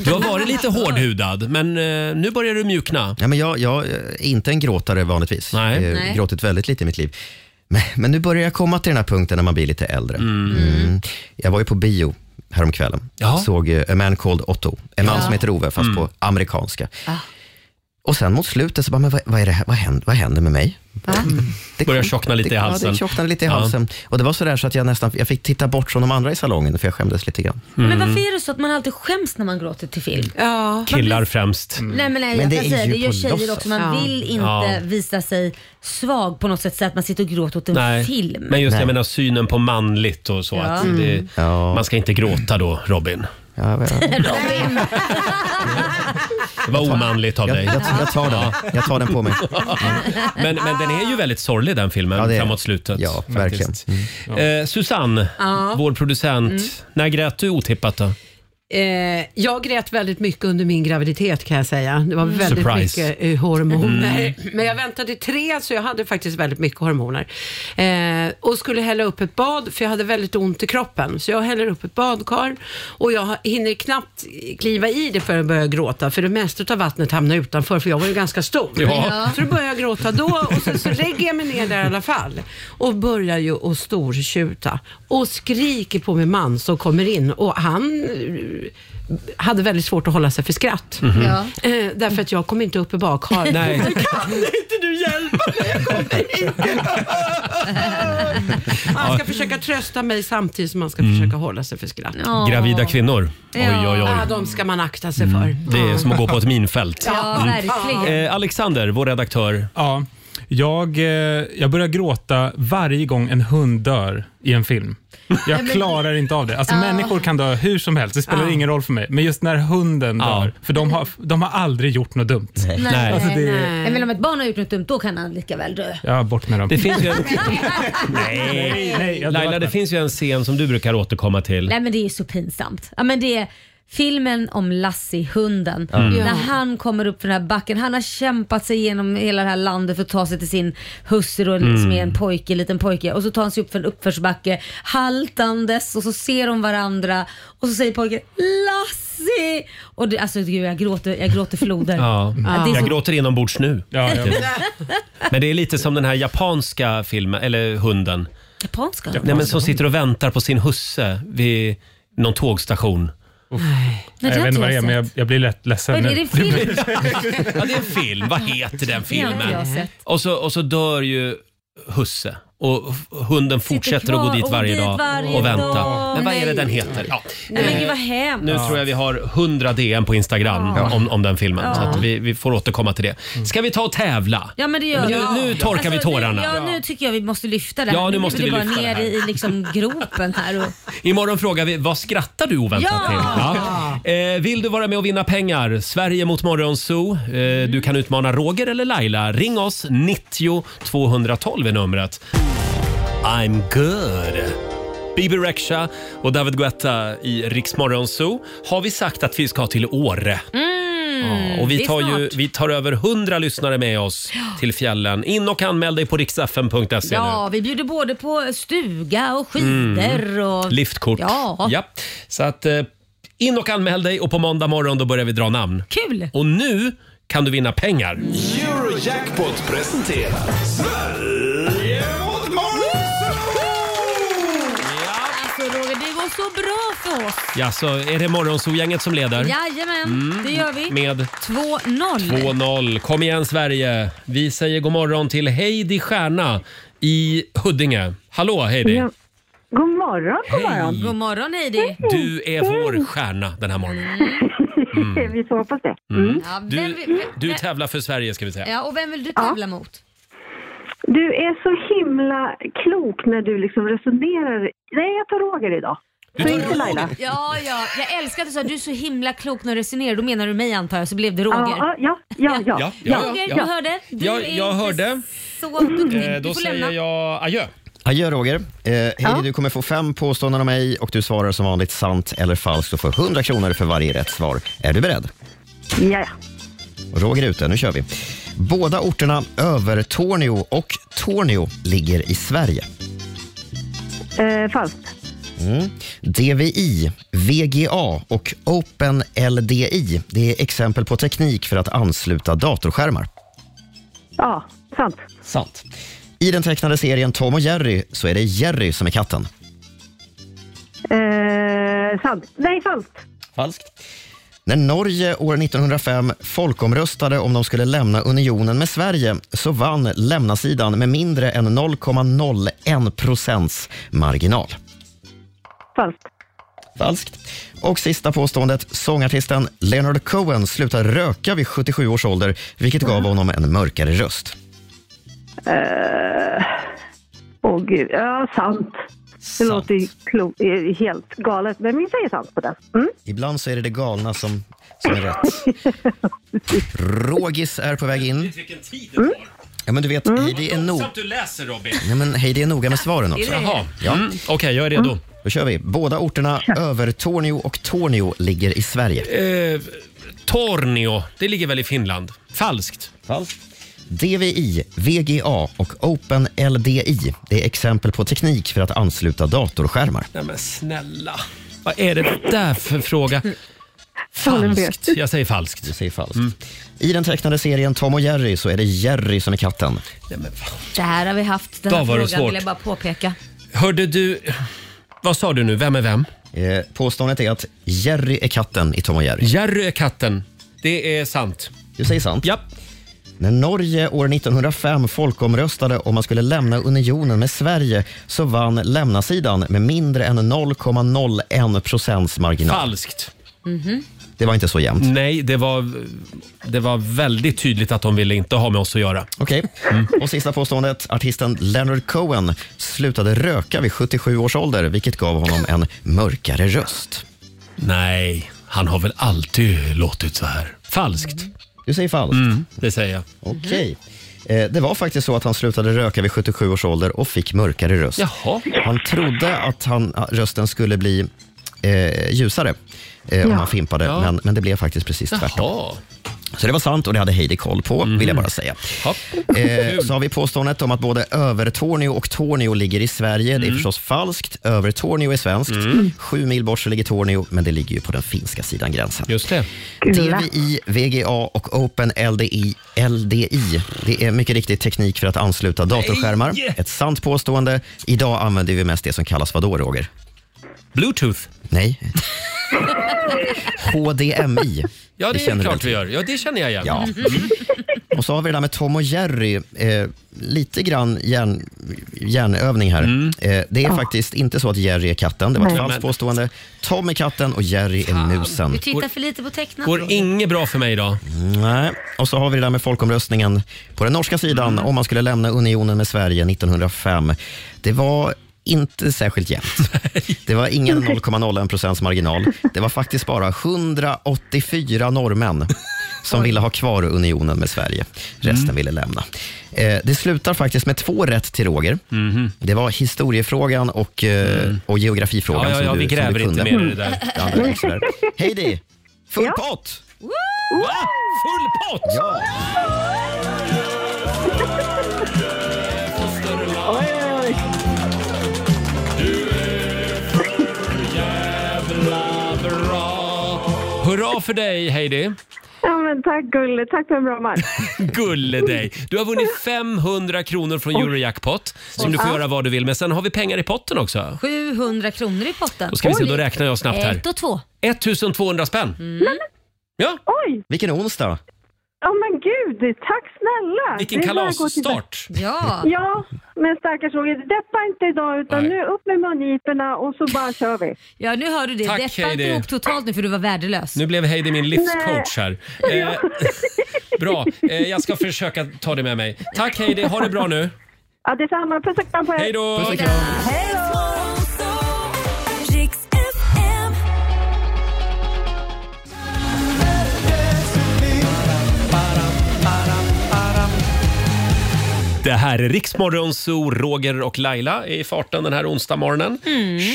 [SPEAKER 1] Du har varit lite hårdhudad, men eh, nu börjar du mjukna.
[SPEAKER 6] Ja, men jag, jag är inte en gråtare vanligtvis. Jag har
[SPEAKER 1] Nej.
[SPEAKER 6] gråtit väldigt lite i mitt liv. Men, men nu börjar jag komma till den här punkten när man blir lite äldre. Mm. Jag var ju på bio häromkvällen.
[SPEAKER 1] Ja.
[SPEAKER 6] Såg eh, A man called Otto. En man
[SPEAKER 1] Ja.
[SPEAKER 6] som heter Ove, fast
[SPEAKER 1] Mm.
[SPEAKER 6] på amerikanska. Och sen mot slutet så bara, men vad, vad, är det här? Vad, händer, vad händer med mig?
[SPEAKER 1] Mm.
[SPEAKER 6] Det
[SPEAKER 1] Börjar tjockna lite
[SPEAKER 6] det,
[SPEAKER 1] i
[SPEAKER 6] Ja,
[SPEAKER 1] halsen.
[SPEAKER 6] det tjocknade lite i
[SPEAKER 1] Ja.
[SPEAKER 6] halsen. Och det var så där så att jag nästan jag fick titta bort från de andra i salongen för jag skämdes lite grann.
[SPEAKER 2] Men varför är det så att man alltid skäms när man gråter till film? Man blir-
[SPEAKER 1] Killar främst.
[SPEAKER 2] Nej men, nej,
[SPEAKER 6] Men
[SPEAKER 2] jag
[SPEAKER 6] det
[SPEAKER 2] kan
[SPEAKER 6] är
[SPEAKER 2] säga
[SPEAKER 6] ju
[SPEAKER 2] det gör
[SPEAKER 6] på
[SPEAKER 2] tjejer
[SPEAKER 6] låtsas.
[SPEAKER 2] också. Man
[SPEAKER 6] Ja.
[SPEAKER 2] vill inte
[SPEAKER 1] Ja.
[SPEAKER 2] visa sig svag på något sätt så att man sitter och gråter åt en
[SPEAKER 1] Nej.
[SPEAKER 2] film.
[SPEAKER 1] Men just jag menar synen på manligt och så.
[SPEAKER 2] Ja.
[SPEAKER 1] Att
[SPEAKER 2] Mm.
[SPEAKER 1] det, Man ska inte gråta då, Robin.
[SPEAKER 2] Robin.
[SPEAKER 1] Det var omanligt av
[SPEAKER 6] jag-
[SPEAKER 1] dig.
[SPEAKER 6] jag- jag tar den. Jag tar den på mig.
[SPEAKER 1] Men, men den är ju väldigt sorglig den filmen
[SPEAKER 6] Ja, det är
[SPEAKER 1] framåt
[SPEAKER 6] den.
[SPEAKER 1] slutet.
[SPEAKER 6] Ja, verkligen.
[SPEAKER 1] faktiskt. Eh, Susanne,
[SPEAKER 5] Ja.
[SPEAKER 1] vår producent.
[SPEAKER 5] Mm.
[SPEAKER 1] När grät du otippat då?
[SPEAKER 5] Eh, jag grät väldigt mycket under min graviditet kan jag säga. Det var
[SPEAKER 1] Mm.
[SPEAKER 5] väldigt
[SPEAKER 1] Surprise.
[SPEAKER 5] mycket eh, hormoner.
[SPEAKER 1] Mm.
[SPEAKER 5] Men jag väntade tre så jag hade faktiskt väldigt mycket hormoner. Eh, och skulle hälla upp ett bad för jag hade väldigt ont i kroppen. Så jag häller upp ett badkar och jag hinner knappt kliva i det förrän jag börjar gråta. För det mesta av vattnet hamnar utanför för jag var ju ganska stor.
[SPEAKER 13] Ja. Ja.
[SPEAKER 5] Så då börjar jag gråta då och sen så lägger jag mig ner där i alla fall. Och börjar ju att stortjuta. Och skriker på min man som kommer in och han eh, hade väldigt svårt att hålla sig för skratt.
[SPEAKER 13] Mhm. Ja.
[SPEAKER 5] Eh, därför att jag kom inte upp i bakhar.
[SPEAKER 13] Nej.
[SPEAKER 5] Kan inte du hjälpa mig? Jag kommer inte. Han ska försöka trösta mig samtidigt som man ska
[SPEAKER 1] Mm.
[SPEAKER 5] försöka hålla sig för skratt.
[SPEAKER 1] Gravida kvinnor. Oj, oj,
[SPEAKER 5] Ja,
[SPEAKER 1] oj.
[SPEAKER 5] de ska man akta sig för.
[SPEAKER 1] Mm. Det är som att gå på ett minfält.
[SPEAKER 5] Ja, verkligen.
[SPEAKER 1] Eh, Alexander, vår redaktör.
[SPEAKER 9] Ja, jag, eh, jag börjar gråta varje gång en hund dör i en film. Jag klarar inte av det. Alltså,
[SPEAKER 13] Ja.
[SPEAKER 9] Människor kan dö hur som helst, det spelar
[SPEAKER 13] Ja.
[SPEAKER 9] ingen roll för mig. Men just när hunden dör, för de har, de har aldrig gjort något dumt.
[SPEAKER 2] Nej, nej,
[SPEAKER 9] Alltså, det,
[SPEAKER 2] nej. Jag menar, om ett barn har gjort något dumt, då kan han lika väl dö.
[SPEAKER 9] Ja, bort med dem.
[SPEAKER 1] Det finns ju en...
[SPEAKER 9] Nej, nej, jag-
[SPEAKER 1] Laila, det finns ju en scen som du brukar återkomma till.
[SPEAKER 2] Nej men det är så pinsamt. Ja, men det är filmen om Lassie, hunden.
[SPEAKER 1] Mm. Ja.
[SPEAKER 2] När han kommer upp för den här backen. Han har kämpat sig genom hela det här landet för att ta sig till sin husse då,
[SPEAKER 13] Mm.
[SPEAKER 2] som är en pojke, en liten pojke. Och så tar han sig upp för en uppförsbacke haltandes och så ser de varandra och så säger pojken Lassie! Och det, alltså gud, jag gråter, jag gråter floder.
[SPEAKER 1] Ja.
[SPEAKER 2] det är
[SPEAKER 1] Jag
[SPEAKER 2] så-
[SPEAKER 1] gråter inombords nu.
[SPEAKER 2] ja.
[SPEAKER 1] Men det är lite som den här japanska filmen, eller hunden.
[SPEAKER 2] Japanska?
[SPEAKER 1] Nej, men som sitter och väntar på sin husse vid någon tågstation.
[SPEAKER 9] Nej, jag vet inte vad det är, men jag, jag blir lätt ledsen
[SPEAKER 1] Vad är det,
[SPEAKER 9] nu.
[SPEAKER 1] det är en film? Ja, det är en film. Vad heter den
[SPEAKER 9] Det har inte
[SPEAKER 1] filmen?
[SPEAKER 9] jag sett.
[SPEAKER 1] Och, så, och så dör ju husse. Och f- hunden fortsätter att gå
[SPEAKER 2] kvar
[SPEAKER 1] dit
[SPEAKER 2] och
[SPEAKER 1] varje
[SPEAKER 2] dit
[SPEAKER 1] dag
[SPEAKER 2] varje
[SPEAKER 1] och vänta.
[SPEAKER 2] dag.
[SPEAKER 1] Men vad är det
[SPEAKER 2] Nej.
[SPEAKER 1] den heter? Ja.
[SPEAKER 2] Nej, men
[SPEAKER 1] Eh,
[SPEAKER 2] gud vad hemskt.
[SPEAKER 1] Nu tror jag vi har 100 DM på Instagram om, om den filmen. Så
[SPEAKER 2] Ja. Mm.
[SPEAKER 1] att vi, vi får återkomma till det. Ska vi ta och tävla?
[SPEAKER 2] Ja men det gör
[SPEAKER 1] nu,
[SPEAKER 2] vi.
[SPEAKER 1] nu torkar vi
[SPEAKER 2] Alltså,
[SPEAKER 1] tårarna.
[SPEAKER 2] Ja nu tycker jag vi måste lyfta det här.
[SPEAKER 1] Ja, nu
[SPEAKER 2] blir
[SPEAKER 1] måste vi
[SPEAKER 2] bara
[SPEAKER 1] lyfta det
[SPEAKER 2] ner
[SPEAKER 1] här.
[SPEAKER 2] i liksom gropen här. Och...
[SPEAKER 1] Imorgon frågar vi vad skrattar du oväntat
[SPEAKER 2] Ja!
[SPEAKER 1] till? Eh, vill du vara med och vinna pengar? Sverige mot Morgonzoo. Eh, Du kan utmana Roger eller Laila. Ring oss 90 212 är numret. I'm good. Bibi Rexha och David Guetta i Rix Morgonzoo. Har vi sagt att vi ska till Åre? Ja, och
[SPEAKER 13] det
[SPEAKER 1] vi
[SPEAKER 13] är
[SPEAKER 1] tar, ju,
[SPEAKER 13] snart.
[SPEAKER 1] vi tar över 100 lyssnare med oss till fjällen. In och anmäl dig på riksfn.se nu.
[SPEAKER 2] Ja, vi bjuder både på stuga och skidor
[SPEAKER 1] Mm.
[SPEAKER 2] och...
[SPEAKER 1] Liftkort.
[SPEAKER 2] Ja.
[SPEAKER 1] Så att eh, in och anmäl dig och på måndag morgon då börjar vi dra namn.
[SPEAKER 2] Kul!
[SPEAKER 1] Och nu kan du vinna pengar.
[SPEAKER 14] Eurojackpot presenterar Sverige mot Morgonzoo!
[SPEAKER 2] Alltså Roger, det går så bra för oss.
[SPEAKER 1] Ja, så är det Morgonzoo-gänget som leder?
[SPEAKER 2] Jajamän, det gör vi.
[SPEAKER 1] Med 2-0.
[SPEAKER 2] 2-0.
[SPEAKER 1] Kom igen Sverige. Vi säger god morgon till Heidi Stjärna i Huddinge. Hallå Heidi!
[SPEAKER 2] Ja.
[SPEAKER 16] God morgon,
[SPEAKER 1] god Hej. morgon.
[SPEAKER 2] God morgon Heidi.
[SPEAKER 1] Du är vår stjärna den här morgonen.
[SPEAKER 16] Vi får hoppas det.
[SPEAKER 1] Mm.
[SPEAKER 2] Ja, vem
[SPEAKER 1] Du,
[SPEAKER 2] vill-
[SPEAKER 1] du tävlar för Sverige ska vi säga.
[SPEAKER 2] Ja, och vem vill du tävla mot?
[SPEAKER 16] Du är så himla klok när du liksom resonerar. Nej, jag tar Roger idag. Så inte Laila.
[SPEAKER 2] Ja, ja. Jag älskar att du sa du är så himla klok när du resonerar. Då menar du mig antar jag, så blev det Roger.
[SPEAKER 16] Ja, ja, ja. ja,
[SPEAKER 1] Ja, ja,
[SPEAKER 2] Roger,
[SPEAKER 1] ja.
[SPEAKER 2] du hörde. Du
[SPEAKER 1] Ja,
[SPEAKER 2] är
[SPEAKER 1] jag
[SPEAKER 2] inte
[SPEAKER 1] hörde.
[SPEAKER 2] så duktig.
[SPEAKER 1] Eh,
[SPEAKER 2] Du
[SPEAKER 1] då
[SPEAKER 2] får
[SPEAKER 1] säger
[SPEAKER 2] lämna.
[SPEAKER 1] jag adjö.
[SPEAKER 9] Adjö Roger. Eh, Heidi, du kommer få fem påståenden av mig och du svarar som vanligt sant eller falskt och får 100 kronor för varje rätt svar. Är du beredd?
[SPEAKER 7] Ja, ja.
[SPEAKER 9] Roger är ute, nu kör vi. Båda orterna Övertorneå och Torneå ligger i Sverige.
[SPEAKER 7] Eh, falskt.
[SPEAKER 9] Mm. DVI, VGA och OpenLDI det är exempel på teknik för att ansluta datorskärmar.
[SPEAKER 7] Ja, sant.
[SPEAKER 9] Sant. I den tecknade serien Tom och Jerry så är det Jerry som är katten.
[SPEAKER 7] Eh, sant. Nej, falskt.
[SPEAKER 9] Falskt. När Norge år 1905 folkomröstade om de skulle lämna unionen med Sverige så vann lämnasidan med mindre än 0,01 procents marginal.
[SPEAKER 7] Falskt.
[SPEAKER 9] Falskt. Och sista påståendet. Sångartisten Leonard Cohen slutade röka vid 77 års ålder vilket gav honom en mörkare röst.
[SPEAKER 7] Eh, Åh gud, ja sant. Det låter ju klo- eh, helt galet, men vi säger sant på det. Mm.
[SPEAKER 9] Ibland så är det det galna som, som är rätt. Rogis är på väg in.
[SPEAKER 1] Vilken tid
[SPEAKER 9] det tar. Ja, men du vet,
[SPEAKER 5] Mm.
[SPEAKER 9] Heidi är nog...
[SPEAKER 1] du läser Robin.
[SPEAKER 9] Nej, men Heidi är noga med svaren också.
[SPEAKER 1] Jaha.
[SPEAKER 9] Ja.
[SPEAKER 1] Mm. Okej, jag är redo.
[SPEAKER 9] Då kör vi. Båda orterna Övertorneå och Torneå ligger i Sverige.
[SPEAKER 1] Eh, Tornio, det ligger väl i Finland? Falskt.
[SPEAKER 9] Falskt. DVI, VGA och OpenLDI det är exempel på teknik för att ansluta datorskärmar.
[SPEAKER 1] Nej men snälla. Vad är det där för fråga? Falskt. Jag säger falskt.
[SPEAKER 9] Du säger falskt. I den tecknade serien Tom och Jerry så är det Jerry som är katten.
[SPEAKER 2] Det här har vi haft, den
[SPEAKER 1] Då
[SPEAKER 2] här
[SPEAKER 1] var det
[SPEAKER 2] frågan vill
[SPEAKER 1] svårt.
[SPEAKER 2] jag bara påpeka.
[SPEAKER 1] Hörde du... Vad sa du nu? Vem är vem?
[SPEAKER 9] Eh, påståendet är att Jerry är katten i Tom och Jerry.
[SPEAKER 1] Jerry är katten. Det är sant.
[SPEAKER 9] Du säger sant?
[SPEAKER 1] Ja.
[SPEAKER 9] När Norge år 1905 folkomröstade om man skulle lämna unionen med Sverige så vann lämnasidan med mindre än 0,01 procents marginal.
[SPEAKER 1] Falskt.
[SPEAKER 9] Det var inte så jämnt.
[SPEAKER 1] Nej, det var, det var väldigt tydligt att de ville inte ha med oss att göra.
[SPEAKER 9] Okej. Och sista påståendet. Artisten Leonard Cohen slutade röka vid 77 års ålder vilket gav honom en mörkare röst.
[SPEAKER 1] Nej, han har väl alltid låtit så här. Falskt.
[SPEAKER 9] Du säger falskt.
[SPEAKER 1] Mm, det säger jag.
[SPEAKER 9] Okej. Eh, Det var faktiskt så att han slutade röka vid 77 års ålder och fick mörkare röst.
[SPEAKER 1] Jaha.
[SPEAKER 9] Han trodde att han, att rösten skulle bli eh, ljusare eh, om
[SPEAKER 1] Ja.
[SPEAKER 9] han fimpade,
[SPEAKER 1] Ja.
[SPEAKER 9] men, men det blev faktiskt precis tvärtom. Så det var sant och det hade Heidi koll på, vill jag bara säga. Eh, så har vi påståendet om att både Övertorneå och Torneå ligger i Sverige. Det är förstås falskt. Övertorneå är svenskt. Sju mil bort så ligger Torneå, men det ligger ju på den finska sidan gränsen.
[SPEAKER 1] Just det.
[SPEAKER 9] DVI, VGA och Open LDI, LDI. Det är mycket riktigt teknik för att ansluta datorskärmar. Ett sant påstående. Idag använder vi mest det som kallas vadå, Roger?
[SPEAKER 1] Bluetooth.
[SPEAKER 9] Nej. HDMI.
[SPEAKER 1] Ja, det, är
[SPEAKER 9] känner du
[SPEAKER 1] klart vi gör. Ja, det känner jag igen.
[SPEAKER 9] Ja. Och så har vi det där med Tom och Jerry. Eh, lite grann hjärn, hjärnövning här. Eh, det är faktiskt inte så att Jerry är katten. Det var ett
[SPEAKER 1] Nej.
[SPEAKER 9] falskt
[SPEAKER 1] Men-
[SPEAKER 9] påstående. Tom är katten och Jerry är
[SPEAKER 2] Du
[SPEAKER 9] musen.
[SPEAKER 2] tittar för lite på tecknat.
[SPEAKER 1] Går inget bra för mig idag.
[SPEAKER 9] Mm, Nej. Och så har vi det där med folkomröstningen på den norska sidan
[SPEAKER 1] Mm.
[SPEAKER 9] om man skulle lämna unionen med Sverige 1905. Det var inte särskilt jämnt. Det var ingen 0,01 procents marginal. Det var faktiskt bara 184 norrmän som ville ha kvar unionen med Sverige. Resten ville lämna. Eh, det slutar faktiskt med två rätt till Roger.
[SPEAKER 5] Mm.
[SPEAKER 1] Mhm.
[SPEAKER 9] Det var historiefrågan och, eh, och geografifrågan
[SPEAKER 1] Ja, ja, ja,
[SPEAKER 9] som du,
[SPEAKER 1] vi
[SPEAKER 9] som
[SPEAKER 1] gräver
[SPEAKER 9] du
[SPEAKER 1] inte
[SPEAKER 9] kunde. Mm.
[SPEAKER 1] mer i det där.
[SPEAKER 9] Det andra gick sådär. Heidi, full
[SPEAKER 1] Ja.
[SPEAKER 9] pott!
[SPEAKER 1] Va? Full pott!
[SPEAKER 9] Ja.
[SPEAKER 1] Hurra för dig Heidi!
[SPEAKER 7] Ja, men tack gulle, tack för en bra match.
[SPEAKER 1] Gulle dig! Du har vunnit 500 kronor från Eurojackpot som du får göra vad du vill med. Sen har vi pengar i potten också.
[SPEAKER 2] 700 kronor i potten.
[SPEAKER 1] Då ska vi se,
[SPEAKER 2] Oj.
[SPEAKER 1] då räknar jag snabbt här.
[SPEAKER 2] Ett och två.
[SPEAKER 1] 1200 spänn.
[SPEAKER 9] Mm.
[SPEAKER 1] Ja.
[SPEAKER 7] Oj!
[SPEAKER 9] Vilken onsdag!
[SPEAKER 7] Ja men gud, tack snälla!
[SPEAKER 1] Vilken
[SPEAKER 7] Det är bara att gå till-
[SPEAKER 1] kalasstart!
[SPEAKER 2] Ja.
[SPEAKER 7] Ja, men stackars Roger, deppa inte idag utan
[SPEAKER 1] Nej.
[SPEAKER 7] nu upp med mungiporna och så bara kör vi.
[SPEAKER 2] Ja, nu hör du det.
[SPEAKER 1] Tack,
[SPEAKER 2] Deppa inte
[SPEAKER 1] Heidi.
[SPEAKER 2] ihop totalt nu för du var värdelös.
[SPEAKER 1] Nu blev Heidi min livscoach här. Eh, bra, eh, jag ska försöka ta det med mig. Tack Heidi, ha det bra nu.
[SPEAKER 7] Ja, detsamma. Puss och kram på er!
[SPEAKER 1] Hej då! Det här är Riksmorgon Zoo, Roger och Laila är i farten den här onsdag morgonen.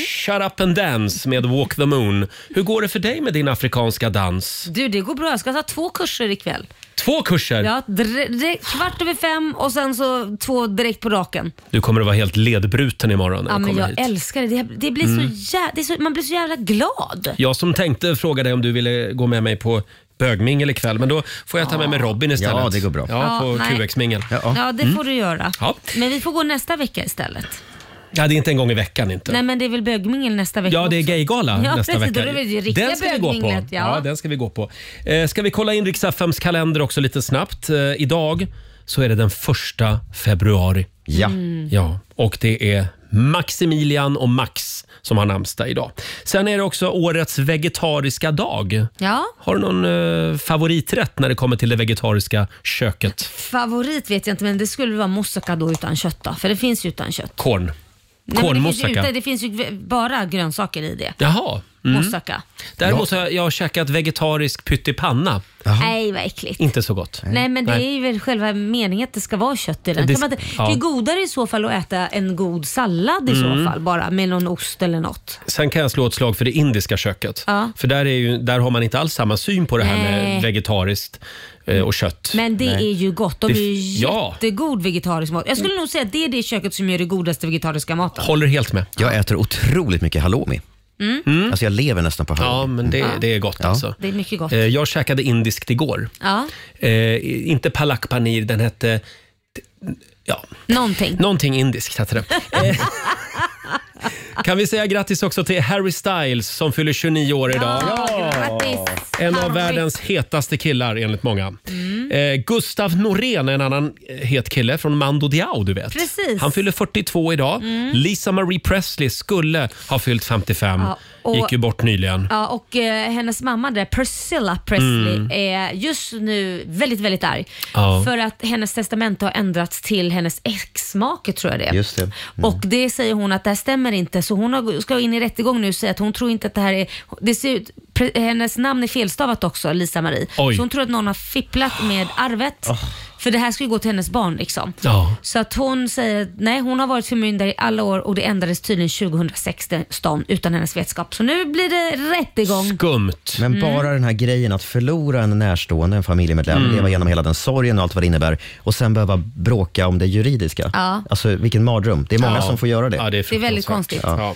[SPEAKER 1] Shut up and dance med Walk the Moon. Hur går det för dig med din afrikanska dans?
[SPEAKER 2] Du, det går bra. Jag ska ta två kurser ikväll.
[SPEAKER 1] Två kurser!
[SPEAKER 2] Ja, dre- dre- kvart över fem och sen så två direkt på raken.
[SPEAKER 1] Du kommer att vara helt ledbruten imorgon när
[SPEAKER 2] Ja,
[SPEAKER 1] du
[SPEAKER 2] men
[SPEAKER 1] kommer
[SPEAKER 2] jag
[SPEAKER 1] hit.
[SPEAKER 2] älskar det. Det, det blir
[SPEAKER 1] Mm.
[SPEAKER 2] så jä- det är så, man blir så jävla glad.
[SPEAKER 1] Jag som tänkte fråga dig om du ville gå med mig på bögmingel ikväll, men då får jag ta med mig Robin istället.
[SPEAKER 6] Ja, det går bra.
[SPEAKER 1] Ja,
[SPEAKER 2] Ja,
[SPEAKER 1] på
[SPEAKER 2] nej.
[SPEAKER 1] QX-mingel.
[SPEAKER 2] Ja, det får du göra.
[SPEAKER 1] Mm. Ja.
[SPEAKER 2] Men vi får gå nästa vecka istället.
[SPEAKER 1] ja, det är inte en gång i veckan inte.
[SPEAKER 2] Nej, men det är väl bögmingel nästa vecka
[SPEAKER 1] Ja, det är gaygala
[SPEAKER 2] Ja,
[SPEAKER 1] nästa
[SPEAKER 2] precis.
[SPEAKER 1] vecka.
[SPEAKER 2] Då är det ju riktiga
[SPEAKER 1] den ska vi gå på.
[SPEAKER 2] bögminglet, ja.
[SPEAKER 1] den ska vi gå på. Eh, ska vi kolla in riks kalender också lite snabbt. Eh, idag så är det den första februari.
[SPEAKER 6] Ja.
[SPEAKER 13] Mm.
[SPEAKER 1] ja. Och det är Maximilian och Max som har namnsdag idag. Sen är det också årets vegetariska dag.
[SPEAKER 2] Ja.
[SPEAKER 1] Har du någon eh, favoriträtt när det kommer till det vegetariska köket?
[SPEAKER 2] Favorit vet jag inte, men det skulle vara moussaka då utan kött då, för det finns ju utan kött.
[SPEAKER 1] Korn.
[SPEAKER 2] Nej, men det, finns ju
[SPEAKER 1] Kornmoussaka.
[SPEAKER 2] inte, det finns ju v- bara grönsaker i det.
[SPEAKER 1] Jaha. Mm.
[SPEAKER 2] Moussaka.
[SPEAKER 1] Däremot har jag, jag har käkat vegetarisk pyttipanna.
[SPEAKER 2] Nej, vad äckligt.
[SPEAKER 1] Inte så gott.
[SPEAKER 2] Nej, men det är ju väl själva meningen att det ska vara kött i den.
[SPEAKER 1] Det
[SPEAKER 2] Det, kan man
[SPEAKER 1] sk-
[SPEAKER 2] inte,
[SPEAKER 1] ja.
[SPEAKER 2] det är godare i så fall att äta en god sallad i
[SPEAKER 1] Mm.
[SPEAKER 2] så fall bara med någon ost eller något.
[SPEAKER 1] Sen kan jag slå ett slag för det indiska köket.
[SPEAKER 2] Ja.
[SPEAKER 1] För där, är ju, där har man inte alls samma syn på det här
[SPEAKER 2] Nej.
[SPEAKER 1] med vegetariskt eh, och kött.
[SPEAKER 2] Men det är ju gott. De
[SPEAKER 1] Det-
[SPEAKER 2] är ju
[SPEAKER 1] ja.
[SPEAKER 2] jättegod vegetarisk mat. Jag skulle nog säga att det är det köket som gör det godaste vegetariska maten.
[SPEAKER 1] Håller helt med.
[SPEAKER 6] Jag äter otroligt mycket halloumi.
[SPEAKER 2] Mm.
[SPEAKER 6] Alltså jag lever nästan på halloumi. Mm.
[SPEAKER 1] Ja, men det,
[SPEAKER 2] Ja.
[SPEAKER 1] det är gott
[SPEAKER 6] Ja.
[SPEAKER 1] alltså.
[SPEAKER 2] Det är mycket gott.
[SPEAKER 1] Eh, jag käkade indiskt igår.
[SPEAKER 2] Ja,
[SPEAKER 1] Eh, inte palak panir, den hette... Ja.
[SPEAKER 2] någonting.
[SPEAKER 1] Någonting indiskt hette det. Eh, kan vi säga grattis också till Harry Styles som fyller 29 år idag. En av världens hetaste killar enligt många.
[SPEAKER 2] Mm.
[SPEAKER 1] Eh, Gustav Norén är en annan eh, het kille från Mando Diao, du vet.
[SPEAKER 2] Precis.
[SPEAKER 1] Han fyller 42 idag.
[SPEAKER 2] Mm.
[SPEAKER 1] Lisa Marie Presley skulle ha fyllt 55.
[SPEAKER 2] Ja, och-
[SPEAKER 1] Gick ju bort nyligen.
[SPEAKER 2] Ja, och eh, hennes mamma där, Priscilla Presley,
[SPEAKER 1] Mm.
[SPEAKER 2] är just nu väldigt, väldigt arg.
[SPEAKER 1] Ja.
[SPEAKER 2] För att hennes testamente har ändrats till hennes exmake, tror jag det är.
[SPEAKER 6] Just det.
[SPEAKER 2] Och det säger hon att det här stämmer inte, så hon har, ska in i rättegång nu och säga att hon tror inte att det här är... Det ser ut, pre, hennes namn är felstavat också, Lisa-Marie.
[SPEAKER 13] Oj.
[SPEAKER 2] Så hon tror att någon har fipplat med arvet.
[SPEAKER 13] Oh.
[SPEAKER 2] För det här ska ju gå till hennes barn liksom.
[SPEAKER 13] Ja.
[SPEAKER 2] Så att hon säger att nej, hon har varit förmyndare i alla år och det ändrades tydligen 2016 utan hennes vetskap. Så nu blir det rättegång.
[SPEAKER 1] Skumt.
[SPEAKER 6] Men
[SPEAKER 2] Mm.
[SPEAKER 6] bara den här grejen att förlora en närstående, en familjemedlem,
[SPEAKER 2] Mm.
[SPEAKER 6] leva igenom hela den sorgen och allt vad det innebär och sen behöva bråka om det juridiska.
[SPEAKER 2] Ja.
[SPEAKER 6] Alltså vilken mardröm. Det är många
[SPEAKER 1] Ja.
[SPEAKER 6] som får göra det.
[SPEAKER 1] Ja, det är
[SPEAKER 2] Det är väldigt fruktansvärt.
[SPEAKER 1] Ja.